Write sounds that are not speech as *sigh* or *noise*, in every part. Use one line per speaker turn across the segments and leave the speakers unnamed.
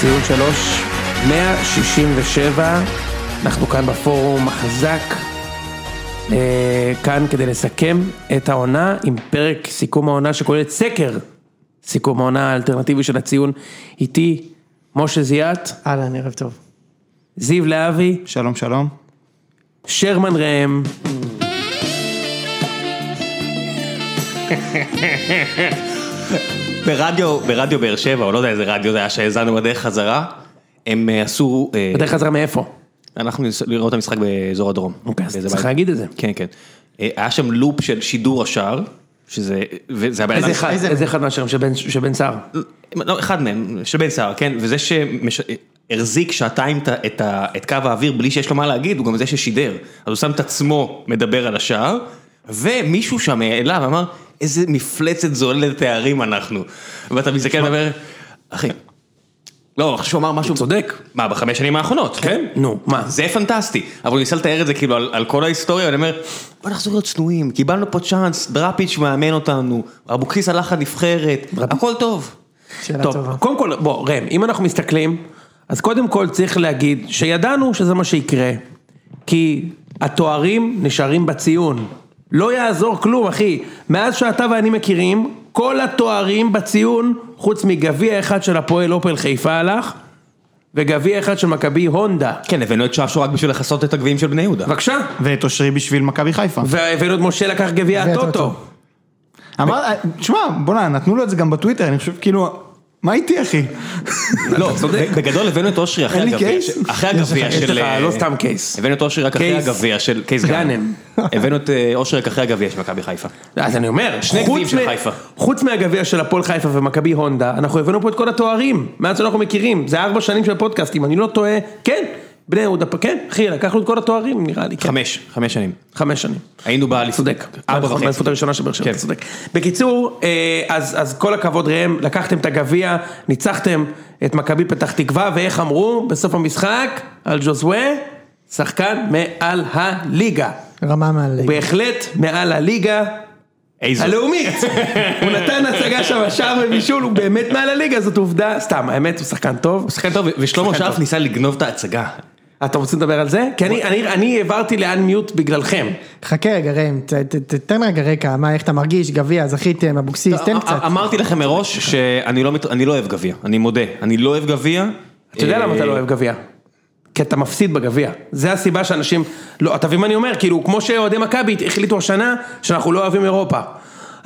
ציון שלוש, 167, אנחנו כאן בפורום החזק, אה, כאן כדי לסכם את העונה עם פרק סיכום העונה שכולל את סקר סיכום העונה האלטרנטיבי של הציון, איתי משה זיאת,
אהלן, ערב טוב.
זיו להבי,
שלום שלום.
שרמן ראם.
ברדיו, ברדיו באר שבע, או לא יודע איזה רדיו זה היה שהאזנו בדרך חזרה, הם אה, עשו... אה,
בדרך כלל זה מאיפה?
אנחנו נס- לראות את המשחק באזור הדרום.
אוקיי, אז
באיזה
צריך
בית.
להגיד את זה.
כן, כן. אה, היה שם לופ של שידור השער, שזה... וזה הבן
איזה
אדם-
אחד, איזה אחד מהשם של בן- של בן סער.
לא, אחד מהם, של בן סער, כן, וזה שהחזיק שעתיים את ה- את, ה, את קו האוויר בלי שיש לו מה להגיד, הוא גם זה ששידר. אז הוא שם את עצמו מדבר על השער, ומישהו שם העלה ואמר, איזה מפלצת זוללת תארים אנחנו. ואתה מסתכל ואומר, אחי, לא, אני חושב שהוא אמר משהו...
צודק.
מה, בחמש שנים האחרונות?
כן. נו, מה?
זה פנטסטי, אבל הוא ניסה לתאר את זה כאילו על, על כל ההיסטוריה, ואני אומר, בוא נחזור להיות צנועים, קיבלנו פה צ'אנס, דראפיץ' מאמן אותנו, אבוקסיס הלך לנבחרת, הכל טוב.
שאלה
טוב,
טובה.
קודם כל, בוא, ראם, אם אנחנו מסתכלים, אז קודם כל צריך להגיד שידענו שזה מה שיקרה, כי התוארים נשארים בציון. לא יעזור כלום, אחי. מאז שאתה ואני מכירים, כל התוארים בציון, חוץ מגביע אחד של הפועל אופל חיפה הלך, וגביע אחד של מכבי הונדה.
כן, הבאנו את שעשוע רק בשביל לכסות את הגביעים של בני יהודה.
בבקשה.
ואת אושרי בשביל מכבי חיפה.
והבאנו את משה לקח גביע
גביע
הטוטו.
הטוטו.
אמר, תשמע, בוא'נה, נתנו לו את זה גם בטוויטר, אני חושב כאילו, מה איתי אחי?
לא, בגדול הבאנו את אושרי אחרי
אין לי
הגביע,
קייס?
של- אחרי הגביע
יש
של...
לך
אה,
לא סתם קייס.
הבאנו את אושרי רק אחרי
קייס
הגביע של... קייס
גאנם.
גאנם.
*laughs*
הבאנו את אה, אושרי רק אחרי הגביע של מכבי חיפה.
אז אני אומר,
שני
חוץ
גביעים של
מ-
חיפה.
חוץ מהגביע של הפועל חיפה ומכבי הונדה, אנחנו הבאנו פה את כל התוארים, מאז שאנחנו מכירים, זה ארבע שנים של פודקאסט, אם אני לא טועה, כן, בני יהודה, פה- כן, אחי, לקחנו את כל התוארים, נראה לי, כן,
חמש, חמש שנים.
חמש שנים.
היינו באליפות.
צודק,
ארבע וחצי.
באליפות הראשונה של באר שבע,
כן.
אתה צודק. בקיצור, אה, אז אז כל הכבוד ראם, לקחתם את הגביע, ניצחתם את מכבי פתח תקווה, ואיך אמרו בסוף המשחק, על ג'וזווה, שחקן מעל הליגה.
רמה מעל...
הוא בהחלט מעל הליגה,
איזו.
הלאומית. הוא נתן הצגה שם, שער ובישול, הוא באמת מעל הליגה, זאת עובדה. סתם, האמת, הוא שחקן טוב.
הוא שחקן טוב, ו- ושלמה
שחקן
שרף
טוב.
ניסה לגנוב את ההצגה.
אתה רוצה לדבר על זה? כי אני- אני- אני העברתי לאן מיוט בגללכם.
חכה רגע, ראם, ת- ת- תתן רגע רקע, מה, איך אתה מרגיש, גביע, זכיתם, אבוקסיס, תן קצת.
אה,
א- א- אמרתי לכם מראש שאני לא מת- אני לא אוהב גביע, אני מודה, אני לא אוהב גביע.
אתה יודע למה אתה לא אוהב גביע? כי אתה מפסיד בגביע. זה הסיבה שאנשים... לא, אתה מבין מה אני אומר? כאילו, כמו שאוהדי מכבי החליטו השנה שאנחנו לא אוהבים אירופה.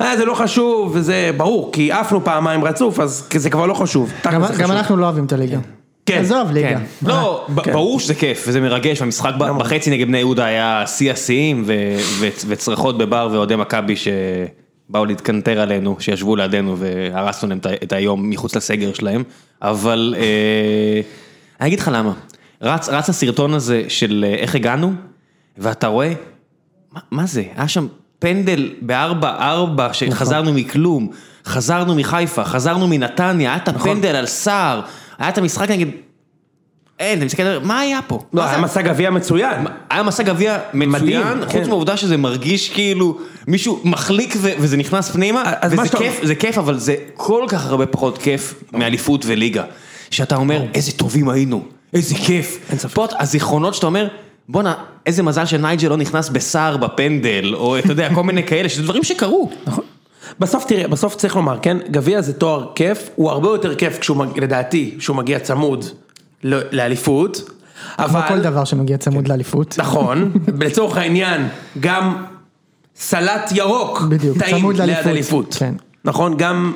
אה, זה לא חשוב, וזה ברור, כי עפנו פעמיים רצוף, אז זה כבר לא חשוב.
גם-
תכל'ס זה
גם
חשוב.
אנחנו לא אוהבים את הליגה.
כן,
עזוב ליגה.
כן.
לא, ב- ברור שזה כיף וזה מרגש, והמשחק ב- בחצי נגד בני יהודה היה שיא השיאים ו- ו- וצרחות בבר ואוהדי מכבי שבאו להתקנטר עלינו, שישבו לידינו והרסנו להם את ה- את היום מחוץ לסגר שלהם, אבל אה, אני אגיד לך למה, רץ רץ הסרטון הזה של אה, איך הגענו, ואתה רואה, מה- מה זה, היה שם פנדל ב-4-4 שחזרנו
נכון.
מכלום, חזרנו מחיפה, חזרנו מנתניה, היה את
נכון.
הפנדל על סער, היה את המשחק נגד... אין, אתה מסתכל, מה היה פה?
לא,
מה זה
היה מסע גביע מצוין.
היה מסע גביע מצוין,
כן.
חוץ מהעובדה שזה מרגיש כאילו מישהו מחליק ו- וזה נכנס פנימה,
אז מה
וזה
שאתה-
כיף, זה כיף, אבל זה כל כך הרבה פחות כיף מאליפות וליגה. שאתה אומר, איזה טובים היינו, איזה כיף. פה הזיכרונות שאתה אומר, בואנה, איזה מזל שנייג'ל לא נכנס בסער בפנדל, או אתה יודע, כל מיני כאלה, שזה דברים שקרו.
נכון. בסוף תראה, בסוף צריך לומר, כן, גביע זה תואר כיף, הוא הרבה יותר כיף כשהוא, מג- לדעתי, כשהוא מגיע צמוד ל- לאליפות,
כמו
אבל,
כל דבר שמגיע צמוד לאליפות.
נכון, לצורך העניין, גם סלט ירוק,
בדיוק,
טעים
צמוד
ליד
לאליפות,
אליפות,
כן.
נכון, גם,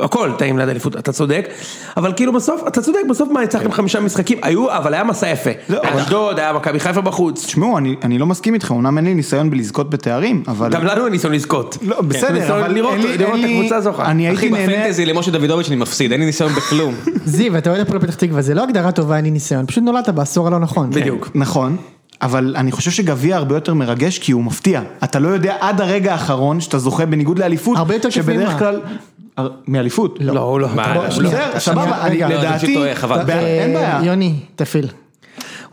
הכל טעים ליד אליפות, אתה צודק, אבל כאילו בסוף, אתה צודק, בסוף מה, ניצחתם חמישה משחקים, היו, אבל היה מסע יפה,
לא, אבל-
אשדוד, היה מכבי חיפה בחוץ,
תשמעו, אני אני לא מסכים איתך, אמנם אין לי ניסיון בלזכות בתארים, אבל...
גם לנו אין ניסיון לזכות,
לא,
ניסיון
בסדר, אבל
לראות-
אין לי...
לראות
אין
את
לי-
הקבוצה זוכה.
אני
אחי,
הייתי נהנה...
בפנטזי למשה דוידוביץ' אני מפסיד, אין לי ניסיון בכלום.
*laughs* זיו, אתה אוהד הפועל פתח תקווה, זה לא הגדרה טובה, אין לי ניסיון, פשוט נולדת בעשור הלא נכון.
בדיוק.
נכון, אבל אני חושב שגביע הרבה יותר מרגש כי הוא מפתיע. אתה לא יודע עד הרגע האחרון שאתה זוכה בניגוד לאליפות,
הרבה יותר כיף ממה?
שבדרך כלל... הר- מאליפות.
לא, הוא לא,
מה,
אתה-
לא,
בסדר,
שנייה,
סבבה, אני
רגע.
לא, אני פשוט
אה,
לדעתי,
טועה, חבל.
בע- אין
אה,
בעיה.
יוני, תפעיל.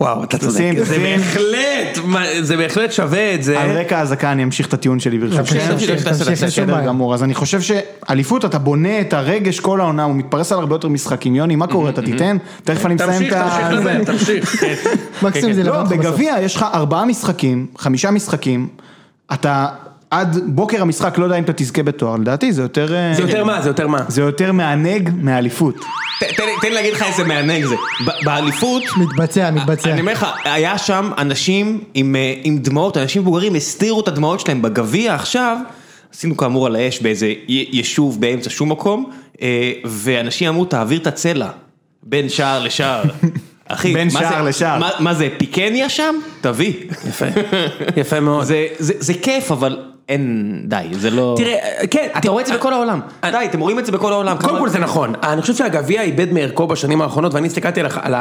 וואו, אתה צודק.
תשים,
זה
תשים.
בהחלט, מה- זה בהחלט שווה את
על
זה.
רקע האזעקה אני אמשיך את הטיעון שלי
כן,
ברשותכם.
תמשיך, תמשיך, תמשיך, אין שום
בסדר
בעיה.
גמור, אז אני חושב שאליפות, אתה בונה את הרגש כל העונה, הוא מתפרס על הרבה יותר משחקים. יוני, מה קורה? אתה תיתן? תכף אני מסיים
Mm-hmm. תמשיך,
את
תמשיך
ה...
כן, לדבר, תמשיך.
כן,
מקסימום זה לבוא
לא,
אותך בסוף.
בגביע יש לך ארבעה משחקים, חמישה משחקים, אתה עד בוקר המשחק, לא יודע אם אתה תזכה בתואר, לדעתי זה יותר... אה,
זה יותר מה, זה יותר מה.
זה יותר מענג מהאליפות.
ת- תן לי- תן לי להגיד לך איזה מענג זה. ב- באליפות,
מתבצע, מתבצע.
אני אומר לך, היה שם אנשים עם, אה, עם דמעות, אנשים מבוגרים הסתירו את הדמעות שלהם בגביע עכשיו, עשינו כאמור על האש באיזה י- יישוב באמצע שום מקום, אה, ואנשים אמרו תעביר את הצלע בין שער לשער. אחי,
בין
מה
שער
זה,
לשער.
מה, מה זה, פיקניה שם? תביא.
יפה, *laughs* יפה מאוד.
זה, זה, זה כיף, אבל אין, די, זה לא...
תראה, כן,
אתה רואה את זה בכל העולם. די, אתם רואים את זה בכל העולם.
קודם
כמה-
כל זה נכון, אני חושב שהגביע איבד מערכו בשנים האחרונות ואני הסתכלתי על הח- על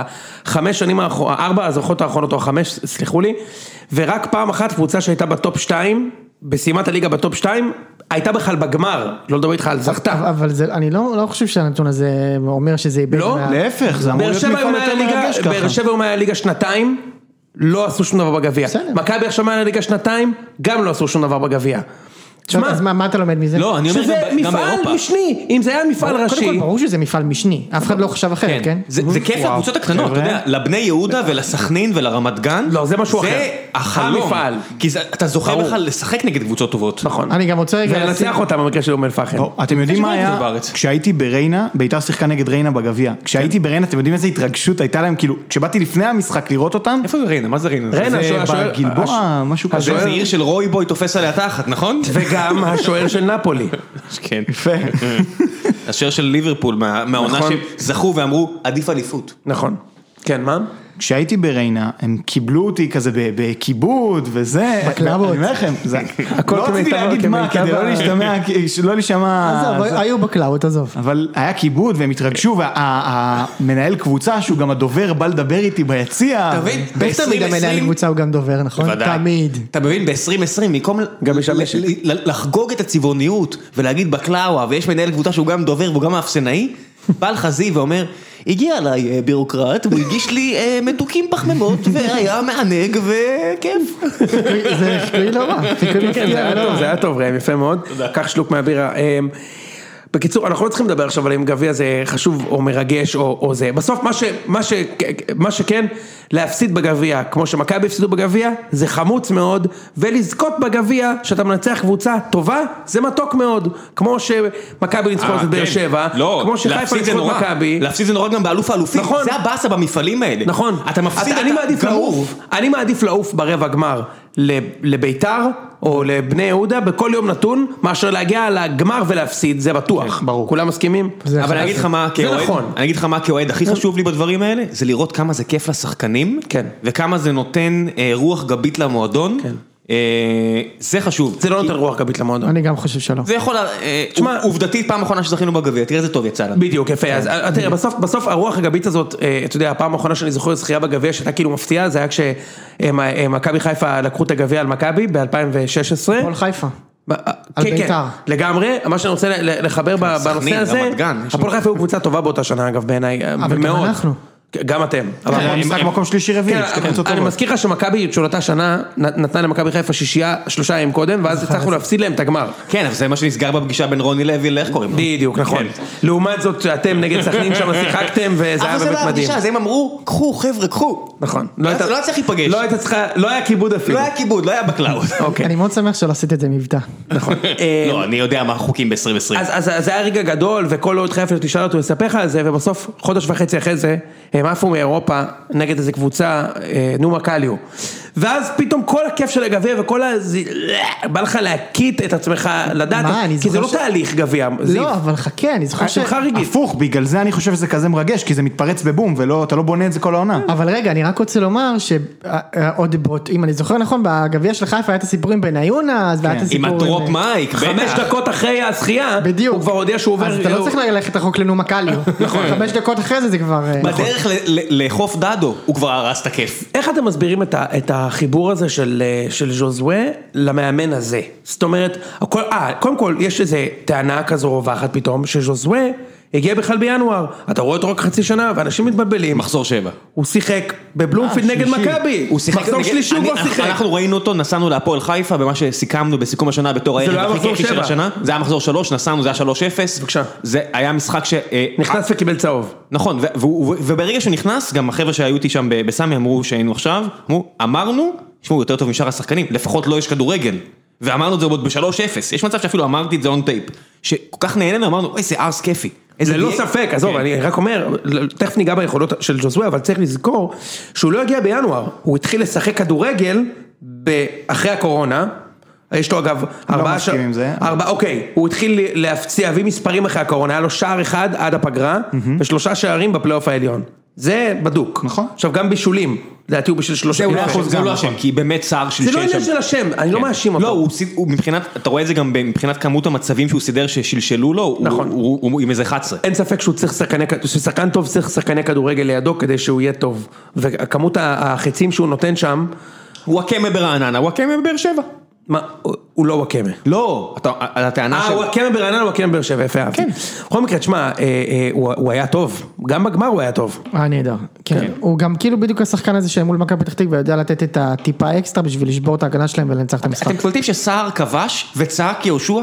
החמש שנים האחרונות, ארבע הזוכות האחרונות או החמש, סלחו לי, ורק פעם אחת קבוצה שהייתה בטופ שתיים, בסיימת הליגה בטופ שתיים, הייתה בכלל בגמר, לא לדבר איתך על זכתה.
אבל זה, אני לא לא חושב שהנתון הזה אומר שזה איבד.
לא,
מה-
להפך, זה אמור
באר
להיות
שבע היו
מפעל
מעל
יותר
הליגה-
מרגש
באר
ככה.
שבע היו מהליגה שנתיים, לא עשו שום דבר בגביע.
בסדר.
מכבי עכשיו מהליגה שנתיים, גם לא עשו שום דבר בגביע.
טוב,
תשמע,
אז מה- מה אתה לומד מזה?
לא, אני אומר
שזה
גם ב- גם
מפעל
באירופה.
משני, אם זה היה מפעל
קודם
ראשי,
כל ברור שזה מפעל משני, אף אחד לא חושב אחרת, כן?
זה, זה כיף
וואו,
לקבוצות הקטנות, אתה
חבר'ה.
יודע, לבני יהודה ולסכנין ולרמת גן.
לא, זה משהו אחר.
זה החלום.
המפעל.
כי זה, אתה זוכה
ברור.
בכלל לשחק נגד קבוצות טובות.
נכון,
אני גם רוצה רגע
ולנצח
לשים-
אותם במקרה של אום אל-פחם.
בוא, אתם יודעים
יש
מה
בעיה עם
היה?
זה בארץ.
כשהייתי בריינה, ביתר שיחקה נגד ריינה בגביע. כשהייתי
כן.
בריינה, אתם יודעים איזה התרגשות הייתה להם? כאילו, כשבאתי לפני המשחק לראות אותם, אה,
איפה זה ריינה? מה זה ריינה?
ריינה,
זה-
השוער- השוער- אה,
בגלבוע, משהו
זה-
כזה.
זה עיר של רוי בוי תופס עליה תחת, נכון?
וגם השוער של נפולי.
כן.
יפה.
השוער של ליברפול, מה- מהעונה
נכון.
שהם זכו ואמרו, עדיף אליפות.
נכון. כן, מה?
*laughs* כשהייתי בריינה, הם קיבלו אותי כזה ב- בכיבוד וזה.
בקלאבות.
אני אומר לכם,
*laughs*
זה...
הכל
לא רציתי
כמיטב-
להגיד מה,
כמיטב
כדי
ה-
לא
*laughs*
להשתמע, כי- שלא להישמע...
עזוב,
זה-
היו בקלאוט, עזוב.
אבל היה כיבוד והם התרגשו, והמנהל קבוצה שהוא גם הדובר בא לדבר איתי ביציע.
אתה מבין?
איך תמיד המנהל
ב-2020,
קבוצה הוא גם דובר, נכון?
בוודאי. *laughs*
תמיד.
אתה מבין, ב-2020, במקום
גם
ל-
משמשת.
ל- ל- לחגוג את הצבעוניות ולהגיד בקלאווה, ויש מנהל קבוצה שהוא גם דובר והוא
*laughs*
גם האפסנאי, בא לך זיו ואומר, הגיע אליי אה, בירוקרט, הוא הגיש לי אה, מתוקים פחמימות, והיה מענג
*laughs*
וכיף.
זה חיקוי לא רע, חיקוי
כן, זה
מפתיע.
היה טוב, זה היה טוב ראם, יפה מאוד. קח שלוק מהבירה. אמ, בקיצור, אנחנו לא צריכים לדבר עכשיו על אם גביע זה חשוב או מרגש או, או זה. בסוף מה, ש, מה, ש, מה שכן, להפסיד בגביע, כמו שמכבי הפסידו בגביע, זה חמוץ מאוד, ולזכות בגביע, שאתה מנצח קבוצה טובה, זה מתוק מאוד. כמו שמכבי ניצחו את באר שבע, כמו שחיפה ניצחו את מכבי.
להפסיד זה נורא גם באלוף האלופים,
נכון.
זה הבאסה במפעלים האלה.
נכון.
אתה מפסיד,
אני מעדיף לעוף, אני מעדיף לעוף ברבע גמר ל- לביתר או לבני יהודה בכל יום נתון, מאשר להגיע לגמר ולהפסיד, זה בטוח.
ברור.
כולם מסכימים?
זה
אבל אני אגיד לך מה כאוהד,
זה נכון.
אני אגיד לך מה כאוהד הכי חשוב לי בדברים האלה, זה לראות כמה זה כיף לשחקנים,
כן.
וכמה זה נותן אה, רוח גבית למועדון,
כן.
אה, זה חשוב.
זה לא
כי-
נותן רוח גבית למועדון.
אני גם חושב שלא.
זה יכול, אה,
תשמע-
עוב- עובדתית פעם אחרונה שזכינו בגביע, תראה איזה טוב יצא לנו.
בדיוק, יפה, אז אה, תראה, בסוף, בסוף הרוח הגבית הזאת, אה, אתה יודע, הפעם האחרונה שאני זוכר זכייה בגביע שהייתה כאילו מפתיעה, זה היה כשמכבי חיפה לקחו את הגביע על מכבי ב-2016.
כל חיפה.
ב-
על
כן, כן,
בית"ר.
לגמרי, מה שאני רוצה ל- ל- לחבר ב- בנושא
כן, סכנין,
הזה,
רמת גן, יש
הפועל חיפה היו קבוצה טובה באותה שנה אגב בעיניי,
אבל גם
מאוד.
אנחנו.
גם אתם. אבל-
היה משחק מקום שלישי רביעי,
אה, כן,
שתי קבוצות
אני
טובות.
מזכיר לך שמכבי את שולתה שנה נ- נתנה למכבי חיפה שישייה שלושה ימים קודם ואז הצלחנו להפסיד להם את הגמר.
כן, אבל זה מה שנסגר בפגישה בין רוני לוי לאיך קוראים לו. כן.
בדיוק נכון. לעומת זאת אתם נגד סכנין שם שיחקתם וזה היה
אבל זה לא
באמת מדהים.
הפגישה, אז הם אמרו, קחו חבר'ה, קחו.
נכון.
לא
הייתה-
היה צריך להיפגש.
לא הייתה צריכה, לא היה כיבוד
לא
אפילו.
היה כיבוד, לא היה בקלאוד.
אוקיי.
אני מאוד שמח שלא עשית את זה מבטא.
נכון. אה,
לא, אני יודע מה החוקים ב-2020.
אז, אז, אז זה היה רגע גדול, וכל אוהד חיפה שתשאל אותו יספר לך על זה, ובסוף, חודש וחצי אחרי זה, הם עפו מאירופה נגד איזה קבוצה, אה, נומה קליו. ואז פתאום כל הכיף של הגביע וכל ה... זה- בא לך להקיט את עצמך, לדעת,
מה, אני
כי זה
זוכר
לא
ש-
תהליך גביע, זיו.
לא, אבל חכה, אני זוכר ש...
השמחה רגעית.
הפוך, בגלל זה אני חושב שזה כזה מרגש, כי זה מתפרץ בבום, ולא, אתה לא בונה את זה כל
אה,
העונה.
אבל רגע, אני רק רוצה לומר אה, שעוד, אם אני זוכר נכון, בגביע של חיפה היה את הסיפור עם בניון אז, והיה את
כן.
הסיפור
עם הדרופ מייק,
חמש
בטח.
דקות אחרי הזכייה,
בדיוק.
הוא כבר הודיע שהוא עובר...
אז אתה לא צריך ללכת רחוק לנומה קליו. נכון. חמש דקות אחרי זה זה כבר... אה,
בדרך ל- ל- לחוף דדו, הוא כבר הרס את הכיף.
איך אתם מסבירים את, ה, את החיבור הזה של, אה, של ז'וזווה למאמן הזה? זאת אומרת, הכל, אה, קודם כל, יש איזו טענה כזו רווחת פתאום, שז'וזווה הגיע בכלל בינואר, אתה רואה אותו רק חצי שנה, ואנשים מתבלבלים.
מחזור שבע.
הוא שיחק בבלומפילד נגד מכבי.
הוא שיחק
מחזור
נגד-
שלישי הוא
אני-
כבר שיחק.
אנחנו ראינו אותו, נסענו להפועל חיפה במה שסיכמנו בסיכום השנה בתור
זה
הערב
לא היה
הכי
מחזור
כיפי של
שבע.
השנה. זה היה מחזור שלוש, נסענו, זה היה שלוש אפס.
בבקשה.
זה היה משחק ש... אה,
נכנס וקיבל צהוב.
נכון, ו- והוא- וברגע שהוא נכנס, גם החבר'ה שהיו איתי שם ב- בסמי אמרו שהיינו עכשיו, אמרו, אמרנו, תשמעו, הוא יותר טוב משאר השחקנים, לפחות לא יש כדורגל. ואמרנו את זה עוד ב-3-0, יש מצב שאפילו אמרתי את זה און טייפ, שכל כך נהנינו, אמרנו, איזה ארס כיפי. איזה
ללא
די-
ספק, עזוב,
כן.
אני רק אומר, תכף ניגע ביכולות של ג'וזווה, אבל צריך לזכור שהוא לא הגיע בינואר, הוא התחיל לשחק כדורגל ב- אחרי הקורונה, יש לו אגב ארבעה
לא מסכים עם זה.
ארבע, אוקיי, הוא התחיל להפציע, להביא מספרים אחרי הקורונה, היה לו שער אחד עד הפגרה, ושלושה שערים בפלייאוף העליון. זה בדוק.
נכון.
עכשיו גם בישולים, לדעתי הוא בשביל שלושה.
זה הוא לא
יפה.
אשם, זה הוא לא אשם, כי באמת סער של
זה לא עניין של השם, אני לא מאשים אותו.
לא, הוא, סיד- הוא מבחינת, אתה רואה את זה גם מבחינת כמות המצבים שהוא סידר ששלשלו לו, הוא-
נכון.
הוא הוא- הוא עם איזה 11.
אין ספק שהוא צריך שחקני, כד- ששחקן טוב צריך שחקני כדורגל לידו כדי שהוא יהיה טוב. וכמות ה- החצים שהוא נותן שם,
וואקמה ברעננה, וואקמה בבאר שבע.
מה, הוא- הוא לא וואקמה.
לא, אתה- על הטענה
אה,
של...
וואקמה ברעננה, וואקמה באר שבע, יפה אהבתי. כן. בכל מקרה, תשמע, אה, אה, הוא הוא היה טוב, גם בגמר הוא היה טוב.
אה, נהדר. כן. הוא גם כאילו בדיוק השחקן הזה שמול מכבי פתח תקווה יודע לתת את הטיפה אקסטרה בשביל לשבור את ההגנה שלהם ולנצח את המשחק.
אתם קולטים שסער כבש וצעק יהושע?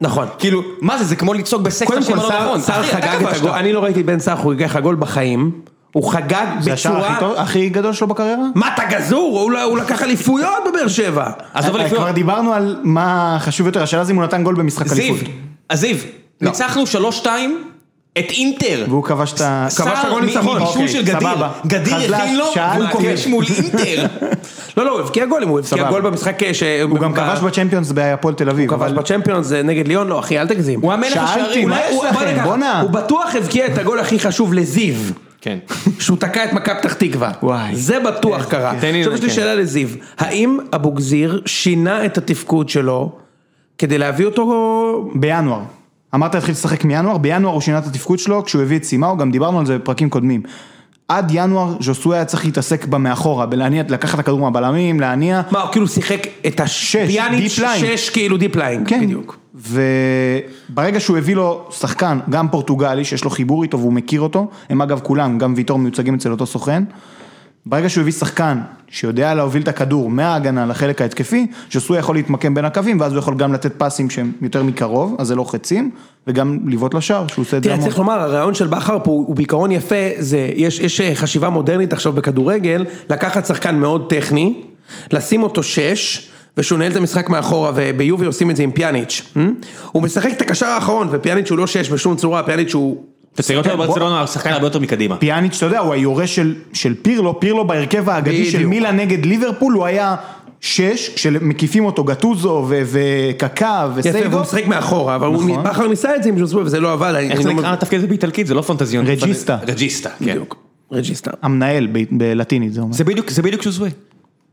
נכון.
כאילו, מה זה, זה כמו לצעוק בסקטר
קודם
שם
כל,
לא
סער-
נכון.
סער
אחי, אתה
חגג את
כבשת.
הגול, אני לא ראיתי את בן סער חוגג לך גול בחיים, הוא חגג
זה השער
בצורה...
הכי טוב- הכי גדול שלו בקריירה?
מה אתה גזור? הוא לא- הוא לקח אליפויות בבאר שבע.
עזוב
אה,
אליפויות.
כבר דיברנו על מה חשוב יותר, השאלה זה אם הוא נתן גול במשחק
זיו,
אליפות.
זיו, ניצחנו 3-2 את אינטר.
והוא כבש את ה...
כבש את הגול ניצחון.
מבישול
אוקיי,
של גדיר.
סבבה.
גדיר לא
חזל"ש,
הכין לו,
שאל,
והוא
כובש.
כובש מול *laughs* אינטר.
לא, לא, הוא הבקיע גולים, הוא הבקיע
סבבה.
גול במשחק אה, ש...
הוא גם כבש בצ'מפיונס בהפועל תל אביב.
הוא כבש
אבל-
בצ'מפיונס זה נגד ליאון, לא אחי אל תגזים.
הוא המלך
שאלתי,
השערים.
מה
אולי
יש
הוא- בוא
לכם?
ניקח-
בואנה.
הוא בטוח הבקיע את הגול הכי חשוב לזיו,
כן.
שהוא תקע את מכבי פתח תקווה.
וואי.
זה בטוח קרה.
תן לי-
עכשיו יש לי
כן.
שאלה לזיו, האם אבוגזיר שינה את התפקוד שלו כדי להביא אותו...
בינואר. אמרת התחיל לשחק מינואר, בינואר הוא שינה את התפקוד שלו, כשהוא הביא את סימאו, גם דיברנו על זה בפרקים קודמים. עד ינואר ז'וסוי היה צריך להתעסק בה מאחורה, בלהניע, לקחת את הכדור מהבלמים, להניע.
מה, הוא כאילו שיחק את השפיאניץ'
דיפ ליין.
שש כאילו דיפ ליין,
כן.
בדיוק.
וברגע שהוא הביא לו שחקן, גם פורטוגלי, שיש לו חיבור איתו והוא מכיר אותו, הם אגב כולם, גם ויטור מיוצגים אצל אותו סוכן. ברגע שהוא הביא שחקן שיודע להוביל את הכדור מההגנה לחלק ההתקפי, ז'וסוי יכול להתמקם בין הקווים, ואז הוא יכול גם לתת פסים שהם יותר מקרוב, אז זה לא חצים, וגם לבעוט לשער, שהוא עושה את זה
תראה, צריך לומר, הרעיון של בכר פה הוא הוא בעיקרון יפה, זה, יש, יש אה, חשיבה מודרנית עכשיו בכדורגל, לקחת שחקן מאוד טכני, לשים אותו שש, ושהוא נהל את המשחק מאחורה, וביובי עושים את זה עם פיאניץ'. אה? הוא משחק את הקשר האחרון, ופיאניץ' הוא לא שש בשום צורה, פיאניץ' הוא...
תסתכל אותו בברצלונה, השחקן הרבה יותר מקדימה.
פיאניץ', אתה יודע, הוא היורש של, של פירלו, פירלו בהרכב האגדי של
בדיוק.
מילה נגד ליברפול, הוא היה שש, כשמקיפים אותו גטוזו ו- וקקה
יפה, והוא
וסיידו,
משחק מאחורה, אבל הוא-
נכון.
בכר ניסה את זה עם ז'וזווה וזה לא עבד. אני-
איך
אני
זה
לא
נקרא
מבין.
התפקיד הזה באיטלקית? זה לא פנטזיון.
רג'יסטה.
רג'יסטה, כן.
בדיוק, רג'יסטר.
המנהל ב- בלטינית זה אומר.
זה בדיוק, זה בדיוק שוזווה.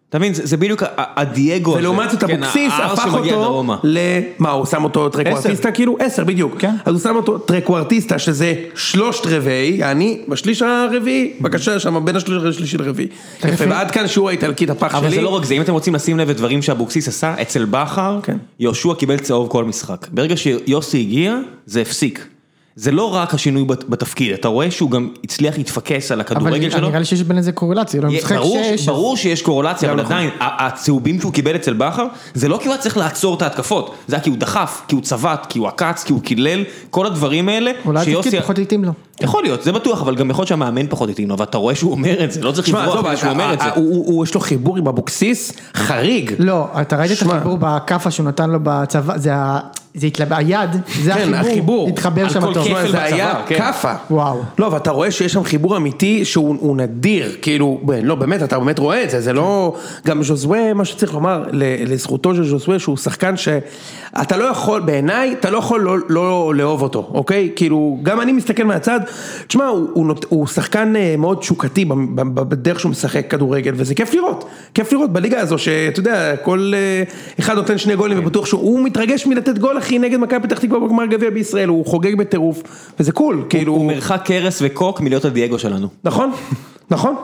אתה מבין, זה זה בדיוק ה- ה- הדייגו הזה.
ולעומת זאת
כן,
אבוקסיס
ה- ה-
הפך
שמגיע
אותו
דרומה.
ל... מה, הוא שם אותו טרקוורטיסטה כאילו? עשר בדיוק.
כן.
אז הוא שם אותו טרקוורטיסטה שזה שלושת רבעי, אני בשליש הרביעי, בבקשה שם בין השליש השלישי לרביעי. יפה, ועד כאן שיעור האיטלקית הפח שלי.
אבל זה לא רק זה, אם אתם רוצים לשים לב לדברים שאבוקסיס עשה, אצל בכר,
כן.
יהושע קיבל צהוב כל משחק. ברגע שיוסי הגיע, זה הפסיק. זה לא רק השינוי בת- בתפקיד, אתה רואה שהוא גם הצליח להתפקס על הכדורגל
אבל
שלו.
נראה לי שיש בין איזה קורלציה, לא
יהיה-
משחק
ברור,
שש. אז-
ברור שיש קורלציה, אבל
נכון.
עדיין, ה- הצהובים שהוא קיבל אצל בכר, זה לא כי הוא היה צריך לעצור את ההתקפות, זה היה כי הוא דחף, כי הוא צבט, כי הוא עקץ, כי הוא קילל, כל הדברים האלה,
אולי התפקיד פחות התאים לו.
יכול להיות, זה בטוח, אבל גם יכול להיות שהמאמן פחות התאים לו, אבל אתה רואה שהוא אומר את זה, לא צריך
תשמע,
לברוח
עזוב,
מזה שהוא אומר את זה.
הוא- הוא- הוא- יש לו חיבור עם אבוקסיס חריג.
לא, אתה ראית את
שמע.
החיבור בכאפה שהוא נתן לו בצבא, זה ה... זה התלבא, היד, זה
כן, החיבור.
החיבור, התחבר
על כל
שם טוב.
כיף.
תשמע,
כפל
זה היה
בצוואר, כן.
כאפה.
וואו.
לא, ואתה רואה שיש שם חיבור אמיתי שהוא הוא נדיר, כאילו, ב- לא, באמת, אתה באמת רואה את זה, זה לא... גם ז'וזווה, מה שצריך לומר, ל- לזכותו של ז'וזווה, שהוא שחקן שאתה לא יכול, בעיניי, אתה לא יכול לא, לא לאהוב אותו, אוקיי? כאילו, גם אני מסתכל מהצד, תשמע, הוא, הוא, נות- הוא שחקן אה, מאוד תשוקתי ב- ב- ב- בדרך שהוא משחק כדורגל, וזה כיף לראות, כיף לראות בליגה הזו, שאתה יודע, כל אה, אחד נותן שני גולים, ובטוח שהוא מתרגש מלתת גול, אחי, נגד מכבי פתח תקווה בגמר גביע בישראל, הוא חוגג בטירוף, וזה קול, כאילו...
הוא מרחק קרס וקוק מלהיות הדייגו שלנו.
נכון, נכון,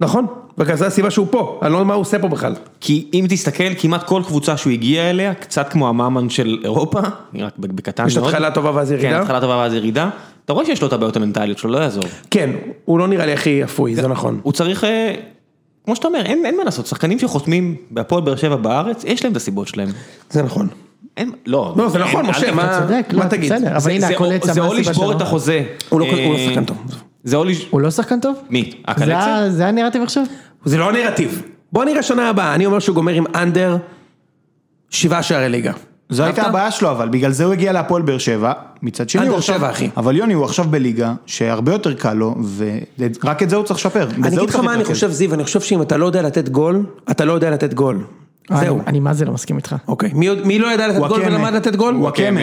נכון, וכן זו הסיבה שהוא פה, אני לא יודע מה הוא עושה פה בכלל.
כי אם תסתכל, כמעט כל קבוצה שהוא הגיע אליה, קצת כמו הממן של אירופה, רק בקטן מאוד.
יש התחלה טובה ואז ירידה?
כן, התחלה טובה ואז ירידה. אתה אתה רואה שיש לו את הבעיות המנטליות שלו, לא יעזור.
כן, הוא לא נראה לי הכי אפוי, זה נכון.
הוא צריך, אה, כמו שאתה אומר, אין, אין מה לעשות, שחקנים שחותמים בהפועל באר שבע בארץ, יש להם את הסיבות שלהם.
זה נכון.
אין, לא.
לא, זה
אין,
נכון,
אל
משה,
תגיד,
מה-
אתה צודק,
מה
לא,
תגיד?
בסדר, אבל
זה-
הנה
זה
הקולט,
או- זה
מה
או
הסיבה
לשבור
שלו?
את החוזה.
הוא לא-
אה,
הוא לא שחקן טוב.
זה או לש...
הוא לא שחקן טוב?
מי?
זה
הקלציה?
ה- זה הנרטיב עכשיו?
זה לא הנרטיב. בוא נראה שנה הבאה, אני אומר שהוא גומר עם אנדר שבעה שערי ליגה.
זו הייתה
אהבת?
הבעיה שלו, אבל בגלל זה הוא הגיע להפועל באר שבע, מצד שני
עד
הוא
באר
עכשיו,
שבע, אחי.
אבל יוני הוא עכשיו בליגה שהרבה יותר קל לו, ורק את זה הוא צריך לשפר. בזה
אני
הוא
אגיד לך
צריך
מה אני
להתרכז.
חושב, זיו, אני חושב שאם אתה לא יודע לתת גול, אתה לא יודע לתת גול. זהו.
אני- אני מה זה לא מסכים איתך.
אוקיי, מי עוד- מי לא ידע לתת גול
וואקמה.
ולמד לתת גול?
וואקמה.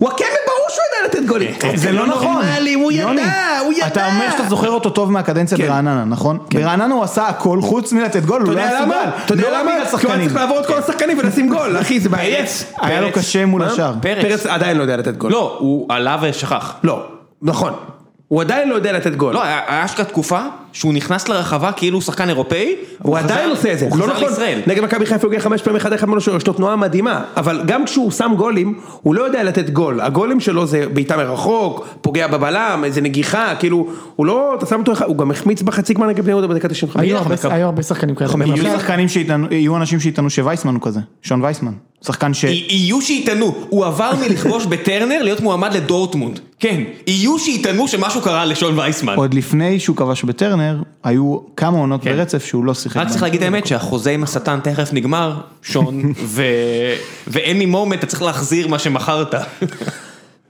וואקמה ברור שהוא ידע לתת גולים.
זה לא נכון.
נורמלי, הוא
יוני,
ידע, הוא ידע.
אתה אומר שאתה זוכר אותו טוב מהקדנציה
כן.
ברעננה, נכון? ברעננה הוא עשה הכל חוץ מלתת גול,
אתה
הוא לא
יודע
היה
למה?
סוגל.
אתה יודע למה?
לא בגלל
כי הוא היה
שחקנים.
צריך לעבור את כל השחקנים ולשים גול, אחי, זה
*laughs*
בעייץ.
היה לו
כן. פרץ. לא
קשה מול
מה?
השאר.
פרץ.
פרץ עדיין לא יודע לתת גול.
לא, הוא עלה ושכח.
לא, נכון. הוא עדיין לא יודע לתת גול.
לא, היה היה אשכרה תקופה שהוא נכנס לרחבה כאילו הוא שחקן אירופאי.
הוא
חזר-
עדיין עושה את זה,
הוא
לא
חזר
נכון,
לישראל.
נגד מכבי חיפה הוא הגיע חמש פעמים אחד אחד מול השוער, יש לו תנועה מדהימה, אבל גם כשהוא שם גולים, הוא לא יודע לתת גול, הגולים שלו זה בעיטה מרחוק, פוגע בבלם, איזה נגיחה, כאילו, הוא לא, אתה שם אותו, אחד- הוא גם החמיץ בחצי גמר נגד בני יהודה בדקה 95.
היו הרבה- היו הרבה שחקנים כאלה.
יהיו
עכשיו-
שחקנים שיטענו- יהיו אנשים שיטענו שווייסמן הוא כזה, שון וייסמן. שחקן
אה,
ש...
י- יהיו שיטענו, הוא עבר מלכבוש בטרנר להיות מועמד לדורטמונד. כן, יהיו שיטענו שמשהו קרה לשון וייסמן.
עוד לפני שהוא כבש בטרנר, היו כמה עונות ברצף שהוא לא שיחק.
רק צריך
בהן.
להגיד את האמת שהחוזה עם השטן תכף נגמר, *laughs* שון, ו- ואין לי מומנט, אתה צריך להחזיר מה שמכרת.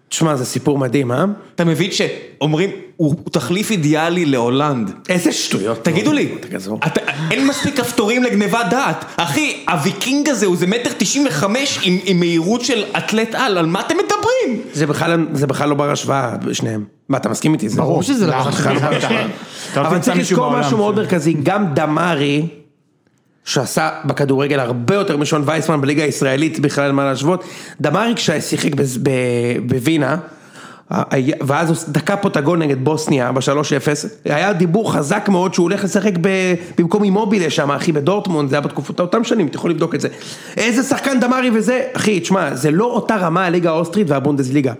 תשמע, זה סיפור מדהים, אה?
אתה מבין שאומרים, הוא הוא תחליף אידיאלי להולנד.
איזה שטויות.
תגידו לי,
תגזור.
אתה- אין מספיק כפתורים לגניבת דעת. אחי, הוויקינג הזה הוא זה מטר תשעים וחמש עם עם מהירות של אתלט על, על מה אתם מדברים?
זה בכלל, זה בכלל לא בר השוואה, שניהם. מה, אתה מסכים איתי? זה
ברור שזה לא בר השוואה.
בכלל לא בר השוואה.
אתה לא
אבל
תמצא
צריך
מישהו
לזכור
בעולם
משהו
ש-
מאוד מרכזי, גם דמארי, שעשה בכדורגל הרבה יותר משון וייסמן בליגה הישראלית, בכלל אין מה להשוות, דמארי כששיחק בז- ב- בווינה, היה- ואז הוא דקע פה את הגול נגד בוסניה ב-3-0, היה דיבור חזק מאוד שהוא הולך לשחק ב- במקום אימובילה שם, אחי, בדורטמונד, זה היה בתקופות אותם שנים, אתה יכול לבדוק את זה. איזה שחקן דמארי וזה, אחי, תשמע, זה לא אותה רמה הליגה האוסטרית והבונדסליגה.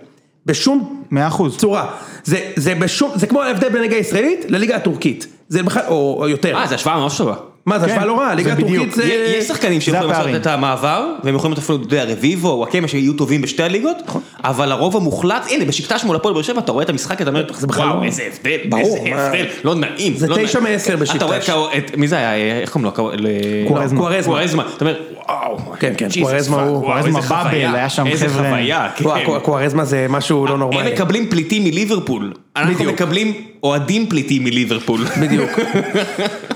בשום
מאה אחוז.
צורה. זה, זה, בשום, זה כמו ההבדל בין הליגה הישראלית לליגה הטורקית. זה בכלל, או, או יותר.
אה, זו השוואה ממש טובה.
מה, זה השוואה
כן,
לא רעה, הליגה
זה
הטורקית
בדיוק.
אה, זה...
י- יש שחקנים שיכולים לעשות
הפערים.
את המעבר, והם יכולים להיות אפילו, אתה יודע, רביבו, וואקמה, שיהיו טובים בשתי הליגות,
נכון.
אבל הרוב המוחלט, הנה, בשקטש מול הפועל באר שבע, אתה רואה את המשחק, אתה אומר,
בכלל
וואו,
לא-
איזה הבדל,
ברור,
איזה
מה-
הבדל, לא נעים.
זה
לא
תשע
נעים.
מעשר
אתה רואה
בשקטש.
את כאו- את, מי זה היה, איך קוראים לו? כאו- ל-
קוארזמה.
קוארזמה.
קוארזמה. אתה אומר, וואו,
כן, כן,
Jesus
קוארזמה
fuck,
הוא-
וואו,
קוארזמה
איזה
באבל,
חוויה,
היה שם
איזה
חבר'ה.
חוויה, כן.
וואו, הקו- הקוארזמה זה משהו לא
הם
נורמלי.
מקבלים פליטים מליברפול, אנחנו
בדיוק.
מקבלים אוהדים
*laughs*
פליטים מליברפול.
בדיוק.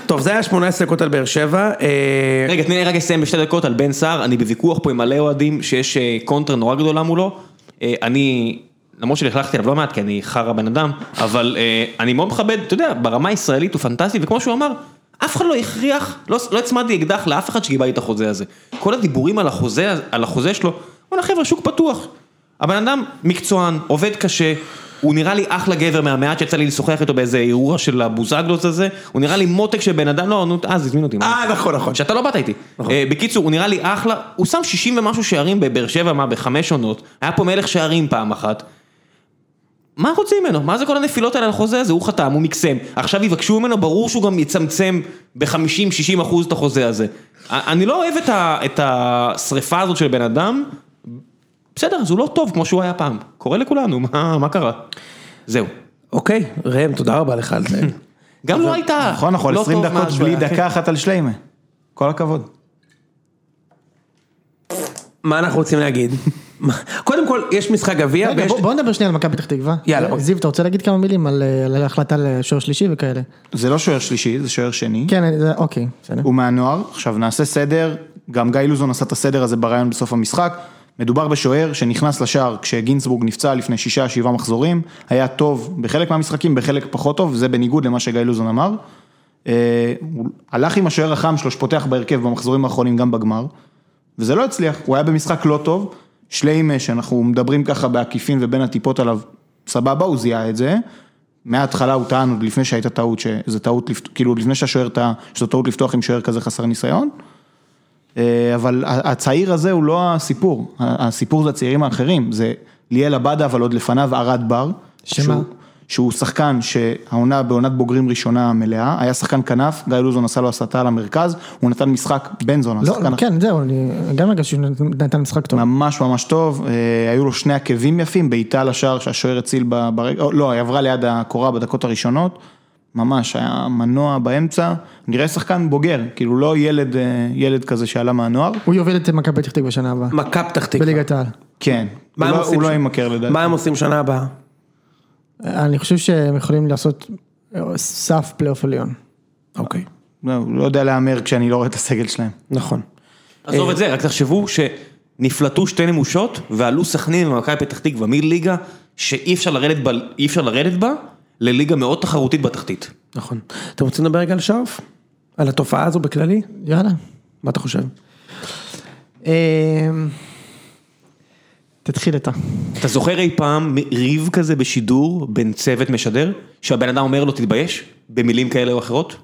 טוב, זה היה 18 דקות על באר שבע. אה,
רגע, תני לי רגע לסיים בשתי דקות על בן סער, אני בוויכוח פה עם מלא אוהדים שיש אה, קונטרה נורא גדולה מולו. אה, אני, למרות שלכלכתי עליו לא מעט כי אני חרא בן אדם, אבל אה, אני מאוד מכבד, אתה יודע, ברמה הישראלית הוא פנטסטי, וכמו שהוא אמר, אף אחד לא הכריח, לא לא הצמדתי אקדח לאף אחד שגיבה לי את החוזה הזה. כל הדיבורים על החוזה, על החוזה שלו, וואלה חבר'ה, שוק פתוח. הבן אדם מקצוען, עובד קשה. הוא נראה לי אחלה גבר מהמעט שיצא לי לשוחח איתו באיזה אירוע של הבוזגלוס הזה, הוא נראה לי מותק של בן אדם, לא, נו, אז הזמין אותי. מה?
אה, נכון, נכון.
שאתה לא באת איתי. אה, בקיצור, הוא נראה לי אחלה, הוא שם 60 ומשהו שערים בבאר שבע, מה, בחמש עונות, היה פה מלך שערים פעם אחת. מה רוצים ממנו? מה זה כל הנפילות האלה על החוזה הזה? הוא חתם, הוא מקסם. עכשיו יבקשו ממנו, ברור שהוא גם יצמצם ב-50-60 אחוז את החוזה הזה. א- אני לא אוהב את, ה- את השריפה הזאת של בן אדם. בסדר, אז הוא לא טוב כמו שהוא היה פעם. קורה לכולנו, מה, מה קרה? זהו.
אוקיי, ראם, תודה רבה לך על זה.
גם לא הייתה...
נכון, נכון,
לא
20
טוב
דקות
משהו,
בלי
היה-
דקה אחת על שליימה. כל הכבוד.
מה אנחנו רוצים להגיד? *laughs* קודם כל, יש משחק גביע,
רגע,
ויש...
בוא- בוא נדבר שנייה על מכבי פתח תקווה.
יאללה, בוא.
זיו, אתה רוצה להגיד כמה מילים על אה, על ההחלטה לשוער שלישי וכאלה?
זה לא שוער שלישי, זה שוער שני.
כן, אני- זה- אוקיי, בסדר.
הוא מהנוער, עכשיו נעשה סדר, גם גיא לוזון עשה את הסדר הזה ברעיון בסוף המשחק. מדובר בשוער שנכנס לשער כשגינסבורג נפצע לפני שישה, שבעה מחזורים, היה טוב בחלק מהמשחקים, בחלק פחות טוב, זה בניגוד למה שגיא לוזון אמר. אה, הוא הלך עם השוער החם שלו שפותח בהרכב במחזורים האחרונים גם בגמר, וזה לא הצליח, הוא היה במשחק לא טוב, שליימה שאנחנו מדברים ככה בעקיפין ובין הטיפות עליו, סבבה, הוא זיהה את זה. מההתחלה הוא טען, עוד לפני שהייתה טעות, שזה טעות, לפת- כאילו לפני שהשוער טעה, שזו טעות לפתוח עם שוער כזה חסר ניסיון. אה, אבל ה- הצעיר הזה הוא לא הסיפור, ה- הסיפור זה הצעירים האחרים, זה ליאל עבדה אבל עוד לפניו ערד בר,
שמה?
שהוא- שהוא שחקן שהעונה בעונת בוגרים ראשונה מלאה, היה שחקן כנף, גיא לוזון עשה לו הסתה על המרכז, הוא נתן משחק בן זונה,
לא,
שחקן
כן, זהו, אני גם רגע שהוא נתן משחק טוב.
ממש ממש טוב, אה, היו לו שני עקבים יפים, בעיטה לשער שהשוער הציל ב- ברגע, או, לא, היא עברה ליד הקורה בדקות הראשונות, ממש, היה מנוע באמצע, נראה שחקן בוגר, כאילו לא ילד, אה, ילד כזה שעלה מהנוער,
הוא יוביל את מכבי פתח תקווה בשנה הבאה,
מכה פתח תקווה.
בליגת העל.
כן,
מה
הוא
הם
לא-
עושים
הוא לא
שם?
ימכר לדעתי.
מה הם עושים שנה הבאה?
אני חושב שהם יכולים לעשות אה, סף פלייאוף עליון.
אוקיי.
לא, לא יודע להמר כשאני לא רואה את הסגל שלהם.
נכון.
עזוב את זה, רק תחשבו שנפלטו שתי נמושות ועלו סכנין ומכבי פתח תקווה מליגה שאי אפשר לרדת בה, אי אפשר לרדת בה, לליגה מאוד תחרותית בתחתית.
נכון. אתם רוצים לדבר רגע על שרף? על התופעה הזו בכללי?
יאללה.
מה אתה חושב? אה,
אמ, תתחיל אתה.
אתה זוכר אי פעם ריב כזה בשידור בין צוות משדר, שהבן אדם אומר לו תתבייש, במילים כאלה או אחרות?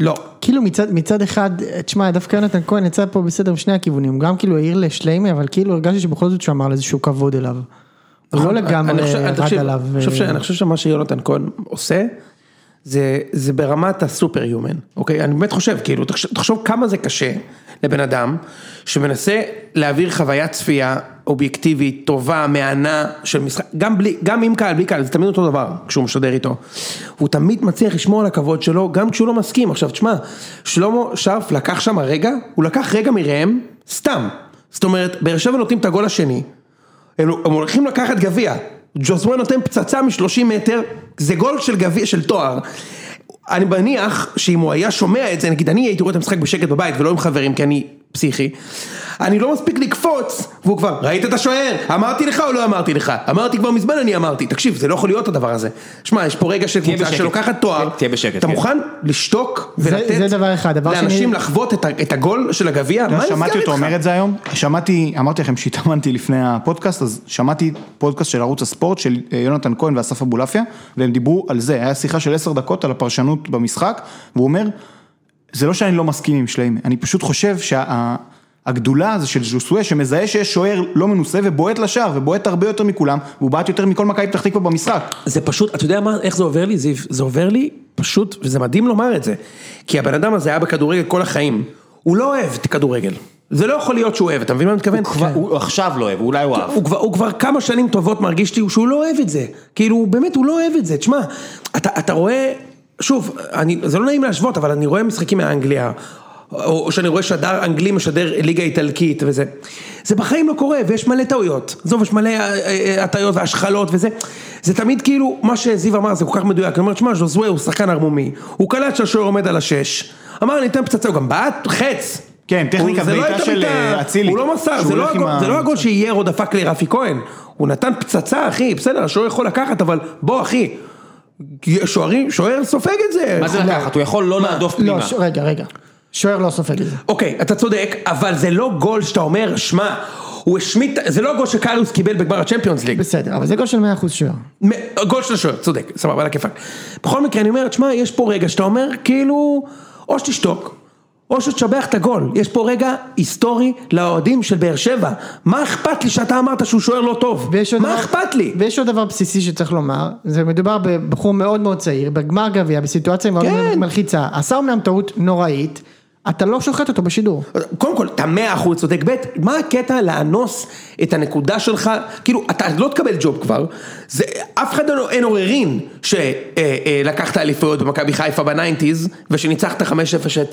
לא.
כאילו מצד, מצד אחד, תשמע, דווקא יונתן כהן יצא פה בסדר משני הכיוונים, הוא גם כאילו העיר לשליימי, אבל כאילו הרגשתי שבכל זאת שהוא אמר לו איזשהו כבוד אליו. הוא לא
נכון. אני
לגמרי
חושב- אני
רד
תקשיב,
עליו. אה,
אני חושב ש- אני חושב שמה שיונתן כהן עושה, זה, זה ברמת הסופר יומן, אוקיי? אני באמת חושב, כאילו, תחשוב, תחשוב כמה זה קשה לבן אדם שמנסה להעביר חוויית צפייה אובייקטיבית, טובה, מהנה של משחק, גם, בלי, גם עם קהל, בלי קהל, זה תמיד אותו דבר כשהוא משדר איתו. הוא תמיד מצליח לשמור על הכבוד שלו, גם כשהוא לא מסכים. עכשיו, תשמע, שלמה שרף לקח שם רגע, הוא לקח רגע מראם, סתם. זאת אומרת, באר שבע נותנים את הגול השני, הם, הם הולכים לקחת גביע. ג'וזמן נותן פצצה מ-30 מטר, זה גול של גביע, של תואר. אני מניח שאם הוא היה שומע את זה, נגיד אני הייתי רואה את המשחק בשקט בבית ולא עם חברים כי אני פסיכי, אני לא מספיק לקפוץ, והוא כבר, ראית את השוער? אמרתי לך או לא אמרתי לך? אמרתי כבר מזמן אני אמרתי, תקשיב, זה לא יכול להיות הדבר הזה. שמע, יש פה רגע של
תהיה
קבוצה
בשקט.
שלוקחת תואר,
תהיה בשקט,
אתה
כן.
מוכן לשתוק
זה-
ולתת
זה דבר אחד, דבר
לאנשים
שני- לא,
לחוות את, ה- את הגול של הגביע?
אתה
מה
יודע,
נסגר
שמעתי אותו
איתך?
אומר את זה היום, שמעתי, אמרתי לכם שהתאמנתי לפני הפודקאסט, אז שמעתי פודקאסט של ערוץ הספורט של אה, יונתן כהן ואסף אבולעפיה, והם דיברו על זה, היה שיחה של עשר דקות על הפרשנות במשחק, והוא אומר, זה לא שאני לא מסכים עם שליימי, אני פשוט חושב שהגדולה הזו של ז'וסואה, שמזהה שיש שוער לא מנוסה ובועט לשער, ובועט הרבה יותר מכולם, והוא בעט יותר מכל מכבי פתח תקווה במשחק.
זה פשוט, אתה יודע מה, איך זה עובר לי, זיו? זה עובר לי פשוט, וזה מדהים לומר את זה, כי הבן אדם הזה היה בכדורגל כל החיים, הוא לא אוהב את הכדורגל. זה לא יכול להיות שהוא אוהב, אתה מבין מה אני מתכוון?
כבר- הוא עכשיו לא אוהב, אולי הוא אהב.
הוא כבר, הוא כבר כמה שנים טובות מרגיש לי שהוא לא אוהב את זה. כאילו, הוא באמת, הוא לא אוהב את זה. תשמע, אתה, אתה רואה, שוב, אני, זה לא נעים להשוות, אבל אני רואה משחקים מאנגליה, או שאני רואה שדר אנגלי משדר ליגה איטלקית וזה. זה בחיים לא קורה, ויש מלא טעויות. עזוב, יש מלא אה, אה, הטעויות והשחלות וזה. זה תמיד כאילו, מה שזיו אמר זה כל כך מדויק. אני אומר, תשמע, ז'וזווה הוא שחקן ערמומי. הוא קלט שהשוער עומד על השש. אמר, אני אתן פצצה, הוא גם בעט חץ.
כן, טכניקה,
הוא- זה לא
בעיטה
הייתה
של,
בעיטה,
אה, אצילי.
הוא לא מסר,
שהוא
זה לא
הולך עם
הגול-
ה-
זה לא הגול שאיירו דפק לרפי כהן. הוא נתן פצצה, אחי, בסדר, השוער יכול לקחת, אבל בוא, אחי. שוערים, שוער סופג את זה.
מה זה לקחת? הוא יכול לא להדוף
לא,
פנימה.
ש... רגע, רגע. שוער לא סופג את זה.
אוקיי, אתה צודק, אבל זה לא גול שאתה אומר, שמע, הוא השמיט, זה לא גול שקריוס קיבל בגמר הצ'מפיונס ליג.
בסדר, אבל זה גול של 100% שוער.
מ- גול של השוער, צודק, סבבה, על הכיפאק. בכל מקרה, אני אומר, תשמע, יש פה רגע שאתה אומר, כאילו, או שתשתוק, או שתשבח את הגול. יש פה רגע היסטורי לאוהדים של באר שבע. מה אכפת לי שאתה אמרת שהוא שוער לא טוב?
ויש עוד
מה
דבר-
אכפת לי?
ויש עוד דבר בסיסי שצריך לומר, זה מדובר בבחור מאוד מאוד צעיר, בגמר גביע, בסיטואציה מאוד
כן.
מלחיצה, עשה אומנם טעות נוראית, אתה לא שוחט אותו בשידור.
קודם כל, אתה מאה אחוז צודק, ב', מה הקטע לאנוס את הנקודה שלך, כאילו, אתה לא תקבל ג'וב כבר, זה, אף אחד לא- אין עוררין שלקחת אליפויות במכבי חיפה בניינטיז, ושניצחת 5-0 את,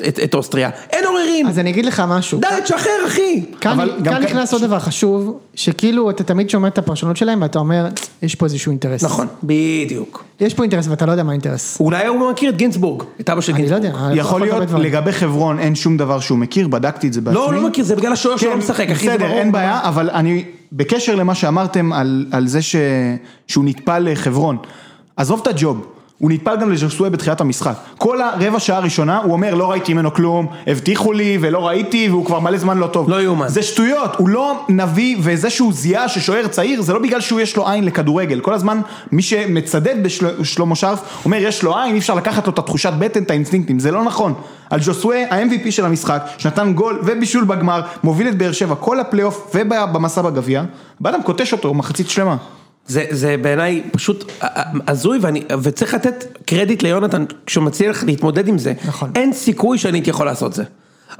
את, את אוסטריה, אין עוררין,
אז אני אגיד לך משהו.
די, תשחרר אחי.
כאן,
אבל גם כן-
כאן
כ-
נכנס עוד דבר חשוב, שכאילו אתה תמיד שומע את הפרשנות שלהם ואתה אומר, יש פה איזשהו אינטרס.
נכון, בדיוק.
יש פה אינטרס ואתה לא יודע מה האינטרס.
אולי הוא מכיר את גינצבורג, את אבא של
אני לא
גינצבורג.
יודע.
יכול
הרבה
להיות,
דברים.
לגבי חברון אין שום דבר שהוא מכיר, בדקתי את זה בעצמי.
לא, הוא לא מכיר, זה בגלל השוער שלו משחק, אחי, זה
כן, בסדר,
ברור.
אין בעיה, אבל אני, בקשר למה שאמרתם על, על זה ש, שהוא נטפל לחברון, עזוב את הג'וב. הוא נטפל גם לז'וסואה בתחילת המשחק. כל הרבע שעה הראשונה הוא אומר לא ראיתי ממנו כלום, הבטיחו לי ולא ראיתי והוא כבר מלא זמן לא טוב.
לא יאומן.
זה שטויות, הוא לא נביא וזה שהוא זיהה ששוער צעיר זה לא בגלל שהוא יש לו עין לכדורגל. כל הזמן מי שמצדד בשלמה שרף אומר יש לו עין, אי אפשר לקחת לו את התחושת בטן, את האינסטינקטים, זה לא נכון. על ג'וסואה ה-MVP של המשחק, שנתן גול ובישול בגמר, מוביל את באר שבע כל הפלייאוף ובמסע בגביע, באדם קוטש אותו מחצית שלמה.
זה, זה בעיניי פשוט ה- ה- הזוי, ואני, וצריך לתת קרדיט ליונתן כשהוא מצליח להתמודד עם זה.
נכון.
אין סיכוי שאני הייתי יכול לעשות זה.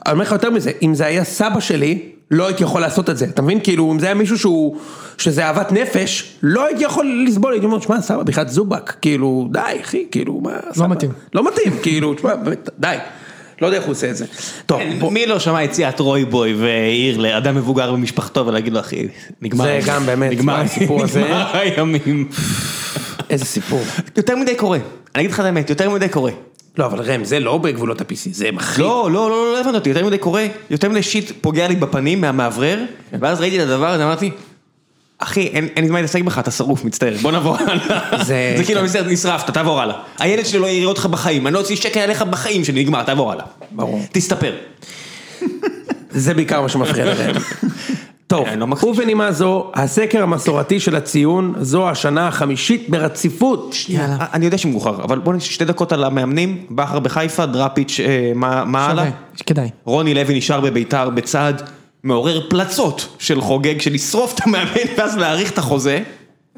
אני אומר לך יותר מזה, אם זה היה סבא שלי, לא הייתי יכול לעשות את זה. אתה מבין? כאילו, אם זה היה מישהו שהוא, שזה אהבת נפש, לא הייתי יכול לסבול, הייתי אומר, שמע, סבא, בכלל זובק, כאילו, די, אחי, כאילו, מה, סבא?
מתאים.
לא מתאים, כאילו, תשמע, באמת, די. לא יודע איך הוא עושה את זה. טוב, בוא-
מי לא שמע את סיעת רוי-בוי והעיר לאדם מבוגר במשפחתו ולהגיד לו אחי, נגמר.
זה גם באמת,
נגמר
מה, הסיפור הזה?
*laughs* נגמר הימים.
איזה סיפור.
יותר מדי קורה, אני אגיד לך את האמת, יותר מדי קורה.
לא, אבל ראם, זה לא בגבולות ה-PC, זה מחריד.
לא, לא, לא, לא הבנת אותי, יותר מדי קורה, יותר מדי שיט פוגע לי בפנים מהמאוורר, ואז ראיתי את הדבר הזה, אמרתי, אחי, אין אין לי זמן להתעסק בך, אתה שרוף, מצטער, בוא נעבור
זה-
הלאה. *laughs* זה כאילו, מצטער, נשרפת, תעבור הלאה. הילד שלי לא יראה אותך בחיים, אני לא אוציא שקל עליך בחיים שלי, נגמר, תעבור הלאה.
ברור.
תסתפר.
זה בעיקר מה שמפריע לראם. טוב,
אני לא מכחיש.
ובנימה זו, הסקר המסורתי של הציון, זו השנה החמישית ברציפות.
יאללה.
אני יודע שמאוחר, אבל בוא נשתה שתי דקות על המאמנים, בכר בחיפה, דראפיץ', אה, מה מה הלאה?
שווה, כדאי.
רוני לוי נשאר בביתר בצעד מעורר פלצות של חוגג, של לשרוף את המאמן ואז להאריך את החוזה.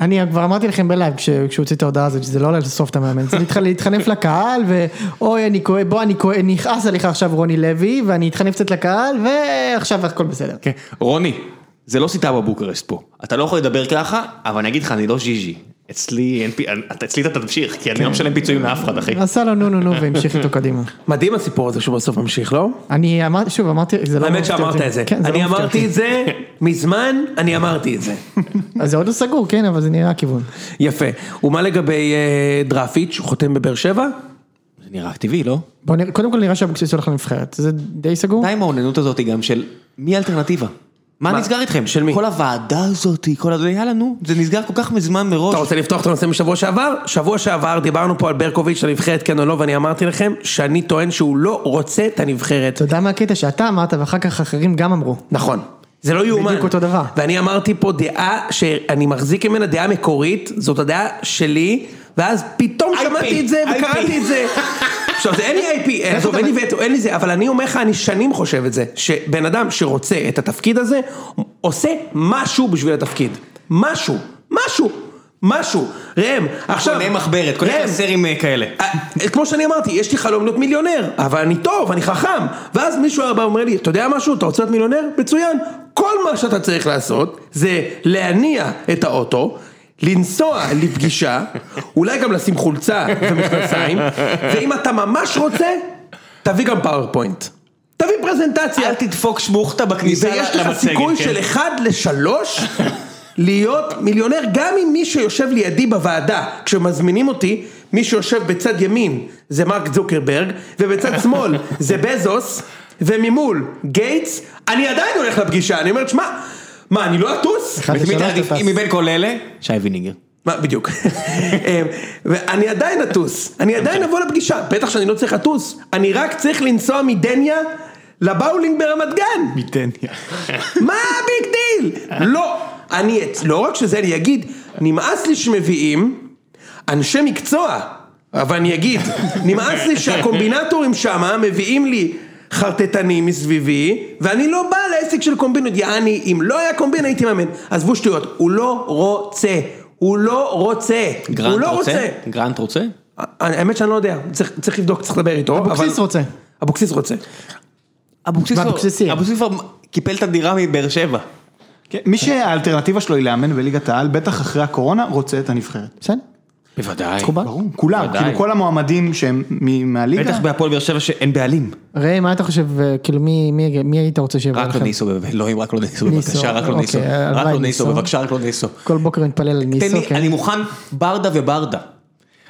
אני כבר אמרתי לכם בלייב כש- כשהוא הוציא את ההודעה הזאת, שזה לא לסוף את המאמן, זה להתח- להתחנף לקהל, ואוי אני כואב, בוא אני כואב, נכעס עליך עכשיו רוני לוי, ואני אתחנף קצת לקהל, ועכשיו הכל בסדר.
כן. רוני, זה לא סיטה בבוקרשט פה. אתה לא יכול לדבר ככה, אבל אני אגיד לך, אני לא ז'יז'י. אצלי אין פי... אתה- אצלי אתה תמשיך, כי אני לא משלם פיצויים לאף אחד, אחי.
עשה לו נו נו נו והמשיך איתו קדימה.
מדהים הסיפור הזה שהוא בסוף ממשיך, לא?
אני אמרתי, שוב אמרתי, זה לא
האמת
מפתיע
שאמרת
אותי.
את זה.
כן,
אני
לא מפתיע
אמרתי
אותי.
את זה מזמן, אני אמרתי את זה.
אז זה עוד לא סגור, כן, אבל זה נראה הכיוון.
יפה. ומה לגבי אה, דראפיץ', הוא חותם בבאר שבע?
זה נראה טבעי, לא?
בוא נראה, קודם כל נראה שאבוקסיס הולך לנבחרת, זה די סגור.
די עם האוננות הזאת גם של מי האלטרנטיבה? מה נסגר איתכם?
של מי?
כל הוועדה הזאת, כל ה... יאללה נו, זה נסגר כל כך מזמן מראש.
אתה רוצה לפתוח את הנושא משבוע שעבר? שבוע שעבר דיברנו פה על ברקוביץ' לנבחרת כן או לא, ואני אמרתי לכם שאני טוען שהוא לא רוצה את הנבחרת.
אתה יודע מה הקטע שאתה אמרת ואחר כך אחרים גם אמרו.
נכון. זה לא יאומן.
בדיוק אותו דבר.
ואני אמרתי פה דעה שאני מחזיק ממנה דעה מקורית, זאת הדעה שלי, ואז פתאום
IP,
שמעתי את זה
IP.
וקראתי את זה. עכשיו, זה אין לי
*laughs*
IP, אין, עזוב,
אתה
אין לי וטו, אין לי זה, אבל אני אומר לך, אני שנים חושב את זה, שבן אדם שרוצה את התפקיד הזה, עושה משהו בשביל התפקיד. משהו, משהו, משהו. ראם, עכשיו... כן.
קונה מחברת, קונה
ראם,
חסרים כאלה.
אה, כמו שאני אמרתי, יש לי חלום להיות מיליונר, אבל אני טוב, אני חכם. ואז מישהו היה בא ואומר לי, אתה יודע משהו, אתה רוצה להיות מיליונר? מצוין. כל מה שאתה צריך לעשות, זה להניע את האוטו, לנסוע לפגישה, אולי גם לשים חולצה ומכנסיים, ואם אתה ממש רוצה, תביא גם פאורפוינט. תביא פרזנטציה.
אל תדפוק שמוכתה בכניסה
כן. ויש לך
למצגת.
סיכוי
כן.
של אחד לשלוש להיות מיליונר, גם אם מי שיושב לידי בוועדה, כשמזמינים אותי, מי שיושב בצד ימין זה מרק זוקרברג, ובצד שמאל זה בזוס, וממול גייטס, אני עדיין הולך לפגישה, אני אומר, שמע, מה, אני לא אטוס?
אחד
ואת מי
לשלוש
תעדיף?
אתה טס.
מבין כל אלה? שי ויניגר.
מה, בדיוק. *laughs* אמ, ואני עדיין אטוס, אני עדיין אבוא לפגישה, בטח שאני לא צריך לטוס, אני רק צריך לנסוע מדניה לבאולינג ברמת גן.
ביטניה.
מה הביג דיל? לא, אני, את- לא רק שזה, אני אגיד, נמאס לי שמביאים אנשי מקצוע, אבל אני אגיד, נמאס לי שהקומבינטורים שמה מביאים לי חרטטנים מסביבי, ואני לא בא לעסק של קומבינות, יעני, אם לא היה קומבין הייתי מאמן. עזבו שטויות, הוא לא רוצה, הוא לא רוצה, הוא
גרנט
לא רוצה.
רוצה? גרנט רוצה?
אני- האמת שאני לא יודע, צריך- צריך לבדוק, צריך לדבר איתו.
אבוקסיס
אבל-
רוצה.
אבוקסיס רוצה.
אבוקסיס
לא-
כבר-
ואבוקסיס סיים.
לא- אבוקסיס כבר קיפל את הדירה מבאר שבע.
כן, מי שהאלטרנטיבה שלו היא לאמן בליגת העל, בטח אחרי הקורונה, רוצה את הנבחרת.
בסדר?
בוודאי.
מקובל?
ברור, כולם,
ודאי.
כאילו כל המועמדים שהם מ- מהליגה,
בטח בהפועל באר שבע שאין בעלים.
ראם, מה אתה חושב, אה, כאילו מי- מי מי היית רוצה שיבוא
רק
לכם?
לא ניסו, בבקשה. לא, אם רק לא ניסו,
ניסו,
בבקשה, רק לא
אוקיי,
ניסו. רק
הלוואי
לא ניסו,
ניסו.
בבקשה, רק לא ניסו.
כל בוקר מתפלל על
תן
ניסו,
לי,
כן.
אני מוכן ברדה וברדה.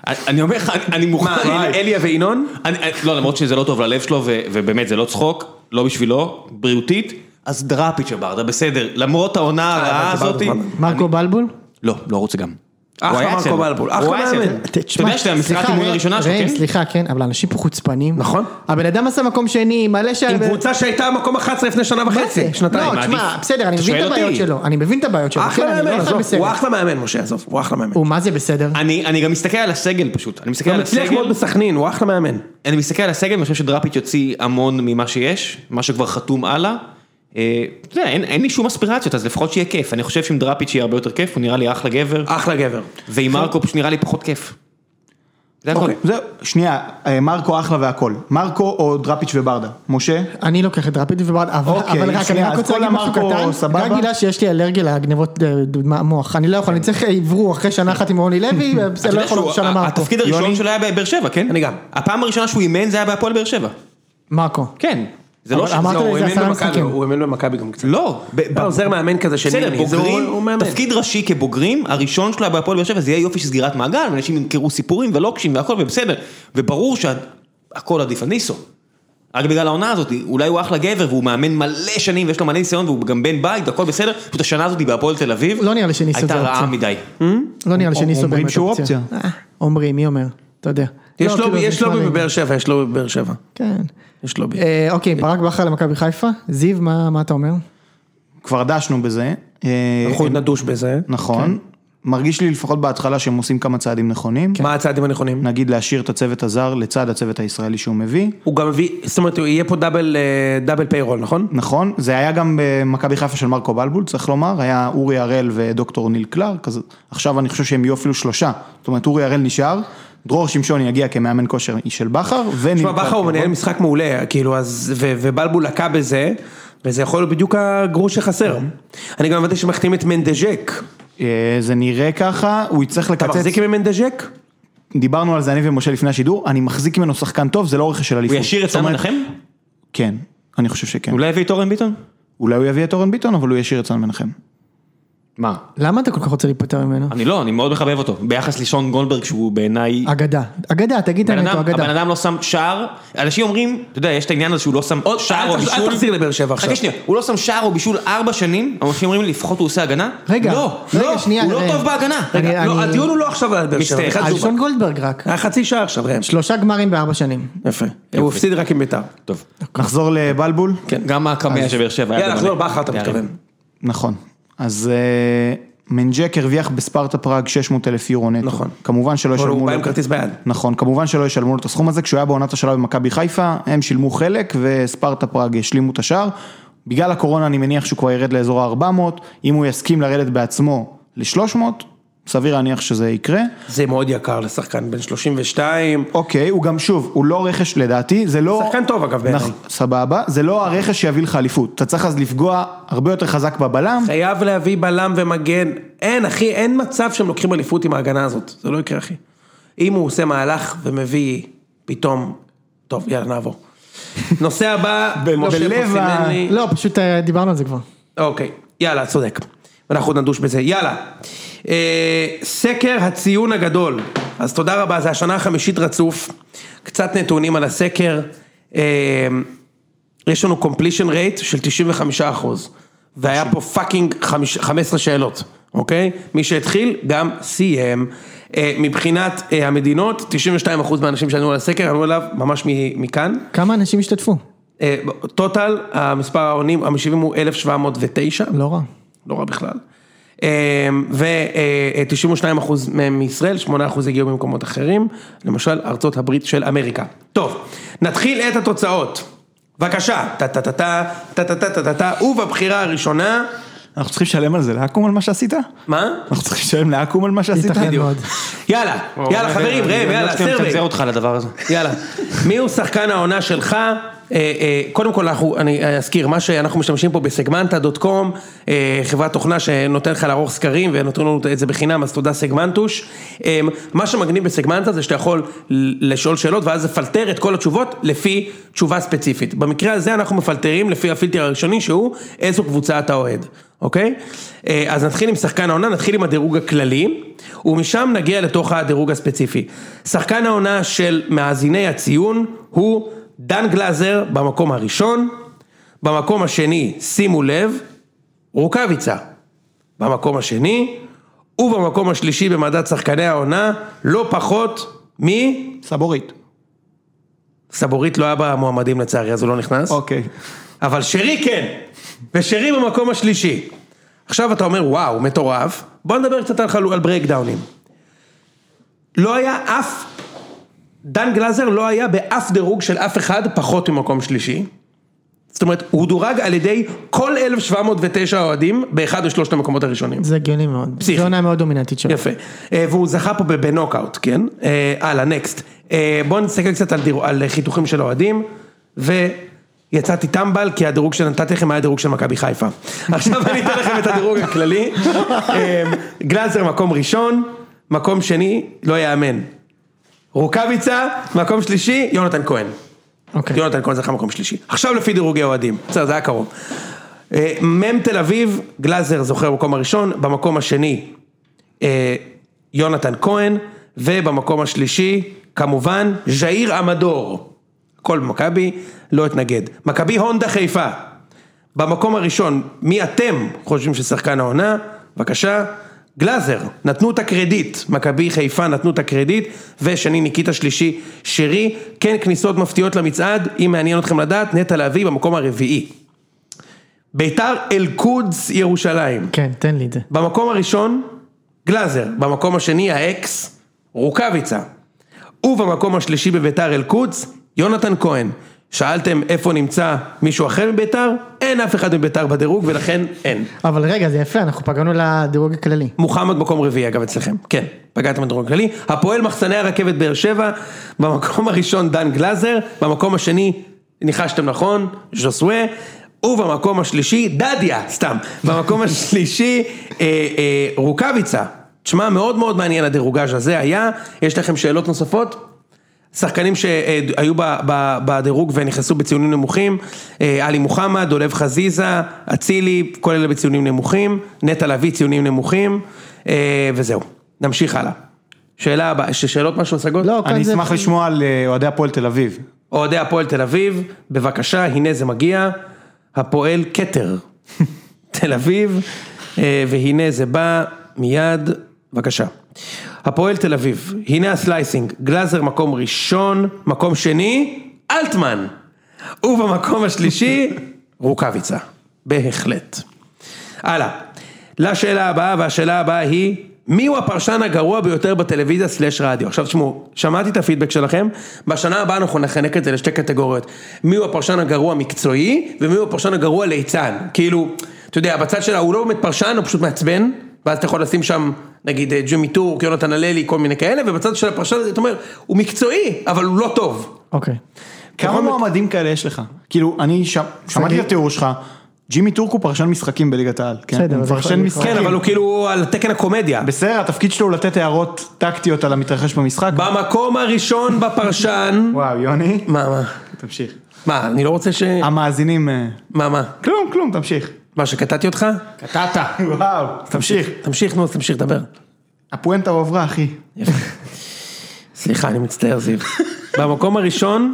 אני- אני אומר לך, אני- אני מוכן...
מה, אל- אליה וינון?
אני, אני- לא, למרות שזה לא טוב ללב שלו, ו, ובאמת זה לא צחוק, לא בשבילו, בריאותית, אז דראפיץ' וברדה, בסדר, למרות העונה הרעה
הבנתי,
הזאת,
ברדה, ברדה.
מרקו בלבול?
לא, לא רוצה גם.
אחלה
הוא היה
מרקו
אצלנו.
בלבול, אחלה
הוא היה
מאמן.
אצלנו. אתה יודע שזה המסירת
סליחה,
אימון
ראם,
הראשונה שלו,
ראם,
כן?
סליחה, כן, אבל אנשים פה חוצפנים.
נכון.
הבן אדם עשה מקום שני, מלא ש...
עם קבוצה שהייתה מקום 11 לפני שנה וחצי, שנתיים.
לא,
מעדיף.
תשמע, בסדר, אני
אתה
מבין
שואל
את הבעיות
אותי?
שלו, אני מבין את הבעיות שלו. כן,
אחלה
אני לא
מאמן,
אומר לך
עזוב,
בסדר.
הוא אחלה מאמן משה, עזוב, הוא אחלה מאמן.
הוא כן, מה זה בסדר?
אני, אני גם מסתכל על הסגל פשוט, אני מסתכל
הוא
על
מצליח
הסגל,
מאוד בסכנין, הוא אחלה מאמן.
אני מסתכל על הסגל, ואני חושב שדראפיץ' יוציא המון ממה שיש, מה שכבר חתום הלאה, אה, אתה יודע, אין, אין לי שום אספירציות, אז לפחות שיהיה כיף. אני חושב שעם דראפיץ' יהיה הרבה יותר כיף, הוא נראה לי אחלה גבר,
אה,
אחלה גבר.
ועם
כן.
מרקו פשוט נראה לי פחות כיף. זה הכל.
אוקיי.
זהו, שנייה, אה, מרקו אחלה והכל. מרקו או דראפיץ' וברדה? משה?
אני לוקח את רפיד וברד, אבל
אוקיי,
אבל רק, אני
שנייה,
רק
אז
רוצה
כל
להגיד משהו
המרקו
קטן,
סבבה?
רק בגלל שיש לי אלרגיה לגניבות אה, ד- מה- מוח, אני לא יכול, אני צריך עברו אחרי שנה אחת עם רוני לוי,
אתה
בסדר, לא
יודע
יכול
שהוא-
להיות שנה
ה-
מרקו,
התפקיד הראשון שלו היה בבאר שבע, כן?
אני גם.
הפעם הראשונה שהוא אימן זה היה בהפועל באר שבע.
מרקו,
כן. זה לא
אבל
ש...
אמרת
לא,
לי,
הוא
זה
אימן
עשרה
במכבי,
משחקים.
הוא אימן במכבי גם קצת.
לא. ב-
הוא עוזר מאמן כזה של
בסדר,
ניני, זה הוא-
בוגרים,
הוא מאמן.
תפקיד ראשי כבוגרים, הראשון שלו היה בהפועל באר שבע, זה יהיה יופי של סגירת מעגל, ואנשים ימכרו סיפורים ולוקשים והכל, ובסדר. וברור שהכל עדיף על ניסו. רק בגלל העונה הזאת, אולי הוא אחלה גבר והוא מאמן מלא שנים ויש לו מלא ניסיון והוא גם בן בית והכל בסדר, פשוט השנה הזאת בהפועל תל אביב,
לא נראה לי שניסו
הייתה
זה
רעה
אופציה.
מדי.
לא נראה לי
אומרים
שניסו באמת
שהוא
אופציה,
אופציה.
אה, אומרים, מי אומר, אתה יודע,
יש
לא,
לו-
כאילו, זה
יש לו
נשמע לי-
בבאר שבע, יש לו בבאר שבע.
כן,
יש לו ב...
אה, אוקיי, ברק בכר למכבי חיפה, זיו, מה מה אתה אומר?
כבר דשנו בזה. אה,
אנחנו נדוש בזה.
אה,
נכון.
כן.
מרגיש לי לפחות בהתחלה שהם עושים כמה צעדים נכונים.
כן.
מה הצעדים הנכונים?
נגיד להשאיר את הצוות הזר לצד הצוות הישראלי שהוא מביא.
הוא גם מביא, זאת אומרת, הוא יהיה פה דאבל, אה, דאבל פיירול, נכון?
נכון, זה היה גם במכבי חיפה של מרקו בלבול, צריך לומר, היה אורי הראל ודוקטור ניל קלרק, אז עכשיו אני חושב שהם יהיו אפילו שלושה. זאת אומרת, אורי הראל נשאר, דרור שמשון יגיע כמאמן כושר של בכר, וניל
תשמע, בכר הוא מנהל משחק מעולה, כאילו, אז, ו- ובלבול לקה בזה, וזה יכול להיות בדיוק הגרוש שחסר. אני גם הבנתי שמחתים את מנדז'ק.
אה, זה נראה ככה, הוא יצטרך
אתה
לקצץ.
מחזיק ממנדז'ק?
דיברנו על זה אני ומשה לפני השידור, אני מחזיק ממנו שחקן טוב, זה לא רכש של אליפות.
הוא ישאיר את
זאת
סם
אומרת-
מנחם?
כן, אני חושב שכן.
אולי יביא את אורן ביטון?
אולי הוא יביא את אורן ביטון, אבל הוא ישאיר את סן מנחם.
מה?
למה אתה כל כך רוצה להיפטר ממנו?
אני לא, אני מאוד מחבב אותו. ביחס לשון גולדברג שהוא בעיניי...
אגדה, אגדה, תגיד
בן
את האמת, הוא
אדם, הבן
אגדה.
אדם לא שם שער, אנשים אומרים, אתה יודע, יש את העניין הזה שהוא לא שם שער
אל
או
תח-
בישול.
אל תחזיר לבאר שבע
חכה
עכשיו.
שנייה, הוא לא שם שער או בישול ארבע שנים, אנשים אומרים לי, לפחות הוא עושה הגנה.
רגע,
לא,
רגע,
לא,
שנייה,
הוא לא
רגע.
טוב בהגנה.
אני-
רגע, לא, הדיון הוא לא עכשיו על באר שבע,
מצטער,
אחד
על
זובק.
שון אה, גולדברג רק,
היה חצי שעה עכשיו, ראם.
שלושה גמרים בארבע שנים.
יפה. הוא הפסיד רק עם ביתר.
טוב,
נחזור לבלבול?
כן, גם הקמע של באר שבע היה
יאללה,
גדול.
נחזור בכר, אתה
יאללה.
מתכוון.
נכון. אז אה, מנג'ק הרוויח בספרטה פראג 600 אלף יורו נטו.
נכון.
כמובן שלא
אבל
ישלמו
הוא בא עם
לו.
כרטיס ביד.
נכון, כמובן שלא ישלמו לו את הסכום הזה, כשהוא היה בעונת השלב במכבי חיפה, הם שילמו חלק וספרטה פראג השלימו את השאר. בגלל הקורונה אני מניח שהוא כבר ירד לאזור ה-400, אם הוא יסכים לרדת בעצמו ל-300, סביר להניח שזה יקרה.
זה מאוד יקר לשחקן בן 32.
אוקיי, הוא גם שוב, הוא לא רכש לדעתי, זה לא...
שחקן טוב, אגב, בעיניי.
נכון, סבבה, זה לא הרכש שיביא לך אליפות, אתה צריך אז לפגוע הרבה יותר חזק בבלם,
חייב להביא בלם ומגן. אין, אחי, אין מצב שהם לוקחים אליפות עם ההגנה הזאת. זה לא יקרה, אחי. אם הוא עושה מהלך ומביא פתאום... טוב, יאללה, נעבור. נושא הבא,
ב-
משה
בלב
פה
ה-
סימן לי-
לא, פשוט אה, דיברנו על זה כבר.
אוקיי, יאללה, צודק. אנחנו עוד נדוש בזה. יאללה. אה, סקר הציון הגדול. אז תודה רבה, זו השנה החמישית רצוף. קצת נתונים על הסקר. אה, יש לנו completion rate של 95 אחוז. והיה פה פאקינג 15 שאלות, אוקיי? מי שהתחיל גם סיים. אה, מבחינת אה, המדינות, 92 אחוז מהאנשים שענו על הסקר ענו עליו ממש מ- מכאן.
כמה אנשים השתתפו?
אה, טוטל, המספר העונים, המשיבים הוא 1,709.
לא רע.
לא רע בכלל. אמ, אה, ו-92% מהם מישראל, 8% הגיעו ממקומות אחרים, למשל ארצות הברית של אמריקה. טוב, נתחיל את התוצאות. בבקשה, טה-טה-טה-טה, טה-טה-טה-טה-טה, ובבחירה הראשונה,
אנחנו צריכים לשלם על זה לאקו"ם על מה שעשית?
מה?
אנחנו צריכים לשלם לאקו"ם על מה שעשית?
ייתכן מאוד.
יאללה, יאללה חברים, ראם, יאללה,
אני לא
סרבי.
מצנזר אותך על הדבר הזה.
יאללה. מי הוא שחקן העונה שלך? אה, אה, קודם כל אנחנו, אני אזכיר, מה שאנחנו משתמשים פה בסגמנטה.קום, אה, חברת תוכנה שנותן לך לערוך סקרים ונותנים לנו את זה בחינם, אז תודה סגמנטוש. אה, מה שמגניב בסגמנטה זה שאתה יכול ל- לשאול שאלות ואז לפלטר את כל התשובות לפי תשובה ספציפית. במקרה הזה אנחנו מפלטרים לפי הפילטר הראשוני שהוא איזו קבוצה אתה אוהד, אוקיי? אה, אז נתחיל עם שחקן העונה, נתחיל עם הדירוג הכללי, ומשם נגיע לתוך הדירוג הספציפי. שחקן העונה של מאזיני הציון הוא דן גלאזר במקום הראשון, במקום השני, שימו לב, רוקאביצה במקום השני, ובמקום השלישי במדד שחקני העונה, לא פחות מ...
סבורית.
סבורית לא היה במועמדים לצערי, אז הוא לא נכנס.
אוקיי.
אבל שרי כן, ושרי במקום השלישי. עכשיו אתה אומר, וואו, מטורף, בוא נדבר קצת על, חלו, על ברייקדאונים. לא היה אף, דן גלאזר לא היה באף דירוג של אף אחד פחות ממקום שלישי. זאת אומרת, הוא דורג על ידי כל 1,709 אוהדים באחד משלושת המקומות הראשונים.
זה הגיוני מאוד.
פסיכי.
זו עונה מאוד דומיננטית שלו.
יפה. אה, והוא זכה פה ב- בנוקאוט, כן? אה, הלאה, נקסט. אה, בואו נסתכל קצת על, דיר... על חיתוכים של אוהדים, ויצאתי טמבל, כי הדירוג שנתתי לכם היה דירוג של מכבי חיפה. *laughs* עכשיו אני אתן לכם את הדירוג הכללי. אה, גלאזר מקום ראשון, מקום שני, לא יאמן. רוקאביצה, מקום שלישי, יונתן כהן.
אוקיי.
יונתן כהן זכה מקום שלישי. עכשיו לפי דירוגי אוהדים, בסדר, זה היה קרוב. אה, מ"ם תל אביב, גלאזר זוכר במקום הראשון, במקום השני אה, יונתן כהן, ובמקום השלישי, כמובן, ז'איר עמדור. הכל במכבי, לא אתנגד. מכבי הונדה חיפה. במקום הראשון, מי אתם חושבים ששחקן העונה? בבקשה. גלאזר, נתנו את הקרדיט, מכבי חיפה נתנו את הקרדיט, ושני ניקיטה שלישי, שרי, כן כניסות מפתיעות למצעד, אם מעניין אתכם לדעת, נטע לביא במקום הרביעי. ביתר אל-קודס ירושלים,
כן, תן לי את זה.
במקום הראשון, גלאזר, במקום השני האקס, רוקאביצה. ובמקום השלישי בביתר אל-קודס, יונתן כהן. שאלתם איפה נמצא מישהו אחר מביתר? אין אף אחד מביתר בדירוג ולכן אין.
אבל רגע, זה יפה, אנחנו פגענו לדירוג הכללי.
מוחמד מקום רביעי אגב אצלכם, כן, פגעתם בדירוג הכללי. הפועל מחסני הרכבת באר שבע, במקום *laughs* הראשון דן גלאזר, במקום השני, ניחשתם נכון, ז'וסווה, ובמקום השלישי, דדיה, סתם, במקום *laughs* השלישי, אה, אה, רוקאביצה. תשמע, מאוד מאוד מעניין הדירוגז' הזה היה, יש לכם שאלות נוספות? שחקנים שהיו ב- ב- בדירוג ונכנסו בציונים נמוכים, אה, עלי מוחמד, דולב חזיזה, אצילי, כל אלה בציונים נמוכים, נטע לביא ציונים נמוכים, אה, וזהו, נמשיך הלאה. שאלה הבאה, ש- שאלות משהו, השגות?
לא,
אני
כאן זה...
אשמח לשמוע על אה, אוהדי הפועל תל אביב.
אוהדי הפועל תל אביב, בבקשה, הנה זה מגיע, הפועל כתר, תל אביב, אה, והנה זה בא מיד, בבקשה. הפועל תל אביב, הנה הסלייסינג, גלאזר מקום ראשון, מקום שני, אלטמן, ובמקום השלישי, רוקאביצה, בהחלט. הלאה, לשאלה הבאה, והשאלה הבאה היא, מיהו הפרשן הגרוע ביותר בטלוויזיה סלאש רדיו? עכשיו תשמעו, שמעתי את הפידבק שלכם, בשנה הבאה אנחנו נחנק את זה לשתי קטגוריות. מיהו הפרשן הגרוע מקצועי, ומיהו הפרשן הגרוע ליצן. כאילו, אתה יודע, בצד שלה הוא לא באמת פרשן, הוא פשוט מעצבן, ואז אתה יכול לשים שם, נגיד, אה, ג'ימי טורק, יונתן הללי, כל מיני כאלה, ובצד של הפרשן הזה, אתה אומר, הוא מקצועי, אבל הוא לא טוב.
אוקיי.
כמה מועמדים כאלה יש לך? כאילו, אני שם- שמעתי את התיאור שלך, ג'ימי טורק הוא פרשן משחקים בליגת העל. כן?
בסדר,
הוא
אז יכול
פרשן
לקרות.
משחקים.
כן, אבל הוא כאילו על תקן הקומדיה.
בסדר, התפקיד שלו הוא לתת הערות טקטיות על המתרחש במשחק.
במקום הראשון בפרשן...
וואו, יוני,
מה, מה?
תמשיך.
מה, אני לא רוצה ש...
המאזינים... אה,
מה, מה?
כלום, כלום, תמשיך.
מה, שקטעתי אותך?
קטעת.
וואו, תמשיך.
תמשיך, נו, אז תמשיך, דבר.
הפואנטה הועברה, אחי.
סליחה, אני מצטער, זיו. במקום הראשון,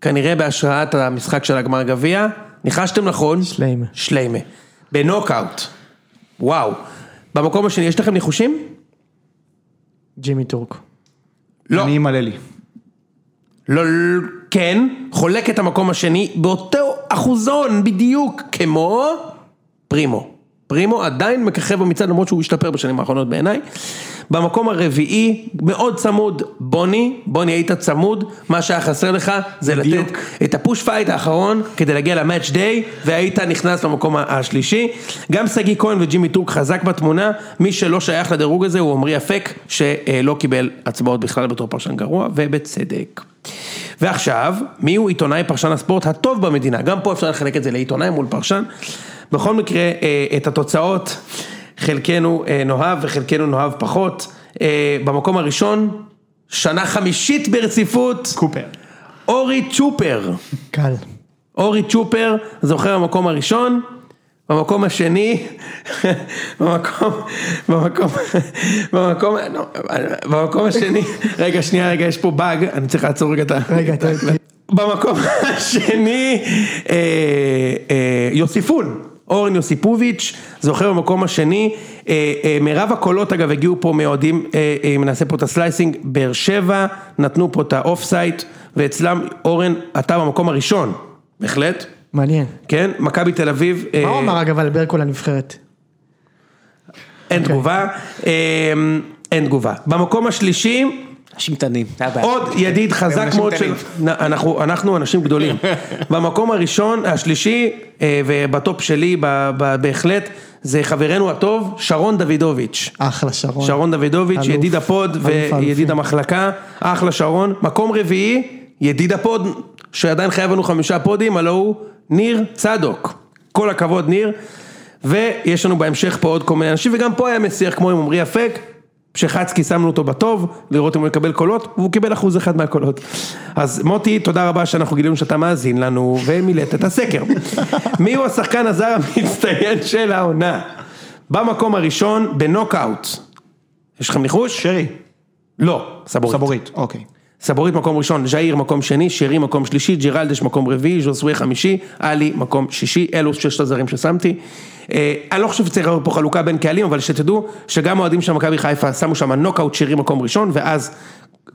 כנראה בהשראת המשחק של הגמר גביע, ניחשתם נכון.
שליימה.
שליימה. בנוקאוט. וואו. במקום השני, יש לכם ניחושים?
ג'ימי טורק.
לא.
אני אמלא לי.
לא, לא, כן, חולק את המקום השני באותו אחוזון בדיוק כמו פרימו. פרימו עדיין מככב במצעד למרות שהוא השתפר בשנים האחרונות בעיניי. במקום הרביעי, מאוד צמוד, בוני, בוני היית צמוד, מה שהיה חסר לך זה
בדיוק.
לתת את הפוש פייט האחרון כדי להגיע למאץ' דיי, והיית נכנס למקום ה- השלישי. גם שגיא כהן וג'ימי טורק חזק בתמונה, מי שלא שייך לדירוג הזה הוא עמרי אפק, שלא קיבל הצבעות בכלל בתור פרשן גרוע, ובצדק. ועכשיו, מיהו עיתונאי פרשן הספורט הטוב במדינה? גם פה אפשר לחלק את זה לעיתונאי מול פרשן. בכל מקרה, אה, את התוצאות חלקנו אה, נאהב וחלקנו נאהב פחות. אה, במקום הראשון, שנה חמישית ברציפות,
קופר.
אורי צ'ופר.
קל.
אורי צ'ופר זוכר במקום הראשון, במקום השני, *laughs* במקום, במקום, במקום, לא, במקום השני, רגע שנייה רגע יש פה באג, אני צריך לעצור רגע את ה...
רגע, אתה...
במקום השני, אה, אה, יוסיפון, אורן יוסיפוביץ', זוכר במקום השני, אה, אה, מירב הקולות אגב הגיעו פה מאוהדים, אה, אה, אם נעשה פה את הסלייסינג, באר שבע, נתנו פה את האוף סייט, ואצלם אורן, אתה במקום הראשון, בהחלט,
מעניין.
כן, מכבי תל אביב, אה,
מה הוא אמר אגב על ברקו לנבחרת?
אין תגובה, אה, אין תגובה. במקום השלישי,
אנשים קטנים, זה הבעיה.
עוד ידיד חזק
אה, אנשים
מאוד של...
קטנים.
נ- אנחנו, אנחנו אנשים
*laughs*
גדולים. במקום הראשון, השלישי, אה, ובטופ שלי ב- ב- בהחלט, זה חברנו הטוב, שרון דוידוביץ'.
אחלה שרון.
שרון דוידוביץ',
אלוף.
ידיד הפוד
אלוף האלופים.
וידיד המחלקה, אחלה שרון. מקום רביעי, ידיד הפוד, שעדיין חייב לנו חמישה פודים, הלו הוא ניר צדוק. כל הכבוד ניר. ויש לנו בהמשך פה עוד כל מיני אנשים, וגם פה היה מסיח כמו עם עמרי אפק. שחצקי שמנו אותו בטוב, לראות אם הוא יקבל קולות, והוא קיבל אחוז אחד מהקולות. אז מוטי, תודה רבה שאנחנו גילינו שאתה מאזין לנו ומילאת את
*laughs*
הסקר. מי הוא השחקן הזר המצטיין של העונה? במקום הראשון, בנוקאוט, יש לכם ניחוש?
שרי,
לא, סבורית.
סבורית, אוקיי.
סבורית מקום ראשון, ז'איר מקום שני, שירי מקום שלישי, ג'ירלדש מקום רביעי, ז'וסווי חמישי, עלי מקום שישי, אלו ששת הזרים ששמתי. אה, אני לא חושב שצריך להיות פה חלוקה בין קהלים, אבל שתדעו שגם אוהדים של מכבי חיפה שמו שם נוקאוט שירי מקום ראשון, ואז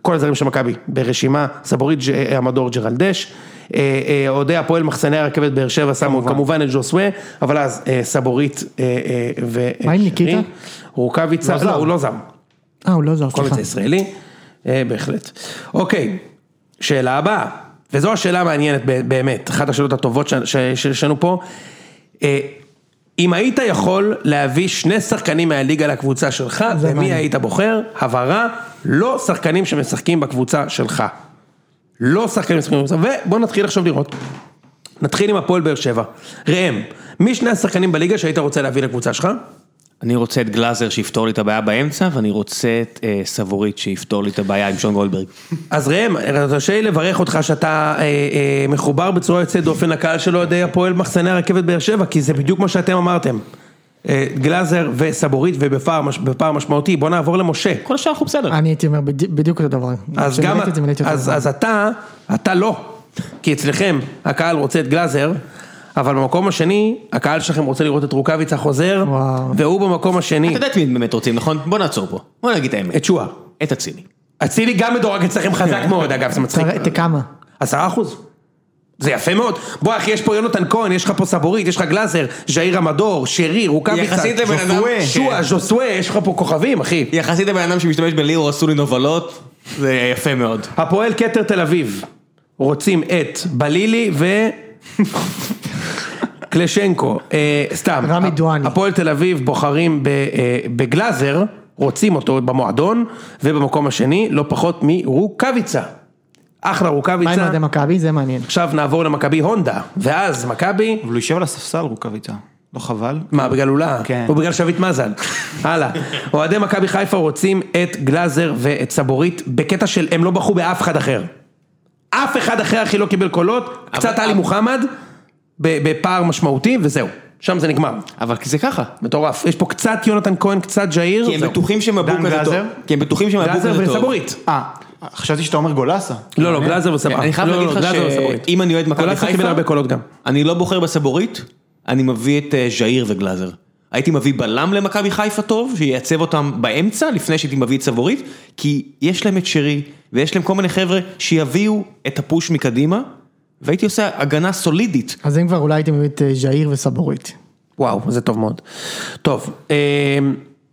כל הזרים של מכבי ברשימה, סבורית, ג'- אה, המדור ג'רלדש. אה, אה, אוהדי הפועל מחסני הרכבת באר שבע שמו כמובן את ז'וסווה, אבל אז אה, סבורית אה, אה, ו... אה,
מה עם ניקיטה?
רוקאביצה, לא, הוא לא זר.
אה, הוא לא זר, סליחה.
קומץ הישראלי, אה, בהחלט. אוקיי, שאלה הבאה, וזו השאלה המעניינת ב- באמת, אחת השאלות הטובות ש- ש- שיש לנו פה. אה, אם היית יכול להביא שני שחקנים מהליגה לקבוצה שלך,
זה
במי
מעניין.
היית בוחר? הבהרה, לא שחקנים שמשחקים בקבוצה שלך. לא שחקנים משחקים בקבוצה, ובוא נתחיל עכשיו לראות. נתחיל עם הפועל באר שבע. ראם, מי שני השחקנים בליגה שהיית רוצה להביא לקבוצה שלך?
אני רוצה את גלאזר שיפתור לי את הבעיה באמצע, ואני רוצה את אה, סבורית שיפתור לי את הבעיה עם שון גולדברג.
אז ראם, תרשה לי לברך אותך שאתה אה, אה, מחובר בצורה יוצאת דופן לקהל של אוהדי הפועל מחסני הרכבת באר שבע, כי זה בדיוק מה שאתם אמרתם. אה, גלאזר וסבורית ובפער מש- בפער משמעותי, בוא נעבור למשה.
כל השאר אנחנו בסדר.
אני הייתי אומר בדי- בדיוק אותו דבר.
אז
כשמילאתי
גם,
את זה, מילאתי אותו
אז,
דבר.
אז אתה, אתה לא, כי אצלכם הקהל רוצה את גלאזר, אבל במקום השני, הקהל שלכם רוצה לראות את רוקאביצה חוזר,
וואו.
והוא במקום השני,
אתה יודע את מי באמת רוצים, נכון? בוא נעצור פה. בוא נגיד את האמת.
את שואה.
את אצילי.
אצילי גם מדורג אצלכם חזק מאוד, אגב, זה מצחיק.
תראה, תכמה.
עשרה אחוז. זה יפה מאוד. בוא אחי, יש פה יונתן כהן, יש לך פה סבורית, יש לך גלאזר, ז'איר המדור, שרי, רוקאביצה,
יחסית לבן אדם-
ז'וסואה, שועה, ז'וסואה, יש לך פה כוכבים, אחי.
יחסית לבן אדם שמשתמש בליאור עשו לי נובלות, זה יפה מאוד.
הפועל כתר תל אביב, רוצים את בלילי ו... *laughs* קלשנקו, אה, סתם,
רמי דואני.
הפועל תל אביב בוחרים ב, אה, בגלאזר, רוצים אותו במועדון, ובמקום השני, לא פחות מרוקאביצה. אחלה
מה עם
רוקאביצה,
אוהדי מכבי? זה מעניין.
עכשיו נעבור למכבי הונדה, ואז מכבי,
אבל הוא יושב על הספסל רוקאביצה, לא חבל?
מה, בגלל לולה?
כן.
או בגלל שביט
*laughs*
מזל? הלאה. אוהדי מכבי חיפה רוצים את גלאזר ואת סבורית בקטע של הם לא בחרו באף אחד אחר. אף אחד אחר אחי לא קיבל קולות, קצת עלי מוחמד, ב- בפער משמעותי, וזהו. שם זה נגמר.
אבל כי זה ככה.
מטורף. יש פה קצת יונתן כהן, קצת ג'איר.
כי הם
זהו.
בטוחים
דן
שמבוקה זה טוב.
גלאזר?
כי הם בטוחים
גלאזר
שמבוקה זה טוב. כן.
וסבורית.
אה, חשבתי שאתה אומר גולסה.
לא, לא, גלאזר וסבורית.
אני חייב
לא, לא,
להגיד לך
גלאזר וסבורית.
שאם אני אוהד מכבי
גלאזר קיבל הרבה
חיפה,
קולות גם.
אני לא בוחר בסבורית, אני מביא את אה, ז'איר וגלאזר. הייתי מביא בלם למכבי חיפה טוב, שייצב אותם באמצע, לפני שהייתי מביא את סבורית, כי יש להם את שרי, ויש להם כל מיני חבר'ה שיביאו את הפוש מקדימה, והייתי עושה הגנה סולידית.
אז אם כבר אולי הייתם מביא את אה, ז'איר וסבורית.
וואו, זה טוב מאוד. טוב, אמ,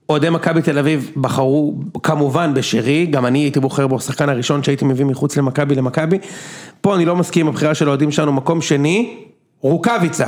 אוהדי מכבי תל אביב בחרו כמובן בשרי, גם אני הייתי בוחר בו השחקן הראשון שהייתי מביא מחוץ למכבי למכבי. פה אני לא מסכים עם הבחירה של האוהדים שלנו, מקום שני, רוקאביצה,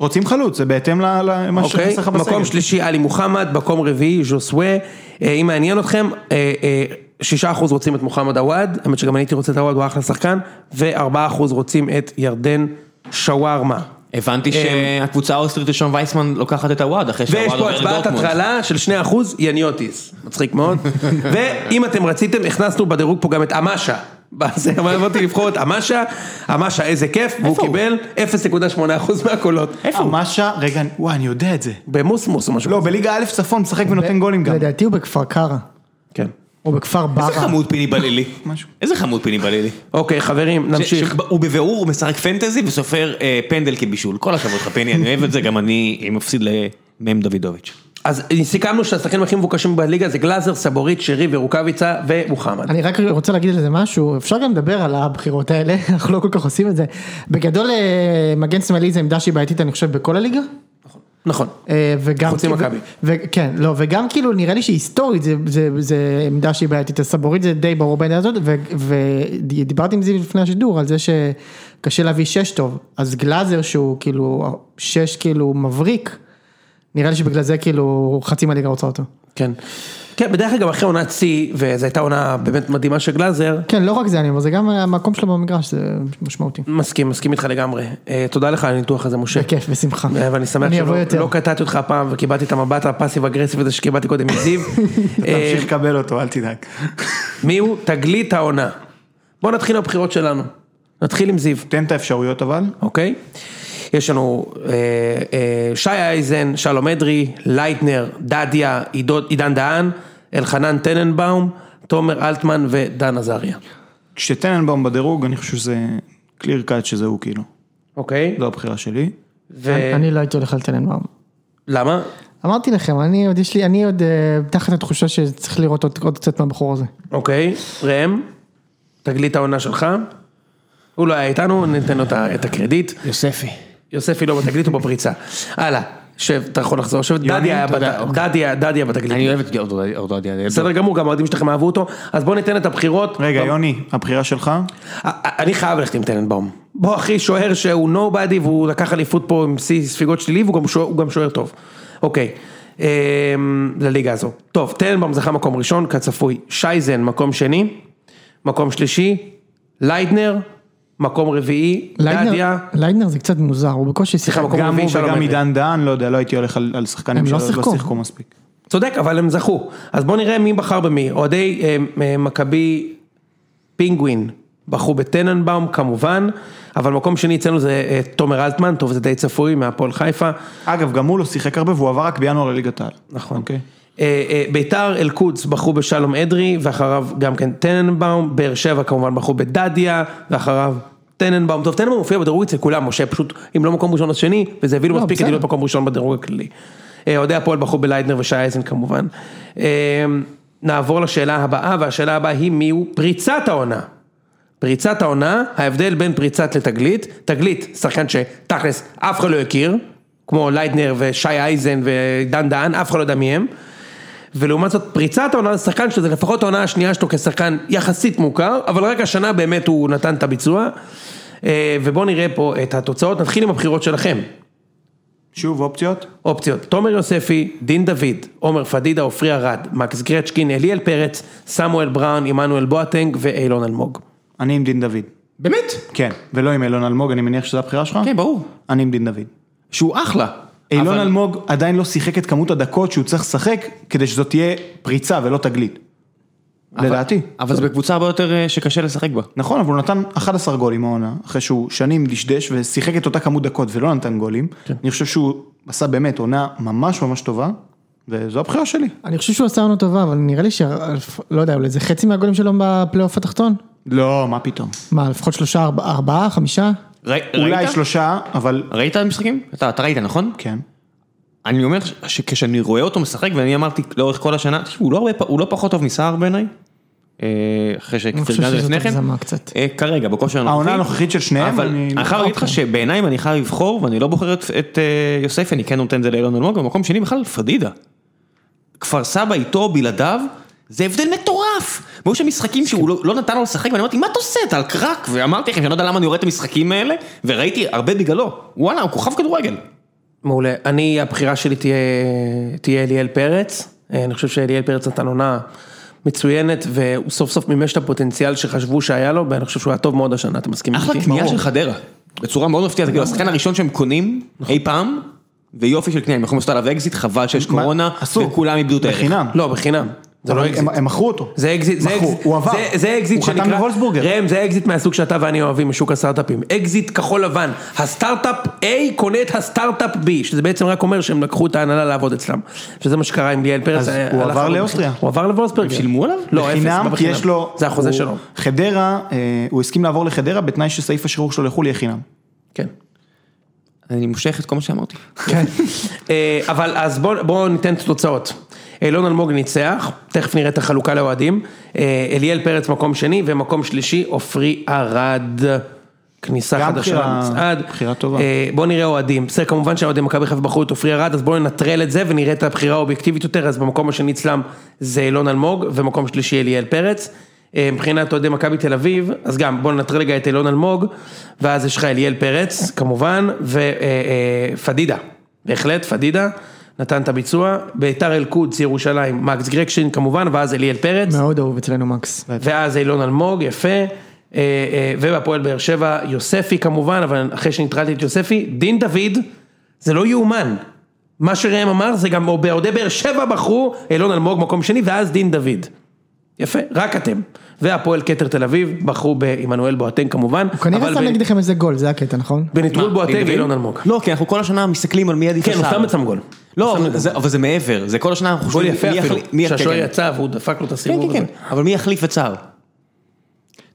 רוצים חלוץ, זה בהתאם ל- למה
אוקיי?
שחסר לך בסגל.
מקום שלישי, עלי מוחמד, מקום רביעי, ז'וסווה. אה, אם מעניין אתכם, אה, אה, שישה אחוז רוצים את מוחמד עוואד, האמת שגם אני הייתי רוצה את עוואד, הוא אחלה שחקן, וארבעה אחוז רוצים את ירדן שווארמה.
הבנתי שהקבוצה האוסטרית ראשון וייסמן לוקחת את הוואד, אחרי
ויש
שהוואד
פה
עובר
הצבעת
לדורטמונד.
הטרלה של 2% יניוטיס, מצחיק מאוד. ואם אתם רציתם, הכנסנו בדירוג פה גם את אמשה. *laughs* בזה, אבל אמרתי לבחור את אמשה, אמשה איזה כיף, והוא קיבל 0.8% מהקולות.
איפה הוא? משה, רגע, וואי, אני יודע את זה.
במוסמוס או משהו.
לא, בליגה א' צפון משחק ונותן גולים גם.
לדעתי הוא בכפר קרא.
כן.
או בכפר
איזה
ברא.
חמוד פיני בלילי. איזה חמוד פיני בלילי.
אוקיי, חברים, נמשיך.
הוא בבירור, הוא משחק פנטזי וסופר אה, פנדל כבישול. כל הכבוד לך, פני, אני אוהב את זה, גם אני מפסיד למ"ם דוידוביץ'.
אז סיכמנו שהשחקנים הכי מבוקשים בליגה זה גלאזר, סבורית, שרי ורוקאביצה ומוחמד.
אני רק רוצה להגיד על זה משהו, אפשר גם לדבר על הבחירות האלה, *laughs* אנחנו לא כל כך עושים את זה. בגדול אה, מגן שמאלי זה עמדה שהיא בעייתית אני חושב בכל הליגה.
נכון.
אה, וגם,
חוץ ממכבי.
ו- ו- כן, לא, וגם כאילו נראה לי שהיסטורית זה, זה, זה עמדה שהיא בעייתית, אז סבורית זה די ברור בעמדה הזאת, ו- ודיברתי עם זיו לפני השידור על זה שקשה להביא שש טוב, אז גלאזר שהוא כאילו שש כאילו מבריק, נראה לי שבגלל זה כאילו חצי מהליגה רוצה אותו.
כן. כן, בדרך כלל גם אחרי עונת שיא, וזו הייתה עונה באמת מדהימה של גלאזר,
כן, לא רק זה אני אומר, זה גם המקום שלו במגרש, זה משמעותי.
מסכים, מסכים איתך לגמרי. אה, תודה לך על הניתוח הזה, משה.
בכיף, בשמחה.
אה, ואני שמח
אני אבוא יותר.
שלא לא קטעתי אותך הפעם וקיבלתי את המבט הפאסיב אגרסיב הזה שקיבלתי קודם
*laughs*
מזיו. אה,
תמשיך לקבל אותו, אל תדאג.
מי הוא תגלית העונה? בואו נתחיל עם הבחירות שלנו. נתחיל עם זיו,
תן את האפשרויות אבל.
אוקיי? יש לנו אה, אה, שי אייזן, שלום אדרי, לייטנר, דדיה, עידו- עידן דהן, אלחנן טננבאום, תומר אלטמן ודן עזריה.
כשטננבאום בדירוג, אני חושב שזה קליר קאט שזה הוא כאילו.
אוקיי?
זו הבחירה שלי.
ו-
לא. אני לא הייתי הולך על טננבאום.
למה?
אמרתי לכם, אני עוד יש לי, אני עוד אה, תחת התחושה שצריך לראות עוד, עוד קצת מהבחור הזה.
אוקיי, ראם, תגלית העונה שלך. הוא לא היה איתנו, ניתן לו את ה- את הקרדיט.
יוספי.
יוספי לא בתגלית, הוא בפריצה. הלאה, שב, אתה יכול לחזור. שב, דדי היה
תודה,
בת-
אוקיי.
דדי היה- דדי היה בתגלית.
אני אוהב את אורדודיה.
בסדר גמור, גם האוהדים שלכם אהבו אותו, אז בוא ניתן את הבחירות.
רגע, יוני, הבחירה שלך?
א- א- אני חייב ללכת עם טננבאום. בוא אחי, שוער שהוא נובדי והוא לקח אליפות פה עם שיא ספיגות שלילי והוא גם שוער- הוא גם שוער טוב. אוקיי, אמ, לליגה הזו. טוב, טננבאום זכה מקום ראשון, כצפוי. שייזן, מקום שני. מקום שלישי. ליידנר, מקום רביעי. דדיה.
ליידנר, ליידנר זה קצת מוזר, הוא בקושי שיחק.
סליחה, מקום
גם
רביעי,
הוא
שלום.
וגם
אדרי.
עידן דהן, לא יודע, לא הייתי הולך על על שחקנים
הם לא שיחקו.
מספיק.
צודק, אבל הם זכו. אז בואו נראה מי בחר במי. אוהדי אה, אה, מכבי פינגווין בחרו בטננבאום כמובן, אבל מקום שני אצלנו זה אה, תומר אלטמן, טוב זה די צפוי מהפועל חיפה.
אגב, גם הוא לא שיחק הרבה והוא עבר רק בינואר לליגת העל.
נכון.
אוקיי.
אה, אה, ביתר אל-קודס בחרו בשלום אדרי, ואחריו גם כן טננבאום, באר שבע כמובן בחרו בדדיה, ואחריו טננבאום. טוב, טננבאום מופיע בדירוג אצל כולם, משה פשוט, אם לא מקום ראשון אז שני, וזה הביא לו
לא,
מספיק כדי
בסדר.
להיות מקום ראשון בדירוג הכללי. אה, אוהדי הפועל בחרו בליידנר ושי אייזן כמובן. אה, נעבור לשאלה הבאה, והשאלה הבאה היא מיהו פריצת העונה. פריצת העונה, ההבדל בין פריצת לתגלית, תגלית, שחקן שתכלס אף אחד לא הכיר, כמו ליידנר ושי אייזן ודן דהן, אף אחד לא יודע מי הם. ולעומת זאת פריצת העונה זה שחקן שזה לפחות העונה השנייה שלו כשחקן יחסית מוכר, אבל רק השנה באמת הוא נתן את הביצוע. אה, ובואו נראה פה את התוצאות, נתחיל עם הבחירות שלכם.
שוב, אופציות?
אופציות, תומר יוספי, דין דוד, עומר פדידה, עופרי ארד, מקס גרצ'קין, עליאל פרץ, סמואל בראון, עמנואל בואטנג ואילון אלמוג.
אני עם דין דוד.
באמת?
כן, ולא עם אילון אלמוג, אני מניח שזו הבחירה שלך?
כן, ברור.
אני עם דין דוד.
שהוא אחלה.
אילון
אבל-
אלמוג עדיין לא שיחק את כמות הדקות שהוא צריך לשחק כדי שזאת תהיה פריצה ולא תגלית.
אבל-
לדעתי.
אבל זו בקבוצה הרבה יותר אה, שקשה לשחק בה.
נכון, אבל הוא נתן 11 גולים העונה, אחרי שהוא שנים דשדש ושיחק את אותה כמות דקות ולא נתן גולים.
כן.
אני חושב שהוא עשה באמת עונה ממש ממש טובה, וזו הבחירה שלי.
אני חושב שהוא עשה לנו טובה, אבל נראה לי ש... לא יודע, אולי זה חצי מהגולים שלו בפלייאוף התחתון?
לא, מה פתאום.
מה, לפחות שלושה, ארבע- ארבעה, חמישה?
ר-
אולי
ראית?
שלושה, אבל
ראית משחקים? אתה אתה ראית, נכון?
כן.
אני אומר ש- שכשאני רואה אותו משחק, ואני אמרתי לאורך כל השנה, "תשמע, הוא לא, הרבה, פ- הוא לא פחות טוב מסער בעיניי, אה, אחרי
חושב
שפרגנתי
שזאת
לפני כן,
הגזמה קצת.
אה, כרגע, בכושר הנוכחי.
העונה הנוכחית של שניהם,
אבל
אני- לא
אני חייב להגיד לך שבעיניי אם אני חייב לבחור, ואני לא בוחר את, את אה, יוסף, אני כן נותן את זה לאילון אלמוג, במקום שני בכלל פדידה. כפר סבא איתו, בלעדיו, זה הבדל מטורף. והיו שם משחקים שהוא לא, לא נתן לו לשחק, ואני אמרתי, מה אתה עושה? אתה על קרק. ואמרתי לכם שאני לא יודע למה אני רואה את המשחקים האלה, וראיתי הרבה בגללו. וואלה, הוא כוכב כדורגל.
מעולה. אני, הבחירה שלי תהיה, תהיה אליאל פרץ. אה, אני חושב שאליאל פרץ נתן עונה מצוינת, והוא סוף סוף מימש את הפוטנציאל שחשבו שהיה לו, ואני חושב שהוא היה טוב מאוד השנה, אתה מסכים
אחלה
איתי?
קנייה של חדרה. בצורה מאוד מפתיעה, זה כאילו השחקן הראשון שהם קונים
נכון.
אי פעם, ויופי של קנייה, הם יכולים לעשות עליו אקזיט, חבל שיש
מה-
קורונה,
אסור.
וכולם איבדו את הערך.
בחינם.
לא, בחינם. זה לא
אבל
אקזיט.
הם- הם מכרו אותו.
זה אקזיט, זה
מכרו,
אקזיט,
הוא עבר.
זה, זה אקזיט
הוא חתם בוולסבורגר.
ראם, זה אקזיט מהסוג שאתה ואני אוהבים משוק הסטארט-אפים. אקזיט כחול לבן, הסטארט-אפ A קונה את הסטארט-אפ B, שזה בעצם רק אומר שהם לקחו את ההנהלה לעבוד אצלם. שזה מה שקרה עם ליאל פרץ.
אז
אה,
הוא
הלך
עבר
לו-
לאוסטריה.
הוא עבר לוולסבורגר.
שילמו עליו?
לא, אפס,
בחינם,
לא
כי
בחינם.
יש לו...
זה החוזה
הוא-
שלו.
חדרה, אה, הוא הסכים לעבור לחדרה בתנאי שסעיף השחרור שלו לחו"ל יהיה חינם.
כן.
אני מושך את כל מה שאמרתי.
אה, אבל אז בואו בוא ניתן את התוצאות. אילון אלמוג ניצח, תכף נראה את החלוקה לאוהדים. אה, אליאל פרץ מקום שני, ומקום שלישי עופרי ארד. כניסה
גם
חדשה
בחירה-
למצעד.
בחירה טובה.
אה, בוא נראה אוהדים. בסדר, כמובן שהאוהדי מכבי חיפה בחרו את עופרי ארד, אז בואו ננטרל את זה ונראה את הבחירה האובייקטיבית יותר. אז במקום השני אצלם זה אילון אלמוג, ומקום שלישי אליאל פרץ. אה, מבחינת אוהדי מכבי תל אביב, אז גם בואו ננטרל רגע את אילון אלמוג, ואז יש לך אליאל פרץ, כמובן, ופדידה. בהחלט, פדידה. נתן את הביצוע, ביתר אל-קודס, ירושלים, מקס גרקשין כמובן, ואז אליאל פרץ.
מאוד אהוב אצלנו מקס.
ואז אילון אלמוג, יפה, אה, אה, ובהפועל באר שבע, יוספי כמובן, אבל אחרי שנטרלתי את יוספי, דין דוד, זה לא יאומן. מה שראם אמר זה גם באוהדי באר שבע בחרו, אילון אלמוג מקום שני, ואז דין דוד. יפה, רק אתם. והפועל כתר תל אביב בחרו בעמנואל בואטן כמובן,
הוא כנראה
אבל
שם
ב-
נגדכם איזה גול, זה הקטע, נכון?
בנטרול
מה,
בואטן
נגד
ואילון אלמוג.
לא, כי אנחנו כל השנה מסתכלים על מי עדיף
כן, הוא
לשער.
שם את סם גול.
לא, אבל זה- אבל זה מעבר, זה כל השנה אנחנו
גול
חושבים
יפה
מי
אפילו,
יחליף- מי יחליף-
שהשוער יצא והוא דפק לו את
כן,
הסיבוב.
כן, כן,
הזה.
אבל מי יחליף את סער?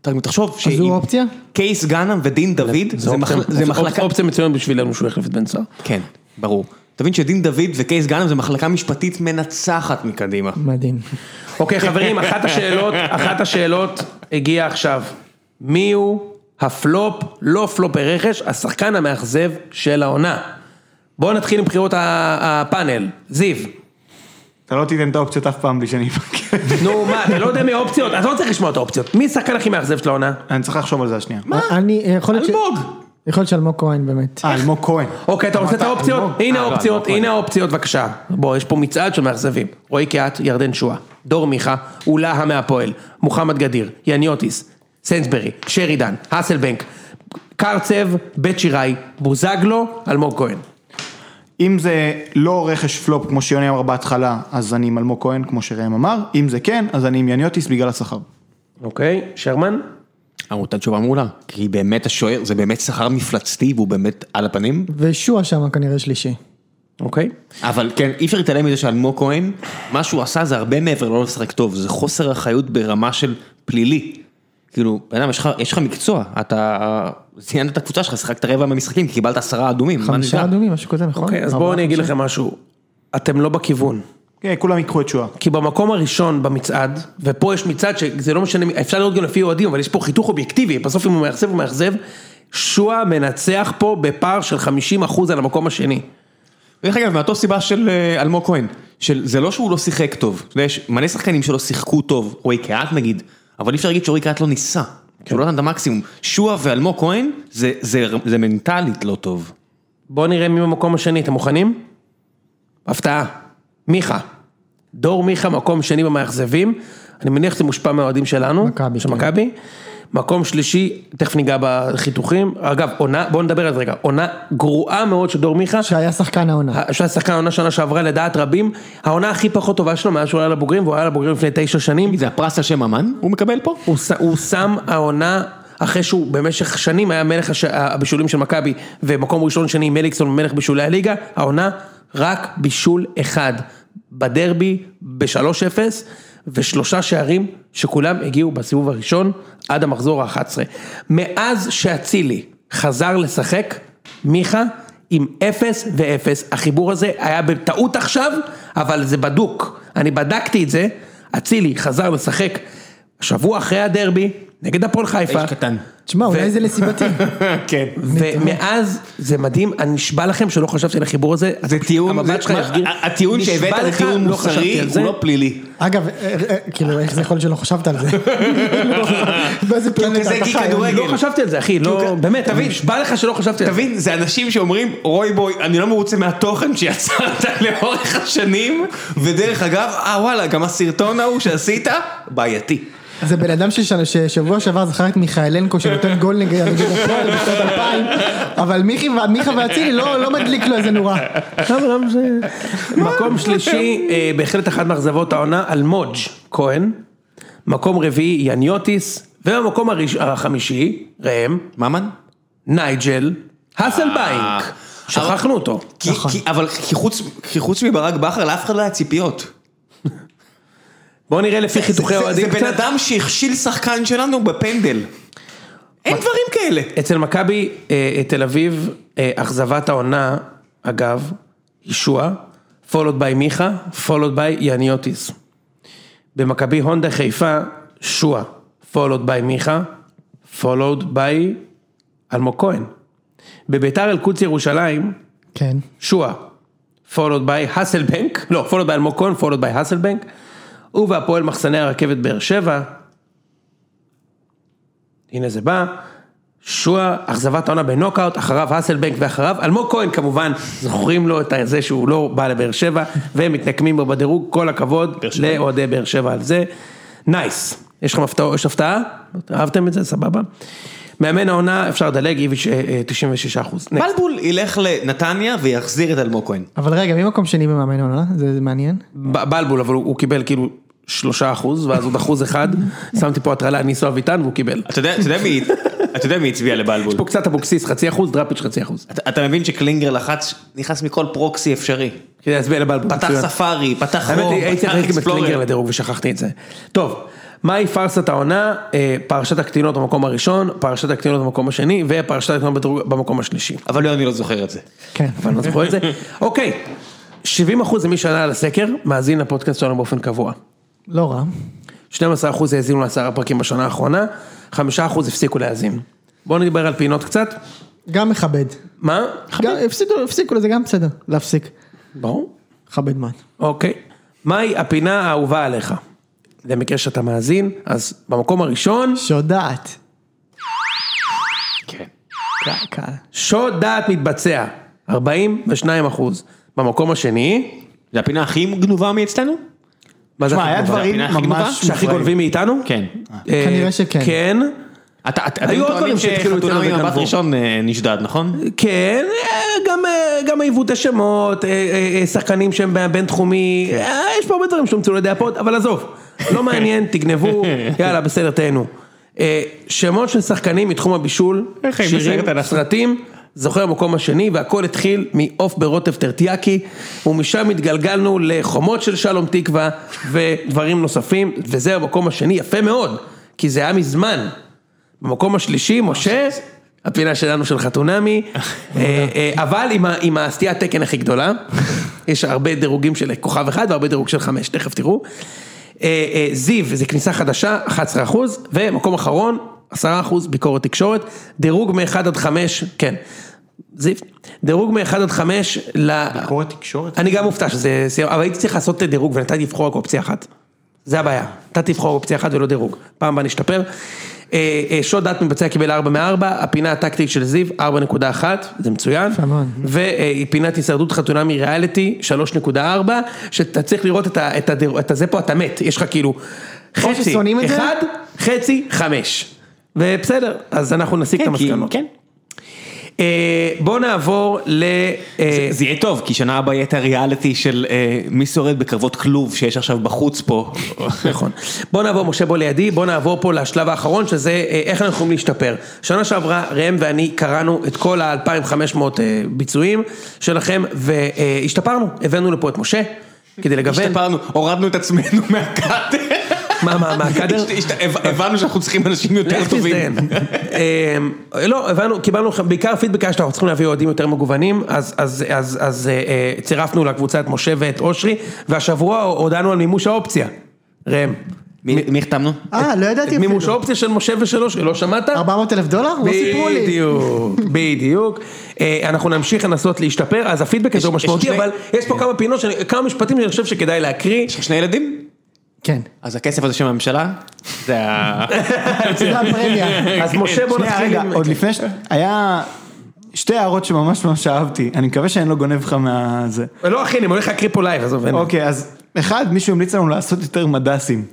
אתה תחשוב ש...
זו אופציה?
קייס גאנם ודין דוד,
זה
זה מח-
אופציה-
זה
אופ-
מחלקה...
אופציה מצוינת בשבילנו שהוא יחליף את בן סער.
כן, ברור. אתה מבין שדין דוד וקייס גאנם זה מחלקה משפטית מנצחת מקדימה.
מדהים.
אוקיי חברים, אחת השאלות, אחת השאלות הגיעה עכשיו. מי הוא הפלופ, לא פלופ ברכש, השחקן המאכזב של העונה? בואו נתחיל עם בחירות ה- הפאנל. זיו,
אתה לא תיתן את האופציות אף פעם בלי שאני אבקר. *laughs*
נו מה, אתה לא יודע מי האופציות? אז לא צריך לשמוע את האופציות. מי השחקן הכי מאכזב של העונה?
אני צריך לחשוב על זה השנייה.
אני, יכול להיות ש...
אלמוג.
יכול להיות שאלמוג כהן באמת.
אה, אלמוג כהן.
אוקיי, אתה רוצה את האופציות?
אלמוג.
הנה
אה, לא,
האופציות,
אלמוג
הנה האופציות, בבקשה. בוא, יש פה מצעד של מאכזבים. רועי קיאט, ירדן שואה, דור מיכה, אולהה מהפועל, מוחמד גדיר, יניוטיס, סנסברי, שרידן, האסלבנק, קרצב, בית שיראי, בוזגלו, אלמוג כהן.
אם זה לא רכש פלופ, כמו שיוני אמר בהתחלה, אז אני עם אלמוג כהן, כמו שראם אמר. אם זה כן, אז אני עם יניוטיס בגלל השכר.
אוקיי, שרמן?
עמותת תשובה מעולה. כי באמת השוער, זה באמת שכר מפלצתי והוא באמת על הפנים.
ושועה שם כנראה שלישי.
אוקיי.
אבל כן, אי אפשר להתעלם מזה שאלמוג כהן, מה שהוא עשה זה הרבה מעבר לא לשחק טוב, זה חוסר אחריות ברמה של פלילי. כאילו, בן אדם, יש לך- יש לך מקצוע, אתה ציינת את הקבוצה שלך, שיחקת רבע מהמשחקים, כי קיבלת עשרה אדומים. מה
חמישה
נשאר?
אדומים, משהו כזה, נכון?
אוקיי, אז בואו אני אגיד לכם משהו. אתם לא בכיוון.
כן, כולם ייקחו את שואה.
כי במקום הראשון במצעד, ופה יש מצעד שזה לא משנה, מי- אפשר לראות גם לפי אוהדים, אבל יש פה חיתוך אובייקטיבי, בסוף אם הוא מאכזב הוא מאכזב, שועה מנצח פה בפער של 50% על המקום השני.
דרך אגב, מאותו סיבה של אה, אלמוג כהן, של זה לא שהוא לא שיחק טוב, אתה יודע, יש מלא שחקנים שלא שיחקו טוב, רועי קהת נגיד, אבל אי אפשר להגיד שרועי קהת לא ניסה, שהוא לא נתן את המקסימום, שועה ואלמוג כהן, זה- זה זה מנטלית לא טוב.
בואו נראה מי במקום השני, אתם מוכנים? הפתעה, מיכה. דור מיכה, מקום שני במאכזבים, אני מניח שזה מושפע מהאוהדים שלנו,
מכבי,
של
כן.
מכבי. מקום שלישי, תכף ניגע בחיתוכים, אגב, עונה, בואו נדבר על זה רגע, עונה גרועה מאוד של דור מיכה,
שהיה שחקן העונה.
שהיה שחקן העונה שנה שעברה לדעת רבים, העונה הכי פחות טובה שלו מאז שהוא עלה לבוגרים, והוא עלה לבוגרים לפני תשע שנים,
זה הפרס על שם אמן, הוא מקבל פה?
הוא, ש- הוא שם העונה, אחרי שהוא במשך שנים היה מלך הש... הבישולים של מכבי, ומקום ראשון שני מליקסון מלך בישולי הליגה, העונה רק בישול אחד, בדרבי ב-3-0, ושלושה שערים שכולם הגיעו בסיבוב הראשון עד המחזור ה-11. מאז שאצילי חזר לשחק, מיכה עם אפס ואפס, החיבור הזה היה בטעות עכשיו, אבל זה בדוק, אני בדקתי את זה, אצילי חזר לשחק שבוע אחרי הדרבי, נגד הפועל חיפה,
איש קטן.
תשמע, אולי זה לסיבתי.
*laughs*
כן.
ומאז זה מדהים, אני נשבע לכם שלא חשבתי על החיבור הזה,
זה טיעון,
המבט שלך
מה-
יפגיר,
הטיעון
נשבע
שהבאת זה
לך,
טיעון
לא
מוסרי,
חשבתי על זה.
הוא לא פלילי.
אגב, אה, אה, כאילו, איך זה יכול להיות שלא חשבת *laughs* על זה? באיזה פלנטה
כזה
אתה
כי
חי?
כדורגל.
לא חשבתי על זה אחי, לא,
כ-
באמת,
תבין.
אני נשבע לך שלא חשבתי על זה.
תבין, זה אנשים שאומרים, רוי בוי, אני לא מרוצה מהתוכן שיצרת *laughs* לאורך השנים, ודרך אגב, אה וואלה, גם הסרטון ההוא שעשית, בעייתי.
זה בן אדם שש- ששבוע שעבר זכר את מיכאלנקו שנותן גול נגד *laughs* נגד הפועל בשנת 2000, אבל מיכי ו- מיכה ואצילי לא לא מדליק לו איזה נורה. לא,
מקום שלישי, אה, בהחלט אחת מאכזבות העונה, אלמוג' כהן, מקום רביעי, יניוטיס, ובמקום הראש- החמישי, ראם,
ממן? אה.
נייג'ל, האסלבייק, שכחנו אותו.
כי, כי, אבל כי חוץ, כי חוץ מברק בכר, לאף אחד לא היה ציפיות.
בואו נראה לפי חיתוכי
זה- זה-
אוהדים
זה בן
קצת.
אדם שהכשיל שחקן שלנו בפנדל. אין דברים כאלה.
אצל מכבי אה, תל אביב, אה, אכזבת העונה, אגב, היא שועה, followed by מיכה, followed by יניוטיס. במכבי הונדה חיפה, שועה, followed by מיכה, followed by אלמוג כהן. בביתר אל-קודס ירושלים,
כן.
שואה, followed by הסלבנק, לא, followed by אלמוג כהן, followed by הסלבנק, הוא והפועל מחסני הרכבת באר שבע. הנה זה בא, שואה, אכזבת העונה בנוקאוט, אחריו הסלבנק ואחריו אלמוג כהן כמובן, זוכרים לו את זה שהוא לא בא לבאר שבע, והם מתנקמים בו בדירוג, כל הכבוד לאוהדי באר שבע על זה. נייס, יש לכם הפתעה, יש הפתעה? אהבתם את זה? סבבה. מאמן העונה, אפשר לדלג, איביץ' אה, אה, 96 אחוז.
בלבול ילך לנתניה ויחזיר את אלמוג כהן.
אבל רגע, מי מקום שני במאמן עונה? זה זה מעניין.
ב- בלבול, אבל הוא הוא קיבל כאילו שלושה אחוז, ואז עוד אחוז *laughs* אחד, שמתי פה הטרלה, ניסו אביטן והוא קיבל.
אתה יודע- אתה יודע מי- אתה יודע מי הצביע לבלבול.
פה קצת אבוקסיס, חצי אחוז, דראפיץ' חצי אחוז.
אתה- אתה מבין שקלינגר לחץ, נכנס מכל פרוקסי אפשרי.
כדי להצביע כן, לבלבול.
פתח
מצוין.
ספארי, פתח
האמת
רום,
היא, הייתי
פתח
צריך להגיד
אקספלורר.
בקלינגר לדירוג ושכחתי את זה. טוב, מהי פארסת העונה? אה, פרשת הקטינות במקום הראשון, פרשת הקטינות במקום השני, ופרשת הקטינות בדירוג- במקום השלישי.
אבל יוני לא זוכר את זה.
כן.
אבל אני לא זוכר את
*laughs*
זה. אוקיי, 70% ממי שענה על הסקר, מאזין לפודקאסט שלנו באופן קבוע.
לא רע.
12% האזינו לעשרה פרקים בשנה האחרונה, 5% הפסיקו להאזין. בואו נדבר על פינות קצת.
גם מכבד.
מה?
גם- הפסיקו- הפסיקו לזה גם בסדר. להפסיק.
ברור.
מכבד מאוד.
אוקיי. מהי הפינה האהובה עליך? למקרה שאתה מאזין, אז במקום הראשון,
שודעת.
כן.
קל, קל.
שוד דעת מתבצע, 42 אחוז. במקום השני,
זה הפינה הכי גנובה מאצלנו?
מה זה
שמע, היה
הכי גבוה?
דברים
הפינה הכי גנובה?
ממש
שהכי
מופרעים.
גונבים מאיתנו?
כן.
אה,
כנראה שכן.
כן,
אתה- את- אתם
היו עוד
טוענים
דברים שהתחילו
שחתונה
אצלנו
עם הבת
וגנבו.
ראשון אה, נשדד, נכון?
כן, אה, גם, אה, גם עיוות השמות, אה, אה, אה, שחקנים שהם בין-תחומי, אה, יש פה הרבה דברים שהומצאו על ידי הפוד, אבל עזוב, לא מעניין, תגנבו, יאללה, בסדר, תהנו. אה, שמות של שחקנים מתחום הבישול,
איך היא
שירים,
בסרט אנחנו?
סרטים, זוכר המקום השני, והכל התחיל מעוף ברוטב טרטיאקי, ומשם התגלגלנו לחומות של שלום תקווה, ודברים נוספים, וזה המקום השני, יפה מאוד, כי זה היה מזמן. במקום השלישי, משה, הפינה שלנו של חתונמי, אה, אה, אבל עם ה- עם הסטיית תקן הכי גדולה, יש הרבה דירוגים של כוכב אחד והרבה דירוג של חמש, תכף תראו. אה, אה, זיו, זה כניסה חדשה, 11 אחוז, ומקום אחרון, 10 אחוז ביקורת תקשורת, דירוג מ-1 עד 5, כן, זיו, דירוג מ-1 עד 5 ל...
ביקורת תקשורת?
אני גם מופתע שזה סיימ, אבל הייתי צריך לעשות דירוג ונתתי לבחור רק אופציה אחת. זה הבעיה, נתתי לבחור אופציה אחת ולא דירוג. פעם הבאה נשתפר. אה, אה, שוד דת מבצע קיבל 4 מ-4, הפינה הטקטית של זיו 4.1, זה מצוין.
יפה מאוד.
ופינת הישרדות חתונה מריאליטי 3.4, שאתה צריך לראות את, ה, את, הדיר, את הזה פה, אתה מת, יש לך כאילו חצי,
ששונאים את זה?
אחד, חצי, חמש. ובסדר, אז אנחנו נסיק את
כן, כי-
המסקנות.
כן.
אה, בואו נעבור ל... אה,
זה יהיה טוב, כי שנה הבאה יהיה את הריאליטי של אה, מי שורד בקרבות כלוב שיש עכשיו בחוץ פה.
נכון. בוא נעבור, משה בוא לידי, בוא נעבור פה לשלב האחרון, שזה אה, איך אנחנו יכולים להשתפר. שנה שעברה, ראם ואני קראנו את כל ה-2500 אה, ביצועים שלכם, והשתפרנו, הבאנו לפה את משה, כדי לגוון.
השתפרנו, הורדנו את עצמנו *laughs* מהקאדר.
מה, מה, *laughs* מהקאדר?
השת- השת- הב- הבנו שאנחנו צריכים אנשים יותר
לך
טובים.
תזדיין. אה, לא, הבנו, קיבלנו לכם, בעיקר פידבק היה שאנחנו צריכים להביא אוהדים יותר מגוונים, אז- אז- אז אז, אה, אה, צירפנו לקבוצה את משה ואת אושרי, והשבוע הודענו על מימוש האופציה. ראם.
מי מי החתמנו?
אה, לא ידעתי אפילו.
מימוש האופציה של משה ושל אושרי, לא שמעת?
400 אלף דולר? לא סיפרו לי. *laughs*
בדיוק, בדיוק. אה, אנחנו נמשיך לנסות להשתפר, אז הפידבק הזה הוא
יש- יש
משמעותי,
שני-
אבל יש
אה.
פה כמה פינות, שאני- כמה משפטים שאני חושב שכדאי להקריא.
יש לך שני ילדים?
כן.
אז הכסף הזה של הממשלה? זה ה...
*laughs*
זה הפרמיה.
אז משה בוא
שנייה,
נתחיל
רגע,
עם...
עוד לפני ש... היה שתי הערות שממש ממש אהבתי, אני מקווה שאני לא גונב לך מהזה.
לא אחי, אני הולך להקריא פה לייב, עזוב, אין.
אוקיי, אז אחד, מישהו המליץ לנו לעשות
*laughs*
יותר מדסים.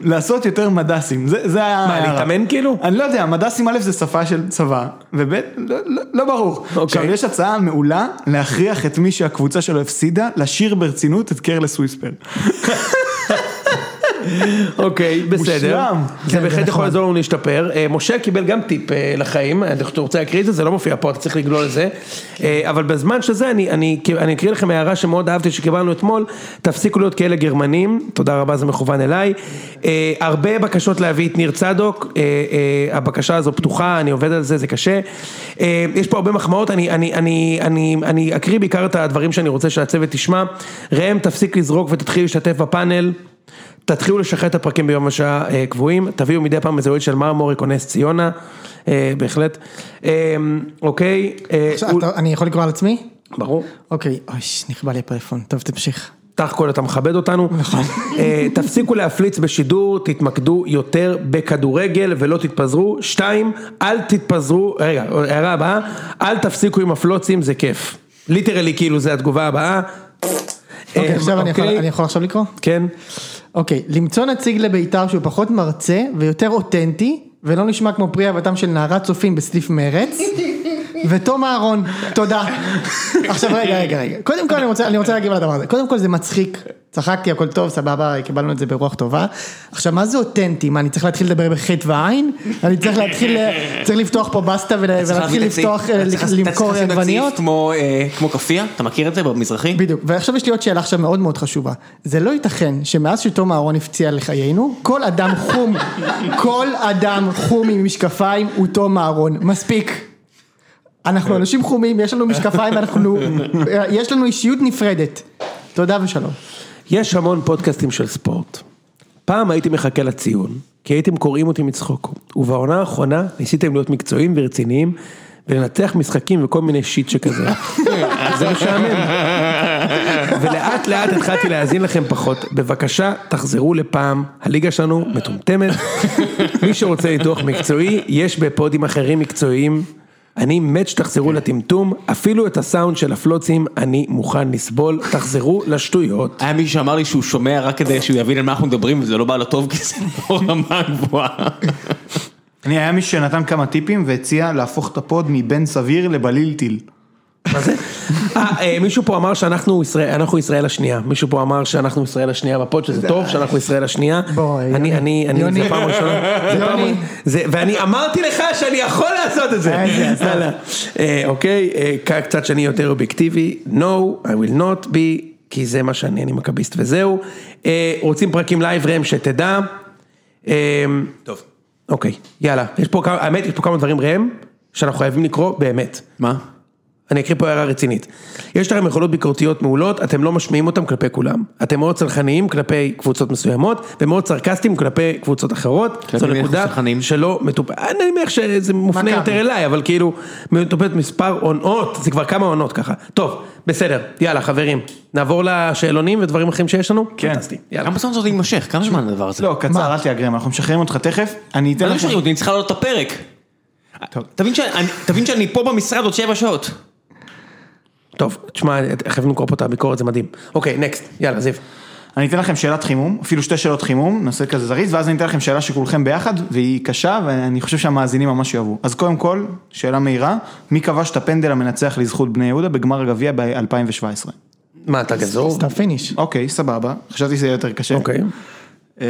לעשות יותר מדסים, זה זה היה...
מה, להתאמן כאילו?
אני לא יודע, מדסים א' זה שפה של צבא, וב' לא- לא- לא ברור.
אוקיי.
עכשיו, יש הצעה מעולה להכריח את מי שהקבוצה שלו הפסידה, לשיר ברצינות את קרלס וויספר.
אוקיי, בסדר.
מושלם.
זה
כן, זה
בהחלט יכול
נכון.
לעזור לנו להשתפר. אה, משה קיבל גם טיפ אה, לחיים, אני חושב שאתה רוצה להקריא את זה, זה לא מופיע פה, אתה צריך לגלול את זה. אה, אבל בזמן שזה, אני- אני אני אקריא לכם הערה שמאוד אהבתי שקיבלנו אתמול, תפסיקו להיות כאלה גרמנים, תודה רבה, זה מכוון אליי. אה, הרבה בקשות להביא את ניר צדוק, אה, אה, הבקשה הזו פתוחה, אני עובד על זה, זה קשה. אה, יש פה הרבה מחמאות, אני- אני- אני- אני אני אקריא בעיקר את הדברים שאני רוצה שהצוות תשמע. ראם, תפסיק לזרוק ותתחיל להשתתף בפאנל. תתחילו לשחרר את הפרקים ביום השעה אה, קבועים, תביאו מדי פעם איזה אוהד של מרמורק או נס ציונה, אה, בהחלט. אה, אוקיי, אה,
עכשיו,
הוא-
אתה- אני יכול לקרוא על עצמי?
ברור.
אוקיי, אוי, נכבה לי הפלאפון, טוב תמשיך.
תח כל אתה מכבד אותנו,
נכון.
אה, תפסיקו להפליץ בשידור, תתמקדו יותר בכדורגל ולא תתפזרו, שתיים, אל תתפזרו, רגע, הערה הבאה, אל תפסיקו עם הפלוצים, זה כיף. ליטרלי כאילו זה התגובה הבאה.
אוקיי,
אה,
עכשיו אני יכול-
אוקיי,
אני יכול עכשיו לקרוא?
כן,
אוקיי, למצוא נציג לבית"ר שהוא פחות מרצה ויותר אותנטי, ולא נשמע כמו פרי אהבתם של נערת צופים בסניף מרץ, ותום אהרון, תודה. עכשיו רגע, רגע, רגע. קודם כל אני רוצה, אני רוצה להגיב על הדבר הזה. קודם כל זה מצחיק, צחקתי, הכל טוב, סבבה, קיבלנו את זה ברוח טובה. עכשיו, מה זה אותנטי? מה, אני צריך להתחיל לדבר בחטא ועין? אני צריך להתחיל, צריך לפתוח פה בסטה ול- ולהתחיל לפתוח, אה, למכור עגבניות?
כמו כאפיה, אתה מכיר את זה במזרחי?
בדיוק, ועכשיו יש לי עוד שאלה עכשיו מאוד מאוד חשובה. זה לא ייתכן שמאז שתום אהרון הפציע לחיינו, כל אדם חום, כל אדם חום עם משקפיים הוא תום אהרון. מספיק. אנחנו אנשים חומים, יש לנו משקפיים, אנחנו, יש לנו אישיות נפרדת. תודה ושלום.
יש המון פודקאסטים של ספורט. פעם הייתי מחכה לציון, כי הייתם קוראים אותי מצחוק, ובעונה האחרונה ניסיתם להיות מקצועיים ורציניים, ולנתח משחקים וכל מיני שיט שכזה. אז זה משעמם. ולאט לאט התחלתי להאזין לכם פחות. בבקשה, תחזרו לפעם, הליגה שלנו מטומטמת. מי שרוצה ניתוח מקצועי, יש בפודים אחרים מקצועיים. אני מת שתחזרו לטמטום, אפילו את הסאונד של הפלוצים אני מוכן לסבול, תחזרו לשטויות.
היה מישהו שאמר לי שהוא שומע רק כדי שהוא יבין על מה אנחנו מדברים וזה לא בא לו טוב כי זה לא רמה גבוהה.
אני, היה מישהו שנתן כמה טיפים והציע להפוך את הפוד מבן סביר לבליל טיל.
מה זה? אה, אה, מישהו פה אמר שאנחנו ישראל, אנחנו ישראל השנייה, מישהו פה אמר שאנחנו ישראל השנייה בפוד, שזה טוב שאנחנו ישראל השנייה.
בואי,
אני,
יוני.
אני, אני,
יוני.
זה פעם ראשונה, זה פעם
יוני.
זה- ואני אמרתי לך שאני יכול לעשות את זה.
איזה עזוב.
יאללה. אה, אוקיי, אה, ק- קצת שאני יותר אובייקטיבי, no, I will not be, כי זה מה שאני, אני מכביסט וזהו. אה, רוצים פרקים לייב ראם שתדע. אה,
טוב.
אוקיי, יאללה. יש פה כמה, האמת, יש פה כמה דברים ראם, שאנחנו חייבים לקרוא באמת.
מה?
אני אקריא פה הערה רצינית. יש לכם יכולות ביקורתיות מעולות, אתם לא משמיעים אותן כלפי כולם. אתם מאוד סלחניים כלפי קבוצות מסוימות, ומאוד סרקסטיים כלפי קבוצות אחרות. זו
מי אנחנו
נקודה
סלחניים?
שלא מטופלת, אני מניח שזה מופנה
מכבי.
יותר אליי, אבל כאילו, מטופלת מספר עונות, זה כבר כמה עונות ככה. טוב, בסדר, יאללה חברים, נעבור לשאלונים ודברים אחרים שיש לנו?
כן.
פנטסטי, יאללה.
כמה זמן זה עוד יימשך? כמה זמן הדבר הזה?
לא, קצר, אל תיאגרם, אנחנו משחררים אותך תכף. אני אתן
לא
לך...
משחררים אותי, אני צריך לעלות את הפרק. תבין שאני- תבין שאני פה במשרד עוד שבע שעות.
טוב, תשמע, חייבים לקרוא פה את הביקורת, זה מדהים. אוקיי, נקסט, יאללה, זיו.
אני אתן לכם שאלת חימום, אפילו שתי שאלות חימום, נעשה כזה זריז, ואז אני אתן לכם שאלה שכולכם ביחד, והיא קשה, ואני חושב שהמאזינים ממש יאהבו. אז קודם כל, שאלה מהירה, מי כבש את הפנדל המנצח לזכות בני יהודה בגמר הגביע ב-2017?
מה, אתה גזור?
סתם פיניש.
אוקיי, סבבה, חשבתי שזה יהיה יותר קשה.
אוקיי.
אה,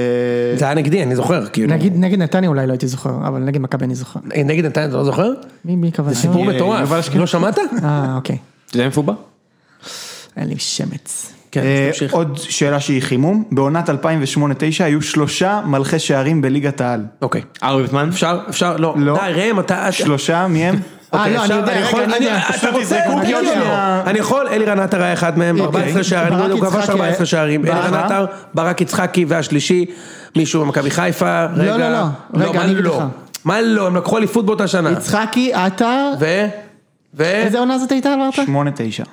זה היה נגדי, אני זוכר, כאילו.
נגיד, נגד נתניה אולי לא הייתי זוכר, אבל נגד מכבי אני זוכר.
נגד נתניה, אתה לא זוכר?
מי, מי קבע? זה
סיפור מטורף, לא שמעת?
אה, אוקיי.
אתה יודע איפה הוא בא?
אין לי שמץ.
כן,
אה,
תמשיך.
עוד שאלה שהיא חימום, בעונת 2008-2009 היו שלושה מלכי שערים בליגת העל.
אוקיי.
ארי ביטמן?
אפשר, אפשר, לא.
לא.
די, ראם, אתה...
שלושה
*laughs*
מי הם?
אה,
אוקיי,
לא, אני
אפשר,
יודע,
אני
רגע,
יכול,
אני
אני-
יודע.
אתה
פשוט
רוצה,
תזרקו
אני
אותי
יודע.
מה-
אני יכול, אלירן עטר היה אחד מהם, 14 שערים,
אוקיי. ברק
הוא כבש
יצחקי
14 שערים,
היה-
אלירן
ברק.
עטר, ברק יצחקי והשלישי, מישהו במכבי חיפה, רגע,
לא, לא. רגע,
מה
אני אגיד
לא?
לך.
מה לא, הם לקחו אליפות באותה שנה,
יצחקי, עטר,
ו? ו?
איזה עונה זאת הייתה
אוקיי.
אמרת?
שמונה תשע.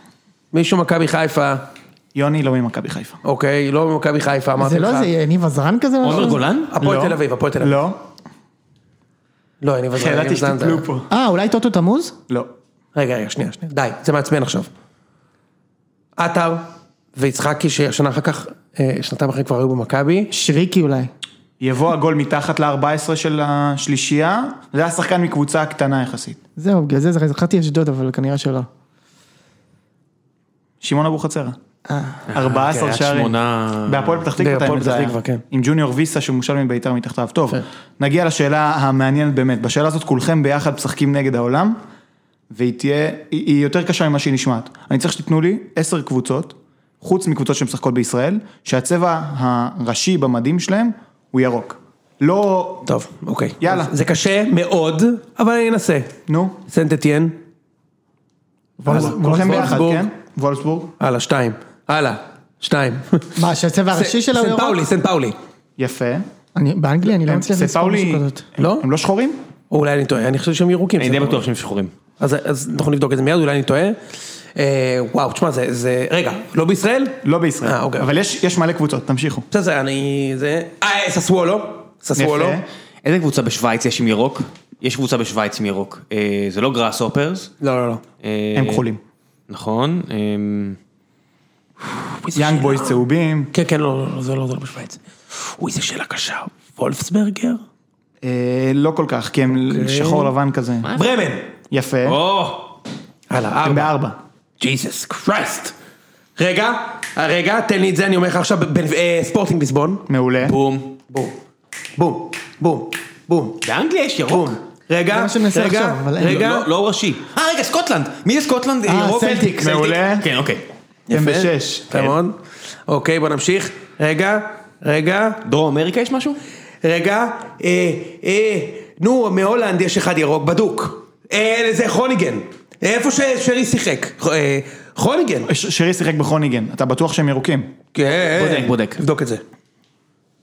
מישהו מכבי חיפה,
יוני לא ממכבי חיפה.
אוקיי, לא ממכבי חיפה, אמרתי
זה לא
לך,
איזה ניב עזרן כזה? או
עומר
משהו?
גולן?
הפועל
לא.
תל אביב, הפועל תל אביב,
לא,
לא, אני מבזרק,
ידעתי שתיפלו פה.
אה, אולי טוטו תמוז?
לא.
רגע, רגע, שנייה, שנייה. די, זה מעצבן עכשיו. עטר ויצחקי, שהשנה אחר כך, אה, שנתיים אחרי כבר היו במכבי.
שריקי אולי.
יבוא הגול מתחת ל-14 של השלישייה, זה היה שחקן מקבוצה קטנה יחסית.
זהו, בגלל זה זכרתי אשדוד, אבל כנראה שלא.
שמעון אבוחצירא. 14
קריית
שערים.
שמונה.
בהפועל פתח תקווה,
אה. בהפועל
האמת, זה
פתח
היה.
תקווה, כן.
עם ג'וניור ויסה שמושל מביתר מתחתיו. טוב, נגיע לשאלה המעניינת באמת. בשאלה הזאת כולכם ביחד משחקים נגד העולם, והיא תהיה, היא היא יותר קשה ממה שהיא נשמעת. אני צריך שתיתנו לי 10 קבוצות, חוץ מקבוצות שמשחקות בישראל, שהצבע הראשי במדים שלהם הוא ירוק. לא,
טוב, אוקיי.
יאללה.
זה קשה מאוד, אבל אני אנסה.
נו,
סנט אתיין,
כולכם ביחד,
וולפסבורג.
כן? וולפסבורג.
הלאה, שתיים. הלאה, שתיים.
מה, שהצבע הראשי שלה הוא
סנט
ירוק?
פאולי, אה, סנט פאולי.
יפה.
אני- באנגליה אני לא
הם-
מצליח לזכור
ספאולי,
משהו כזאת.
הם-
לא?
הם לא שחורים?
או אולי אני טועה, אני חושב שהם ירוקים.
אני די בטוח שהם שחורים.
אז, אז אנחנו נבדוק את זה מיד, אולי אני טועה. אה, וואו, תשמע, זה, זה... רגע, לא בישראל?
לא בישראל.
אה, אוקיי.
אבל יש יש מלא קבוצות, תמשיכו.
בסדר, זה אני... זה... אה, ססוולו. ססוולו.
יפה.
איזה קבוצה בשוויץ יש עם ירוק? יש קבוצה בשוויץ עם ירוק. אה, זה לא גראס הופרס.
לא, לא, לא.
הם כחולים.
אה,
נכון. אמ,
יאנג בויז צהובים.
כן, כן, לא, לא, לא, זה לא, זה לא בשוויץ. אוי, זו שאלה קשה. וולפסברגר?
אה, לא כל כך, כי הם
אוקיי.
שחור לבן כזה.
אה.
ברמן.
יפה.
או!
כן,
הלאה,
הם
ארבע.
בארבע.
ג'יסוס קרייסט. רגע, רגע, תן לי את זה, אני אומר לך עכשיו, ב- אה, ספורטינג ליסבון.
מעולה.
בום.
בום. בום. בום. בום.
באנגליה יש ירוק.
בום. רגע,
זה מה שאני מנסה
רגע,
לחשוב, אבל אין לי.
רגע.
לא- לא ראשי. אה רגע סקוטלנד. מי זה סקוטלנד?
אה,
ירוק?
סלטיק.
מעולה.
כן אוקיי.
הם
יפה.
בשש.
יפה
כן.
מאוד. אוקיי, בוא נמשיך. רגע, רגע,
דרום אמריקה יש משהו?
רגע. אה, אה, נו, מהולנד יש אחד ירוק בדוק. אה, זה חוניגן. איפה ששרי שיחק. אה, חוניגן.
ש- שרי שיחק בחוניגן, אתה בטוח שהם ירוקים.
כן.
בודק, בודק.
תבדוק את זה.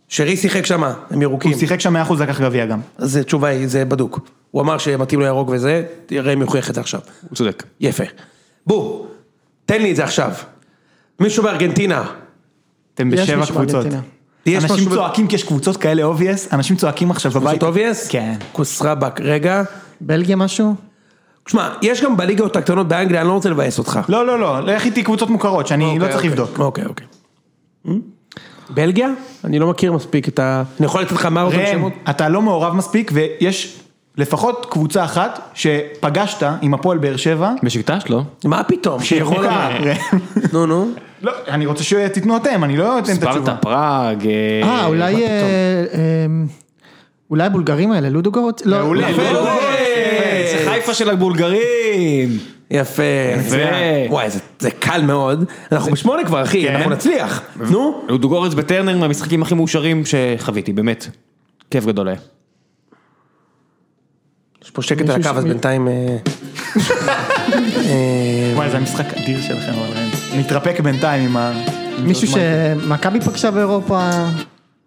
שרי שיחק שמה, הם ירוקים.
הוא שיחק שם 100% לקח גביע גם.
אז התשובה היא, זה בדוק. הוא אמר שמתאים לו ירוק וזה, תראה אם יוכיח את זה עכשיו.
הוא צודק.
יפה. בום, תן לי את זה עכשיו. מישהו בארגנטינה.
אתם
יש
בשבע
מישהו
קבוצות.
בארגנטינה.
יש
אנשים
משהו ב-
צועקים כי יש קבוצות כאלה אובייס, אנשים צועקים עכשיו בבית.
פשוט אובייס?
כן.
כוס רבאק, רגע.
בלגיה משהו?
שמע, יש גם בליגות הקטנות באנגליה, אני לא רוצה לבאס אותך.
לא, לא, לא, לך איתי קבוצות מוכרות שאני לא צריך
אוקיי.
לבדוק.
אוקיי, אוקיי. Hmm? בלגיה? אני לא מכיר מספיק את ה... אני יכול לתת לך מה אותם
ראם,
שמות?
אתה לא מעורב מספיק ויש לפחות קבוצה אחת שפגשת עם הפועל באר שבע.
בשקטש לא.
מה פתאום? שיכול...
אה, ראם.
נו, נו.
לא, אני רוצה שתיתנו אתם, אני לא אתן את התשובה.
ספרטה פראג.
אה, אולי... אה, אמ, אולי הבולגרים האלה, לודוגורט? לא,
מעולה.
לא.
יפה,
אה, זה חיפה של הבולגרים.
יפה.
יפה.
וואי, זה- זה קל מאוד. אנחנו בשמונה כבר, אחי,
כן.
אנחנו נצליח. נו.
לודוגורץ בטרנר מהמשחקים הכי מאושרים שחוויתי, באמת. כיף גדול היה.
יש פה שקט על
מישהו
הקו, אז
שמי-
בינתיים... אה,
וואי, זה המשחק אדיר שלכם, אבל ראם. נתרפק בינתיים עם ה...
מישהו שמכבי פגשה באירופה,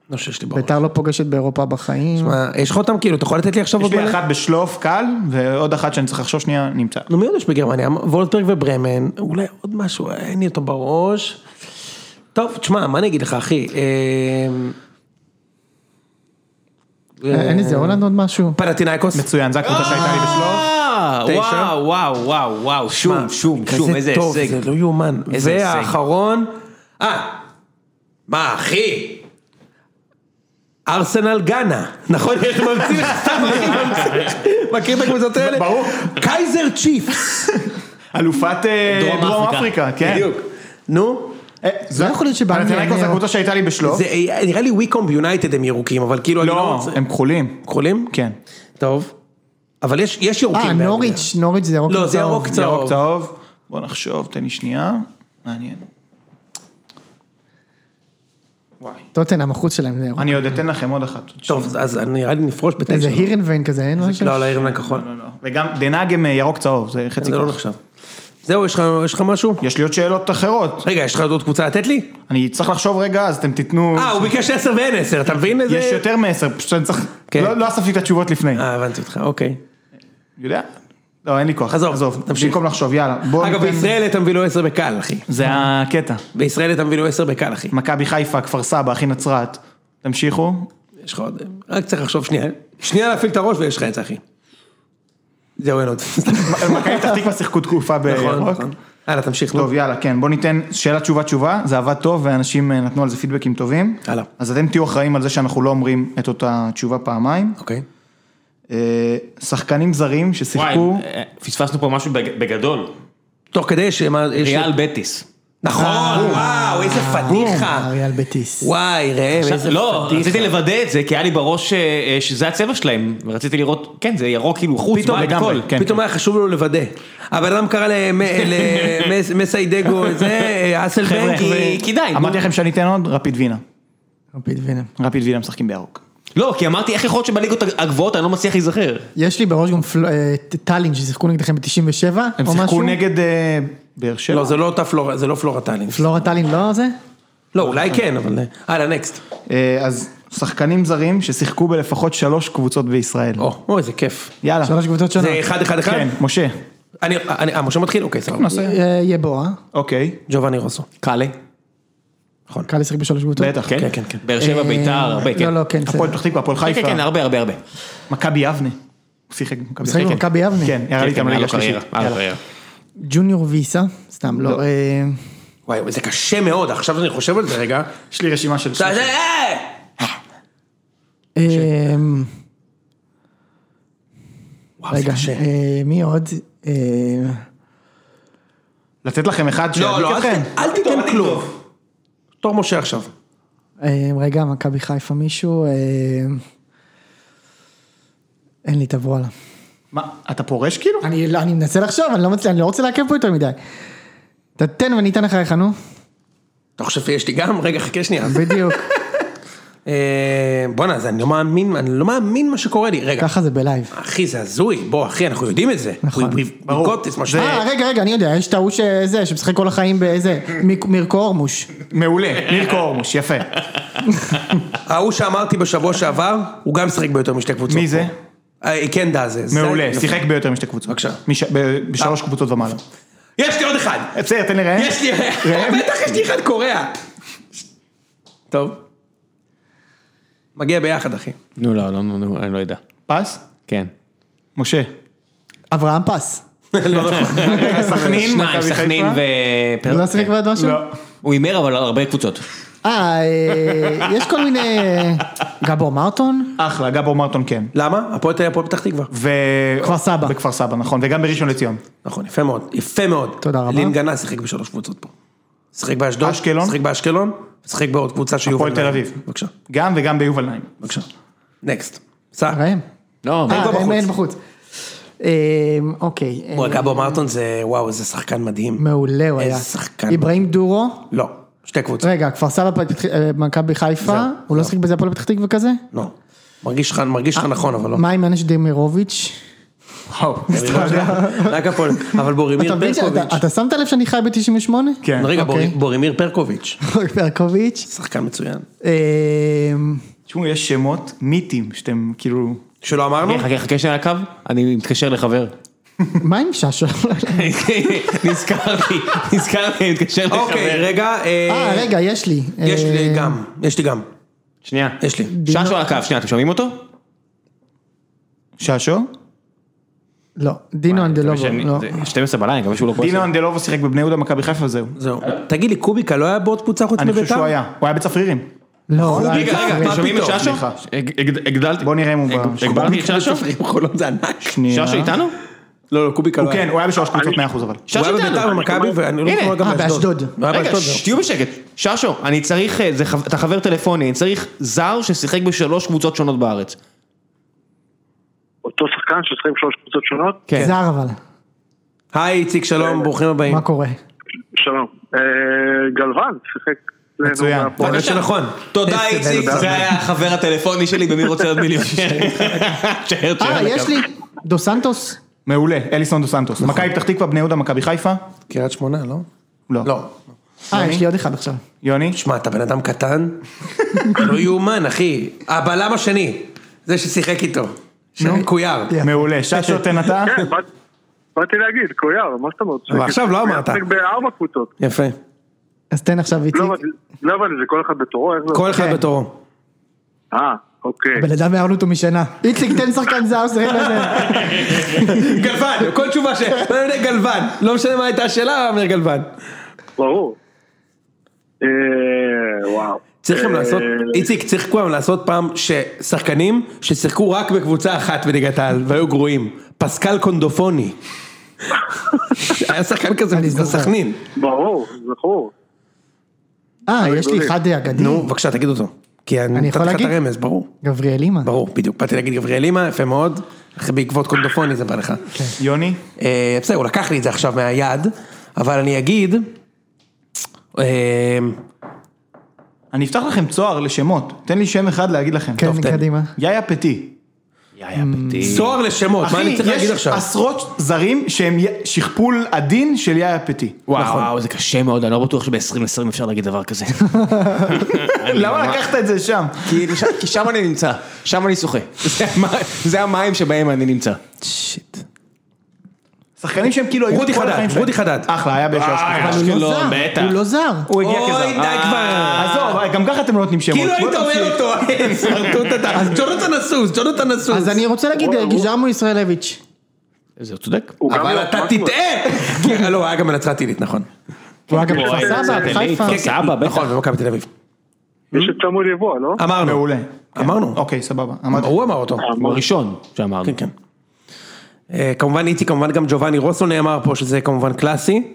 לא שיש לי בעיה.
ביתר לא פוגשת באירופה בחיים.
יש לך אותם כאילו, אתה יכול לתת לי עכשיו
יש
עוד
לי
מלא?
אחת בשלוף קל, ועוד אחת שאני צריך לחשוב שנייה, נמצא.
נו מי עוד יש בגרמניה? וולטברג וברמן, אולי עוד משהו, אה, אין לי אותו בראש. טוב, תשמע, מה אני אגיד לך, אחי? אמ,
אה, אין איזה הולנד עוד משהו?
פנטינאיקוס?
מצוין, זו הקבוצה שהייתה לי בשלוף.
אה,
תשע.
וואו, וואו, וואו, וואו, שום, שום,
כזה
שום, איזה
טוב,
הישג.
זה לא יאומן.
איזה הישג.
והאחרון, אה, מה אחי? ארסנל גאנה, נכון? איך ממציא *laughs* לך סתם אחי ממציא לך. מכיר את הקבוצות האלה?
ברור.
קייזר צ'יפס.
אלופת אה,
דרום
דרום
אפריקה.
אפריקה, כן.
בדיוק. נו.
אה, זה
לא יכול להיות שבאנגליה
פנתנאיקוס
אני-
זו הקבוצה שהייתה לי בשלוף.
זה אה, נראה לי ויקום ביונייטד הם ירוקים, אבל כאילו אני לא
לא,
רוצה...
הם כחולים.
כחולים?
כן.
טוב. אבל יש, יש ירוקים.
אה,
באנגליה.
נוריץ', נוריץ' זה ירוק.
לא, זה
וצהוב.
ירוק
ירוק
צהוב.
צהוב. בוא נחשוב, תן לי שנייה. מעניין. וואי.
טוטנאם, החוץ שלהם זה ירוק.
אני עוד אתן לכם עוד אחת.
אוקיי. טוב, אז אני- נראה לי נפרוש בתשע.
איזה הירנביין כזה, אין משהו?
לא, לא, עיר כחול.
לא, לא. וגם דנאגם אה, ירוק צהוב, זה חצי
זה
אה.
לא
כוח.
נחשב. זהו, יש לך- יש לך משהו?
יש לי עוד שאלות אחרות.
רגע, יש לך עוד קבוצה לתת לי?
אני צריך לחשוב רגע, אז אתם תיתנו...
אה, הוא ביקש 10 ואין 10, אתה מבין איזה...
יש יותר מעשר, פשוט אני צריך...
כן.
לא לא אספתי את התשובות לפני.
אה, הבנתי אותך, אוקיי.
יודע? לא, אין לי כוח.
עזוב,
עזוב.
תמשיך.
במקום לחשוב, יאללה. בוא
אגב,
ניתן-
בישראל אתה מביא לו 10 בקל, אחי.
זה הקטע.
בישראל אתה מביא לו 10 בקל, אחי.
מכבי חיפה, כפר סבא, אחי נצרת.
*laughs*
תמשיכו.
יש לך עוד... רק צריך לחשוב שנייה. שנייה להפעיל את הראש ויש לך את זה, אחי. זהו, אין עוד. *laughs*
מכבי פתח תקווה שיחקו תקופה
נכון,
בירוק.
נכון. הלאה, תמשיך. נו.
טוב יאללה כן בוא ניתן שאלה תשובה תשובה זה עבד טוב ואנשים אה, נתנו על זה פידבקים טובים.
הלאה.
אז אתם תהיו אחראים על זה שאנחנו לא אומרים את אותה תשובה פעמיים.
אוקיי.
אה, שחקנים זרים
וואי,
ששיחקו.
אה, פספסנו פה משהו בג- בגדול.
תוך כדי שמה... יש-
ריאל בטיס.
אה,
נכון, וואו, איזה פדיחה.
אה, אריאל בטיס.
וואי, ראם, איזה
לא, רציתי
פדיחה.
לוודא את זה, כי היה לי בראש אה, אה, שזה הצבע שלהם, ורציתי לראות, כן, זה ירוק כאילו חוץ,
פתאום
בית,
לגמרי.
הכל.
כן,
פתאום היה חשוב לו לוודא. הבן אדם קרא
*laughs*
למסיידגו, זה, אה, אסל
חבר'ה,
בנקי,
זה- כדאי.
אמרתי לכם שאני אתן עוד רפיד וינה.
רפיד וינם.
רפיד וינה משחקים בירוק.
לא, כי אמרתי, איך יכול להיות שבליגות הגבוהות אני לא מצליח להיזכר?
יש לי בראש גם פל- אה, ט- טאלין ששיחקו נגדכם ב-97
הם
או
שיחקו
משהו.
נגד אה, באר שבע.
לא, זה לא אותה פלורה, זה לא פלורה טאלין.
פלורה טאלין לא זה?
לא, אולי כן, אבל... הלאה, נקסט.
אה, אז שחקנים זרים ששיחקו בלפחות שלוש קבוצות בישראל.
או, או, איזה כיף.
יאללה.
שלוש קבוצות שונות.
זה אחד אחד אחד?
כן, משה.
אני, אני, אה, משה מתחיל? אוקיי, סבבה.
נעשה.
אה, יבואה,
אוקיי,
ג'ובאני רוסו.
קאלה.
קל לשחק בשלוש קבוצות.
בטח.
כן,
כן, כן.
באר שבע, ביתר, הרבה, כן.
לא, לא, כן, בסדר.
הפועל פתח תקווה, הפועל
כן,
חיפה.
כן, כן, הרבה, הרבה, הרבה.
מכבי יבנה. הוא שיחק במכבי
משחק
כן, כן.
במכבי יבנה.
כן, ירד
כן,
לי
כן,
איתם לליגה
היה לו
השלישית.
קריירה, היה לו
יאללה.
קריירה.
ג'וניור ויסה, סתם, לא. אה,
וואי, וואי, זה קשה מאוד, עכשיו שאני חושב על זה רגע.
יש לי רשימה של...
אתה- אה!
אה,
וואו, זה
רגע,
קשה.
אה, מי עוד? אה,
לתת לכם אחד
לא,
שידליק
לא, אל
אתכם?
ת- אל תיתן כלום. תור משה עכשיו.
אה, רגע, מכבי חיפה מישהו? אה, אין לי את הוואלה.
מה, אתה פורש כאילו?
אני לא- אני מנסה לחשוב, אני לא מצליח- אני לא רוצה לעכב פה יותר מדי. אתה תן ואני אתן אחריך, נו.
אתה חושב שיש לי גם? רגע, חכה שנייה.
בדיוק.
אה, בואנה, זה- אני לא מאמין, אני לא מאמין מה שקורה לי. רגע,
*laughs* ככה זה בלייב.
אחי, זה הזוי. בוא, אחי, אנחנו יודעים את זה.
נכון.
We- we've
ברור.
got this, מה ש...
אה, רגע, רגע, אני יודע, יש את ההוא שזה, שמשחק כל החיים באיזה, מיק- מירקו אורמוש.
מעולה, ניר קורמוש, יפה.
ההוא שאמרתי בשבוע שעבר, הוא גם שיחק ביותר משתי קבוצות.
מי זה?
אה, כן, דאזה. זה-
מעולה, שיחק ביותר משתי קבוצות.
בבקשה.
מש- ב- בשלוש קבוצות ומעלה.
יש לי עוד אחד!
אה, בסדר, תן לי ראם.
יש לי,
*laughs*
אה,
ראם.
בטח יש לי אחד קורע. טוב. מגיע ביחד, אחי. *laughs*
נו, לא, לא, נו, נו, אני לא יודע.
פס?
כן.
משה.
אברהם פס.
לא נכון.
*laughs* סכנין,
שניים,
מכבי
סכנין
חיפה?
ופר...
לא שיחק בעד משהו?
לא.
כן. הוא הימר אבל על הרבה קבוצות.
אה, אה, יש כל מיני...
*laughs*
גבור מרטון?
אחלה, גבור מרטון כן.
למה? הפועל תל אביב, הפועל פתח תקווה.
ו...
כפר סבא.
בכפר סבא, נכון, וגם בראשון לציון.
נכון, יפה מאוד. יפה מאוד.
תודה רבה.
לין גנה שיחק בשלוש קבוצות פה. שיחק באשדוד.
אשקלון?
שיחק באשקלון. שיחק בעוד קבוצה שיובל.
הפועל תל
נעים.
אביב.
בבקשה,
גם וגם ביובל נעים.
בבקשה. נקסט. סע.
ראם.
לא,
אה,
בחוץ.
ראם אין בחוץ. אה, אוקיי. אה,
הוא הגבו מרטון זה, וואו, איזה שחקן מדהים.
מעולה הוא היה.
איזה שחקן.
אברהים דורו?
לא, שתי קבוצות.
רגע, כפר סבא, הפועל פתח- אה, מכבי חיפה,
זהו,
הוא לא שיחק בזה הפועל פתח תקווה כזה?
לא. מרגיש לך מרגיש
אה,
לך נכון, אבל לא.
מה עם אנש דמירוביץ'?
רק הפועל. אבל בורימיר
אתה מבין
ברקוביץ'.
שאתה- אתה שמת לב שאני חי ב-98? *laughs*
כן.
רגע, בור-
אוקיי.
בורימיר פרקוביץ',
ברקוביץ'.
שחקן מצוין.
אה,
תשמעו, יש שמות מיתים שאתם כאילו...
שלא אמרנו?
חכה, אה, חכה, חכה שנייה על הקו, אני מתקשר לחבר.
מה עם ששו?
נזכרתי, נזכרתי, אני מתקשר
אוקיי,
לחבר.
רגע.
אה, רגע, יש לי.
יש לי
אה,
גם, יש לי גם,
שנייה.
יש לי.
ששו על הקו, שנייה, אתם שומעים אותו?
ששו?
לא, דינו אנדלובו,
שאני-
לא.
זה 12 בלילה, אני מקווה שהוא לא פה.
דינו אנדלובו שיחק בבני יהודה מכבי חיפה זהו.
זהו.
אה.
תגיד לי, קוביקה לא היה בעוד קבוצה חוץ
אני חושב
מביתר?
שהוא היה. הוא היה בצפרירים.
לא, לא,
רגע,
לא,
רגע,
לא.
אתם שומעים את
פתאום?
ששו?
סליחה.
הג- הג- הגדלתי.
בוא נראה אם הוא
הג-
ב-
הגברתי את ששו?
שחקנים חולון זה ענק.
ששו איתנו?
לא, לא, קוביקה לא
הוא
היה.
כן, הוא היה בשלוש קבוצות 100%
הוא
אבל.
היה בביתר ומכבי, ואני לא זוכר גם
אה,
באשדוד.
באשדוד.
הוא היה
רגע,
באשדוד, זהו.
שתהיו בשקט. ששו, אני צריך, אה, זה חב- אתה חבר טלפוני, אני צריך זר ששיחק בשלוש קבוצות שונות בארץ.
אותו שחקן ששחק עם שלוש קבוצות שונות.
כן.
זר אבל,
היי, איציק, שלום, ברוכים הבאים.
מה קורה?
שלום. אה, גלוון שיחק. אצלנו
מצוין.
בהפועל.
האמת שנכון.
תודה איציק, זה היה החבר הטלפוני שלי במי רוצה להיות מיליונר. *laughs* תשאר, תשאר
אה,
על
יש
הקו.
לי, דו סנטוס,
מעולה, אליסון דו סנטוס. מכבי פתח תקווה, בני יהודה, מכבי חיפה?
קריית שמונה, לא?
לא.
לא.
אה, יש לי עוד אחד עכשיו.
יוני?
שמע, אתה בן אדם קטן? לא יאומן, אחי. הבלם השני, זה ששיחק איתו. של קויאר.
יפה.
מעולה, ששו תן אתה?
*laughs*
כן, באת- באתי להגיד, קויאר, מה זאת אומרת?
אבל עכשיו לא אמרת.
הוא משחק בארבע קבוצות.
יפה.
אז תן עכשיו איציק.
לא הבנתי- לא הבנתי, זה כל אחד בתורו? איך זה-
כל אחד
כן.
בתורו.
אה, אוקיי.
בן אדם הערנו אותו משנה. איציק, תן שחקן זר, שיחק בזה.
גלוון, כל תשובה ש... לא יודע, גלוון. לא משנה מה הייתה השאלה, הוא אומר גלוון.
ברור. אה, וואו.
צריך גם
אה,
לעשות, איציק, צריך כולם לעשות פעם ששחקנים ששיחקו רק בקבוצה אחת בליגת העל והיו גרועים. פסקל
*laughs*
קונדופוני. היה שחקן כזה בסכנין.
ברור, זכור.
אה, יש לי אחד אגדי,
נו, בבקשה, תגיד אותו. כי אני
יכול
נתתי לך את
להגיד?
הרמז, ברור.
גבריאל אימא.
ברור, בדיוק. באתי להגיד גבריאל אימא, יפה מאוד. אחרי- בעקבות קונדופוני זה בא לך.
כן.
יוני?
אה, בסדר, הוא לקח לי את זה עכשיו מהיד, אבל אני אגיד... אה,
אני אפתח לכם צוהר לשמות, תן לי שם אחד להגיד לכם.
כן,
טוב,
תן.
קדימה.
יאיה פתי.
היה ביתי.
צוהר לשמות, מה אני צריך להגיד עכשיו?
עשרות זרים שהם י- שכפול עדין של יאיה פתי.
וואו, וואו, זה קשה מאוד, אני לא בטוח שב-2020 אפשר להגיד דבר כזה.
למה לקחת את זה שם?
*laughs* כי לש- כי שם אני נמצא, שם אני שוחה. זה המי- זה המים שבהם אני נמצא.
שיט.
שחקנים שהם כאילו היו...
רודי
כל
חדד,
החיים שלהם.
רודי חדד.
אחלה, היה באשל
אה,
אשכנזי.
הוא לא
אשקלון,
זר,
בטח.
הוא לא זר.
הוא הגיע כזר.
אוי, די כבר.
אה, עזוב, גם ככה אתם לא נותנים שמות.
כאילו
בוא
היית
תמשיך.
אומר אותו, אה, סמרטוט אתה. ג'ונתן אסוס, ג'ונתן אסוס.
אז אני רוצה להגיד,
הוא-
גיז'רמו ישראלביץ'.
זה צודק.
הוא גם
אבל
לא-
אתה
מה קורה?
תטעה. *laughs* כן, לא, היה גם בנצרת עילית, נכון.
הוא היה גם
הוא היה
בכפר סבא,
בצרפת,
בחיפה.
כפר סבא, כן, בטח.
נכון, במכבי תל אביב.
יש את שמואל יבוא, לא?
אמרנו.
מעולה.
אמרנו.
אוקיי, סבבה. אמרתי.
הוא אמר אותו.
הוא הראשון שאמרנו.
כן, כן. אה, כמובן איציק, כמובן גם ג'ובאני רוסו נאמר פה, שזה כמובן קלאסי.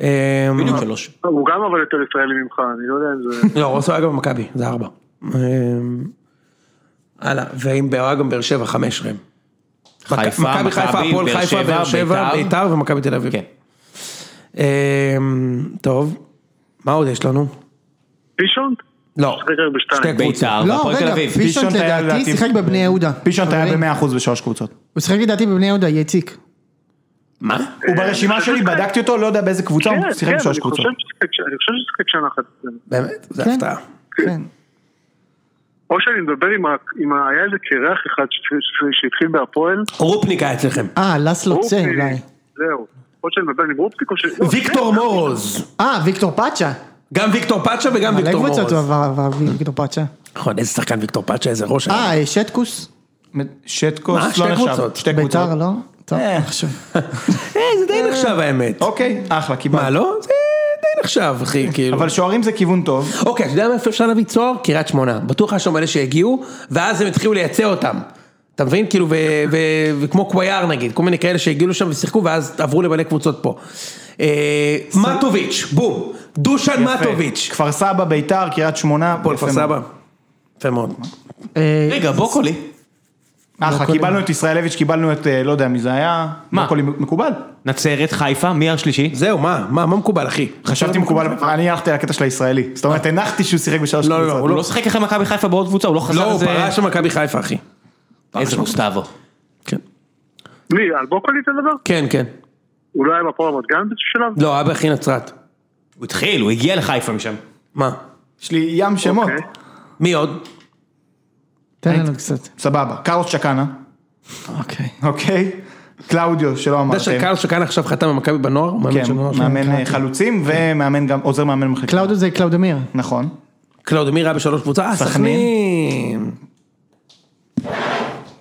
אה,
בדיוק שלוש.
הוא גם אבל יותר ישראלי ממך, אני לא יודע אם
*laughs*
זה...
לא, רוסו היה גם במכבי, זה ארבע. אה, הלאה, ואם היה גם באר שבע, חמש ראם.
חיפה,
מכבי חיפה,
מכבי,
הפועל
באר
חיפה,
שבע,
באר שבע,
ביתר.
ביתר ומכבי תל אביב.
כן.
אה, טוב, מה עוד יש לנו?
פישון?
לא,
משחק רק בשתיים.
שתי קבוצות.
ביתר,
לא,
והפועל תל
רגע,
אביב.
פישון
פישון היה
לדעתי
לדעתי-
שיחק בבני יהודה.
פישון היה
חברים,
ב-100% בשלוש קבוצות.
הוא שיחק לדעתי בבני יהודה, יהיה הציק.
מה?
הוא ברשימה שלי, בדקתי אותו, לא יודע באיזה קבוצה,
כן,
הוא שיחק
כן, אני
בשלוש
חושב
קבוצות.
ששיחק ש- אני חושב ששיחק שנה אחת. אצלנו.
באמת, זה
כן.
הפתעה.
כן.
או שאני מדבר עם ה... עם ה- היה איזה קרח אחד ש- ש- שהתחיל בהפועל.
רופניק היה אצלכם.
אה, לסלו צה
רופניק,
אולי.
זהו. או שאני מדבר עם רופניק או ש... לא, כן.
ויקטור מורוז.
אה, ויקטור פאצ'ה.
גם ויקטור פאצ'ה וגם
מלא
ויקטור
קבוצות הוא
מורוז.
עבר, עבר ויקטור פאצ'ה.
נכון, איזה שחקן ויקטור פאצ'ה, איזה ראש. היה.
אה, שטקוס?
מה,
שטקוס
שתי
לא נחשב.
קבוצות?
שתי קבוצות.
ביתר, לא? טוב,
אה.
עכשיו.
*laughs* אה, זה די נחשב
לא.
האמת.
אוקיי, אחלה,
מה,
קיבלנו.
לא? זה די נחשב, אחי, כאילו.
אבל שוערים זה כיוון טוב.
אוקיי, אתה יודע מאיפה אפשר להביא צוהר? קריית שמונה. בטוח היה שם אלה שהגיעו, ואז הם התחילו לייצא אותם. אתה מבין? כאילו, ו- ו- וכמו קוויאר נגיד, כל מיני כאלה שהגיעו לשם ושיחקו, ואז עברו למלא קבוצות פה. אה, מטוביץ', בום. דושן מטוביץ'.
כפר סבא, ביתר, קריית שמונה.
הפועל כפר
יפה
סבא.
מאוד.
יפה מאוד.
אה,
רגע, בוקולי.
לא
אחלה, קיבלנו את ישראלביץ', קיבלנו את אה, לא יודע מי זה היה.
מה?
הכל מקובל.
נצרת, חיפה, מי השלישי?
זהו, מה? מה מה מקובל, אחי?
חשבתי מקובל, אני הלכתי על הקטע של הישראלי. זאת אומרת, הנחתי שהוא שיחק בשלוש
לא, לא,
קבוצות.
הוא
הוא לא שיחק אחרי מכבי חיפה בעוד קבוצה, הוא לא חזר
לא, הוא
איזה...
פרש של מכבי חיפה, אחי.
איזה גוסטבו.
כן.
מי, על בוקולי אתה מדבר?
כן, כן.
הוא לא היה בפועל רמת גן באיזשהו שלב?
לא, היה בהכי נצרת.
הוא התחיל, הוא הגיע לחיפה משם.
מה?
יש לי ים שמות.
אוקיי.
מי עוד?
תן לנו קצת.
סבבה. קרלוס צ'קנה,
אוקיי.
אוקיי? קלאודיו, שלא
אתה יודע
אמרתם.
שקרל שכאן עכשיו חתם במכבי בנוער? הוא מאמן
כן,
של בנוער שלנו.
מאמן אה, חלוצים ומאמן גם, עוזר מאמן מחלקה.
קלאודו זה קלאודמיר.
נכון.
קלאודמיר היה בשלוש קבוצה, אה, סכנין.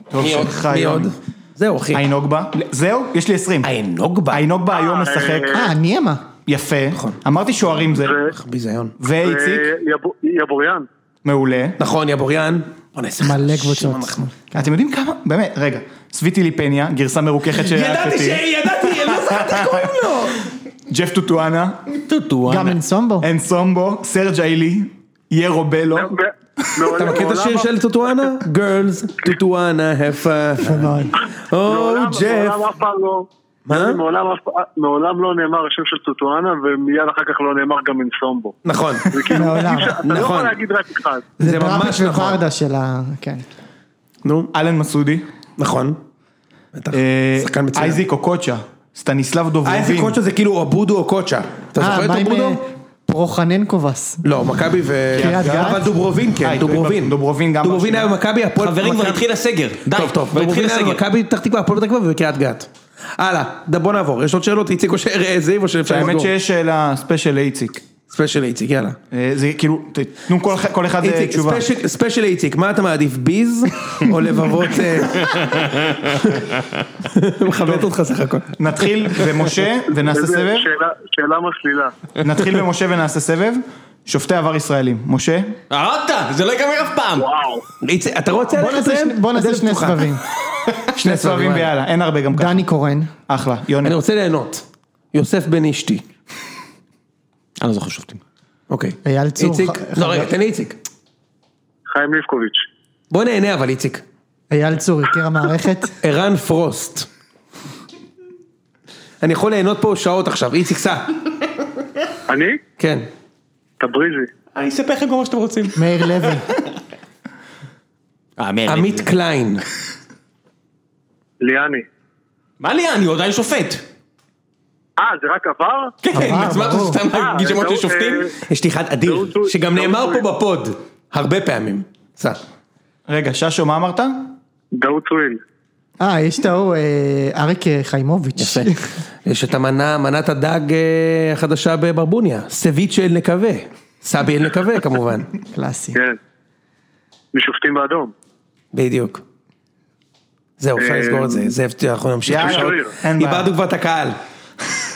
טוב
מי עוד?
שלך
מי
היום.
עוד? זהו אחי.
איינוגבה. אה, זהו, יש לי 20.
איינוגבה.
איינוגבה היום משחק
אה, ניאמה.
יפה.
נכון.
אמרתי שוערים זה.
ו-
ביזיון.
ואיציק,
ויבו- אה, יבוריאן.
מעולה.
נכון, יבוריאן. בוא'נה, איזה
מלא
חלשים
קבוצות.
אנחנו.
אתם יודעים כמה? באמת, רגע. סוויטי ליפניה, גרסה מרוככת של
ידעתי ש...
הפטי.
ידעתי, לא זכרתי איך קוראים לו. *laughs*
ג'ף טוטואנה,
טוטואנה.
גם אינסומבו.
אה, אנסומבו, סרג' איילי, ירו בלו.
אתה מכיר את השיר של טוטואנה? גרלס, טוטואנה, הפה.
*laughs*
מאוד.
או
מעולם
ג'ף. אה?
מעולם אף פעם לא-
מה?
מעולם אף- מעולם לא נאמר השם של טוטואנה ומיד אחר כך לא נאמר גם אינסומבו. *laughs*
נכון.
זה כאילו,
מעולם.
אי אפשר- אתה לא
נכון.
יכול להגיד רק אחד.
זה ממש
דראפיץ'
נכון.
וברדה של ה... כן.
נו,
אלן מסודי.
נכון. בטח.
אה,
שחקן מצוין.
אייזיק אוקוצ'ה. סטניסלב
אייזיק
דוברובין.
קוצ'ה זה כאילו אבודו או קוצ'ה. אתה
אה,
זוכר
מה עם
את אבודו?
אה, פרוחננקובס?
לא, מכבי ו...
קריית גת?
אבל דוברווין כן,
אה,
דוברווין.
דוברווין גם
דוברווין היה
ברשימה.
במכבי, הפועל...
חברים, כבר
מכבי-
התחיל הסגר. די.
טוב, טוב,
כבר התחיל
דוברווין היה
הסגר.
במכבי פתח תקווה, הפועל פתח תקווה וקריית גת. הלאה, ד- בוא נעבור, יש עוד שאלות, איציק או ש- אה, זיו או שאפשר
האמת
לסגור?
שיש שאלה ספיישל לאיציק.
ספיישל איציק, יאללה.
אה, זה כאילו, ת- תנו כל אחד- כל אחד אה,
איציק,
תשובה.
ספיישל- ספיישל איציק, מה אתה מעדיף, ביז או לבבות...
*laughs*
אה, מכבד אותך סך הכל.
נתחיל במשה ונעשה
איזה
סבב.
שאלה- שאלה מסלילה.
נתחיל במשה ונעשה סבב. שופטי עבר ישראלים. משה?
הרגת, זה לא ייגמר אף פעם.
וואו.
איציק, אתה רוצה
בוא נעשה
לסיים?
שני- בוא נעשה
הדלת
שני
פתוחה.
סבבים.
שני סבבים ויאללה, אין הרבה גם ככה.
דני קורן.
אחלה, יוני.
אני רוצה ליהנות. יוסף בן אשתי.
אני לא זוכר שופטים.
אוקיי.
אייל צור,
איציק,
ח-
לא
חבר-
רגע, תן לי איציק.
חיים ליפקוביץ'.
בוא נהנה אבל איציק.
אייל צור, יקיר המערכת.
ערן פרוסט. אני יכול ליהנות פה שעות עכשיו, איציק סע.
אני?
כן.
טבריזי.
אני אספר לכם כל מה שאתם רוצים.
מאיר לוי.
אה, מי?
עמית קליין.
ליאני.
מה ליאני? הוא עדיין שופט.
אה, זה רק עבר?
כן,
עבר,
אז מה אתה
ברור.
סתם להגיד שמות של
אה,
שופטים?
אה,
אה, יש לי אחד אדיר,
טעות שו-
שגם
טעות
נאמר
שו-
פה בפוד, הרבה פעמים. סע.
רגע, ששו, מה אמרת?
דאוד סוויל.
אה, יש את ההוא, אה, אריק אה, חיימוביץ'.
יפה. יש את המנה, מנת הדג אה, החדשה בברבוניה, סביצ'ה אל נקווה. סבי אל נקווה כמובן,
קלאסי.
כן. משופטים באדום.
בדיוק. זהו, אפשר
אה,
לסגור את זה, זאב, אנחנו נמשיך.
יאללה,
לשאול.
אין בעיה.
איבדנו כבר את הקהל.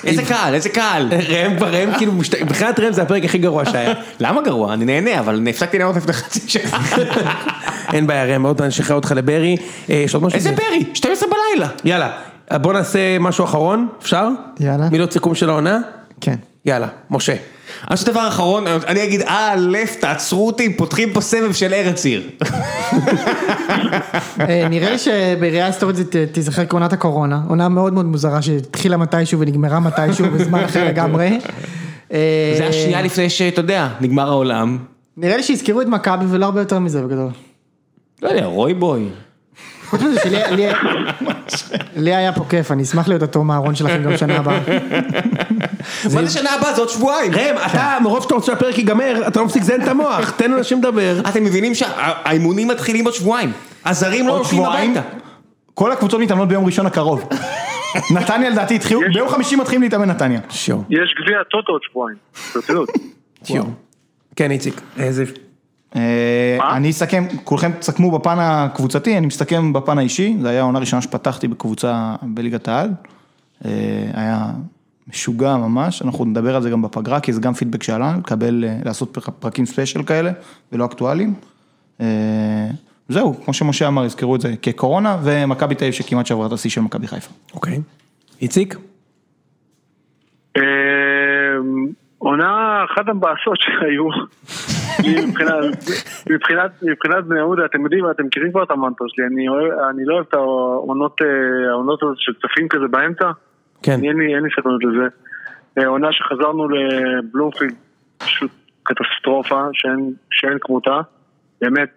איזה קהל, איזה *laughs* קהל.
ראם כבר, ראם כאילו, משת- מבחינת ראם זה הפרק הכי גרוע שהיה.
למה גרוע? אני נהנה, אבל הפסקתי לראות *laughs* לפני חצי שעה.
אין בעיה, ראם, עוד מעט נשחרר אותך לברי. אה, יש עוד משהו?
איזה פרי? 12 בלילה.
יאללה, בוא נעשה משהו אחרון, אפשר?
יאללה.
מילות סיכום של העונה?
כן.
יאללה, משה.
אז דבר אחרון, אני אגיד, אה, לף, תעצרו אותי, פותחים פה סבב של ארץ עיר.
אה, נראה לי שבראייה היסטורית זה ת- תיזכר כעונת הקורונה, עונה מאוד מאוד מוזרה שהתחילה מתישהו ונגמרה מתישהו בזמן אחר לגמרי. אה,
זה השנייה לפני שאתה יודע, נגמר העולם.
נראה לי שיזכרו את מכבי ולא הרבה יותר מזה בגדול.
לא יודע, רוי בוי.
חוץ מזה שלי לי- לי היה פה כיף, אני אשמח להיות התום הארון שלכם גם שנה הבאה.
מה זה שנה הבאה? זה עוד שבועיים.
ראם, אתה, מרוב שאתה רוצה שהפרק ייגמר, אתה לא מפסיק לזיין את המוח, *laughs* תן לאנשים לדבר.
אתם מבינים שהאימונים מתחילים עוד שבועיים. הזרים לא
עוד
הולכים
שבועיים?
הביתה.
כל הקבוצות מתאמנות ביום ראשון הקרוב. נתניה לדעתי התחילו, ביום חמישי מתחילים להתאמן נתניה.
שיו,
יש גביע הטוטו עוד שבועיים. ברצינות.
שיו. כן, איציק. איזה...
אה,
מה?
אני אסכם, כולכם תסכמו בפן הקבוצתי, אני מסתכם בפן האישי, זו הייתה העונה הראשונה שפתחתי בקבוצה בליגת העל. אה, היה משוגע ממש, אנחנו נדבר על זה גם בפגרה, כי זה גם פידבק שעלה, לקבל, אה, לעשות פרק- פרקים ספיישל כאלה, ולא אקטואליים. אה, זהו, כמו שמשה אמר, יזכרו את זה כקורונה, ומכבי תל אביב שכמעט שברה את השיא של מכבי חיפה.
אוקיי. איציק?
אמ, עונה אחת המבאסות שהיו. מבחינת- מבחינת מבחינת בני יהודה, אתם יודעים, אתם מכירים כבר את המנטרה שלי, אני אוהב- אני לא אוהב את העונות אה, העונות הזאת של צפים כזה באמצע.
כן.
אני- אין לי, אין לי סבלנות לזה. אה, עונה שחזרנו לבלומפילד, פשוט קטסטרופה שאין, שאין כמותה, באמת.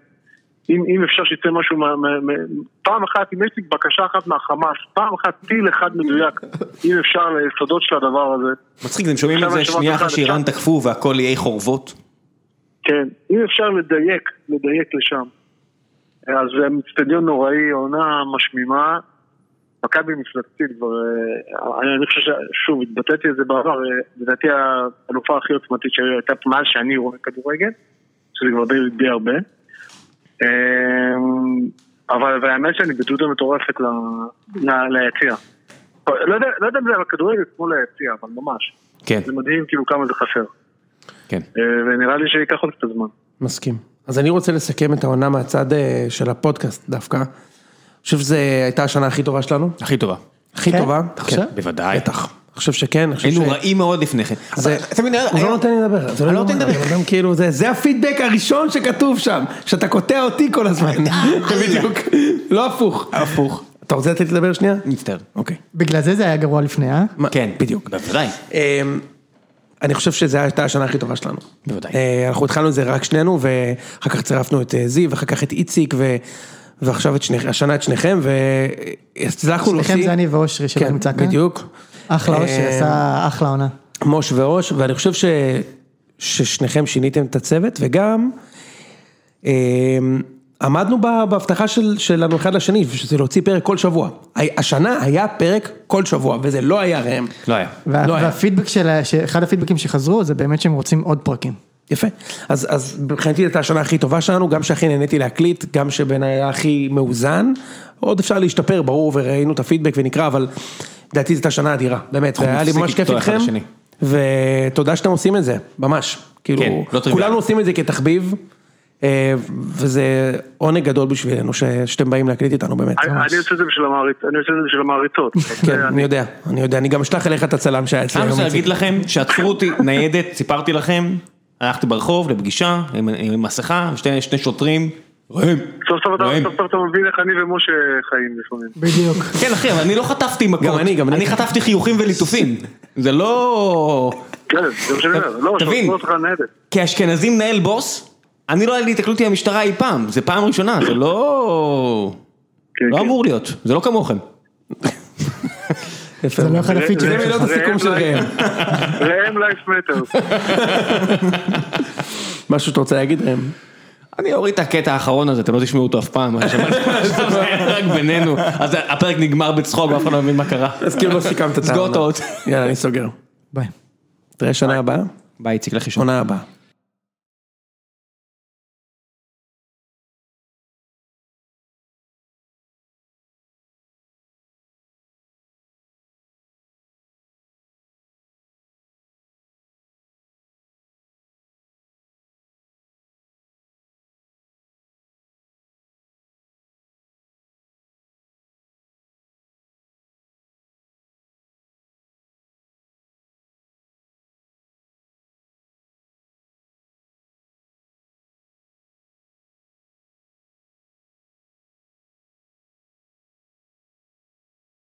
אם, אם אפשר שיצא משהו, מה, מה, מה, פעם אחת, אם יש לי בקשה אחת מהחמאס, פעם אחת טיל אחד מדויק, אם אפשר ליסודות של הדבר הזה,
מצחיק, אתם שומעים את
עכשיו
זה
השבוע
שנייה
אחד
אחרי שאיראן
אפשר.
תקפו והכל יהיה חורבות?
כן, אם אפשר לדייק, לדייק לשם. אה, אז זה אצטדיון נוראי, עונה משמימה, מכבי מפלצתית כבר, אה, אני, אני חושב ששוב, התבטאתי על זה בעבר, אה, לדעתי האלופה הכי עוצמתית שהייתה פה מאז שאני רואה כדורגל, שזה כבר די, די הרבה. אה, אבל אבל האמת שאני בדודה מטורפת ל- ל- ליציע. לא יודע, לא יודע אם זה על הכדורגל כמו ליציע, אבל ממש.
כן,
זה מדהים כאילו כמה זה חסר.
כן.
אה, ונראה לי שייקח עוד קצת זמן.
מסכים. אז אני רוצה לסכם את העונה מהצד אה, של הפודקאסט דווקא. אני חושב שזו הייתה השנה הכי טובה שלנו.
הכי טובה.
הכי
כן?
טובה.
אתה חושב?
בוודאי.
בטח. אני חושב שכן, אני חושב
היינו
ש-
רעים מאוד לפני כן.
זה-
אבל תמיד היה-
הוא לא
היה-
נותן לי לדבר, זה
אני לא נותן
נורמלי,
לדבר.
הבן אדם כאילו, זה- זה הפידבק הראשון שכתוב שם, שאתה קוטע אותי כל *laughs* הזמן, בדיוק, לא הפוך, הפוך, אתה רוצה לתת לי לדבר שנייה?
מצטער.
אוקיי,
בגלל זה זה היה גרוע לפני, אה?
מה-
כן,
בדיוק,
בוודאי.
אמ, אני חושב שזו הייתה השנה הכי טובה שלנו.
בוודאי.
אה, אנחנו התחלנו את זה רק שנינו, ואחר כך צירפנו את אה, זיו, ואחר כך את איציק, ו- ועכשיו את שני- השנה את שניכם, והצלחנו להוציא...
שניכם זה אני ואושרי שלא
כן,
נמצא כאן.
בדיוק.
אה,
אחלה אושרי,
אמ,
עשה אחלה עונה.
מוש וראש, ואני חושב ש... ששניכם שיניתם את הצוות, וגם אמ, עמדנו בה- בהבטחה של, שלנו אחד לשני, שזה להוציא פרק כל שבוע. ה- השנה היה פרק כל שבוע, וזה לא היה ראם.
לא היה.
וה-
לא היה.
והפידבק של, ה- ש- אחד הפידבקים שחזרו זה באמת שהם רוצים עוד פרקים.
יפה. אז, אז מבחינתי זאת השנה הכי טובה שלנו, גם שהכי נהניתי להקליט, גם שבעיניי היה הכי מאוזן. עוד אפשר להשתפר, ברור, וראינו את הפידבק ונקרא, אבל לדעתי זאת השנה אדירה, באמת,
אנחנו
היה לי
נפסיק
ממש כיף
לקטוע אחד
איתכם,
לשני.
ותודה שאתם עושים את זה, ממש. כאילו,
כן, לא טריוויאלי.
כולנו עושים את זה כתחביב, אה, וזה עונג גדול בשבילנו ש, שאתם באים להקליט איתנו, באמת.
אני
ממש.
אני עושה את זה בשביל המעריצ- אני עושה את זה בשביל המעריצות.
*laughs* כן, אני יודע, אני יודע, אני גם אשלח אליך את הצלם שהיה אצלי
אני רוצה
איציק.
להגיד לכם שעצרו אותי *laughs* ניידת, סיפרתי לכם, הלכתי ברחוב לפגישה עם, עם מסכה, שני, שני שוטרים, ראם,
סוף סוף אתה-
ראם.
סוף סוף אתה מבין איך אני ומשה חיים לפעמים.
בדיוק.
כן אחי, אבל אני לא חטפתי מכות,
גם אני, גם אני.
אני חטפתי חיוכים וליטופים, זה לא...
כן, זה מה שאני אומר. לא,
תבין.
שעצרו אותך
*laughs*
ניידת.
כאשכנזי מנהל בוס, אני לא היה לי התקלות עם המשטרה אי פעם, זה פעם ראשונה, זה לא...
כן,
לא
כן.
אמור להיות, זה לא כמוכם.
יפה.
זה לא אחד הפיצ'רים
זה
שלך.
מילות הסיכום של ראם.
ראם לייף מטר.
משהו שאתה רוצה להגיד ראם?
אני אוריד את הקטע האחרון הזה, אתם לא תשמעו אותו אף פעם, *laughs* מה שמה- זה היה רק בינינו, אז הפרק נגמר בצחוק ואף אחד לא מבין מה קרה.
אז כאילו לא סיכמת את
סגור את
העונה.
האות.
יאללה, אני סוגר.
ביי.
תראה שנה הבאה,
ביי, איציק, לך לישון.
עונה הבאה.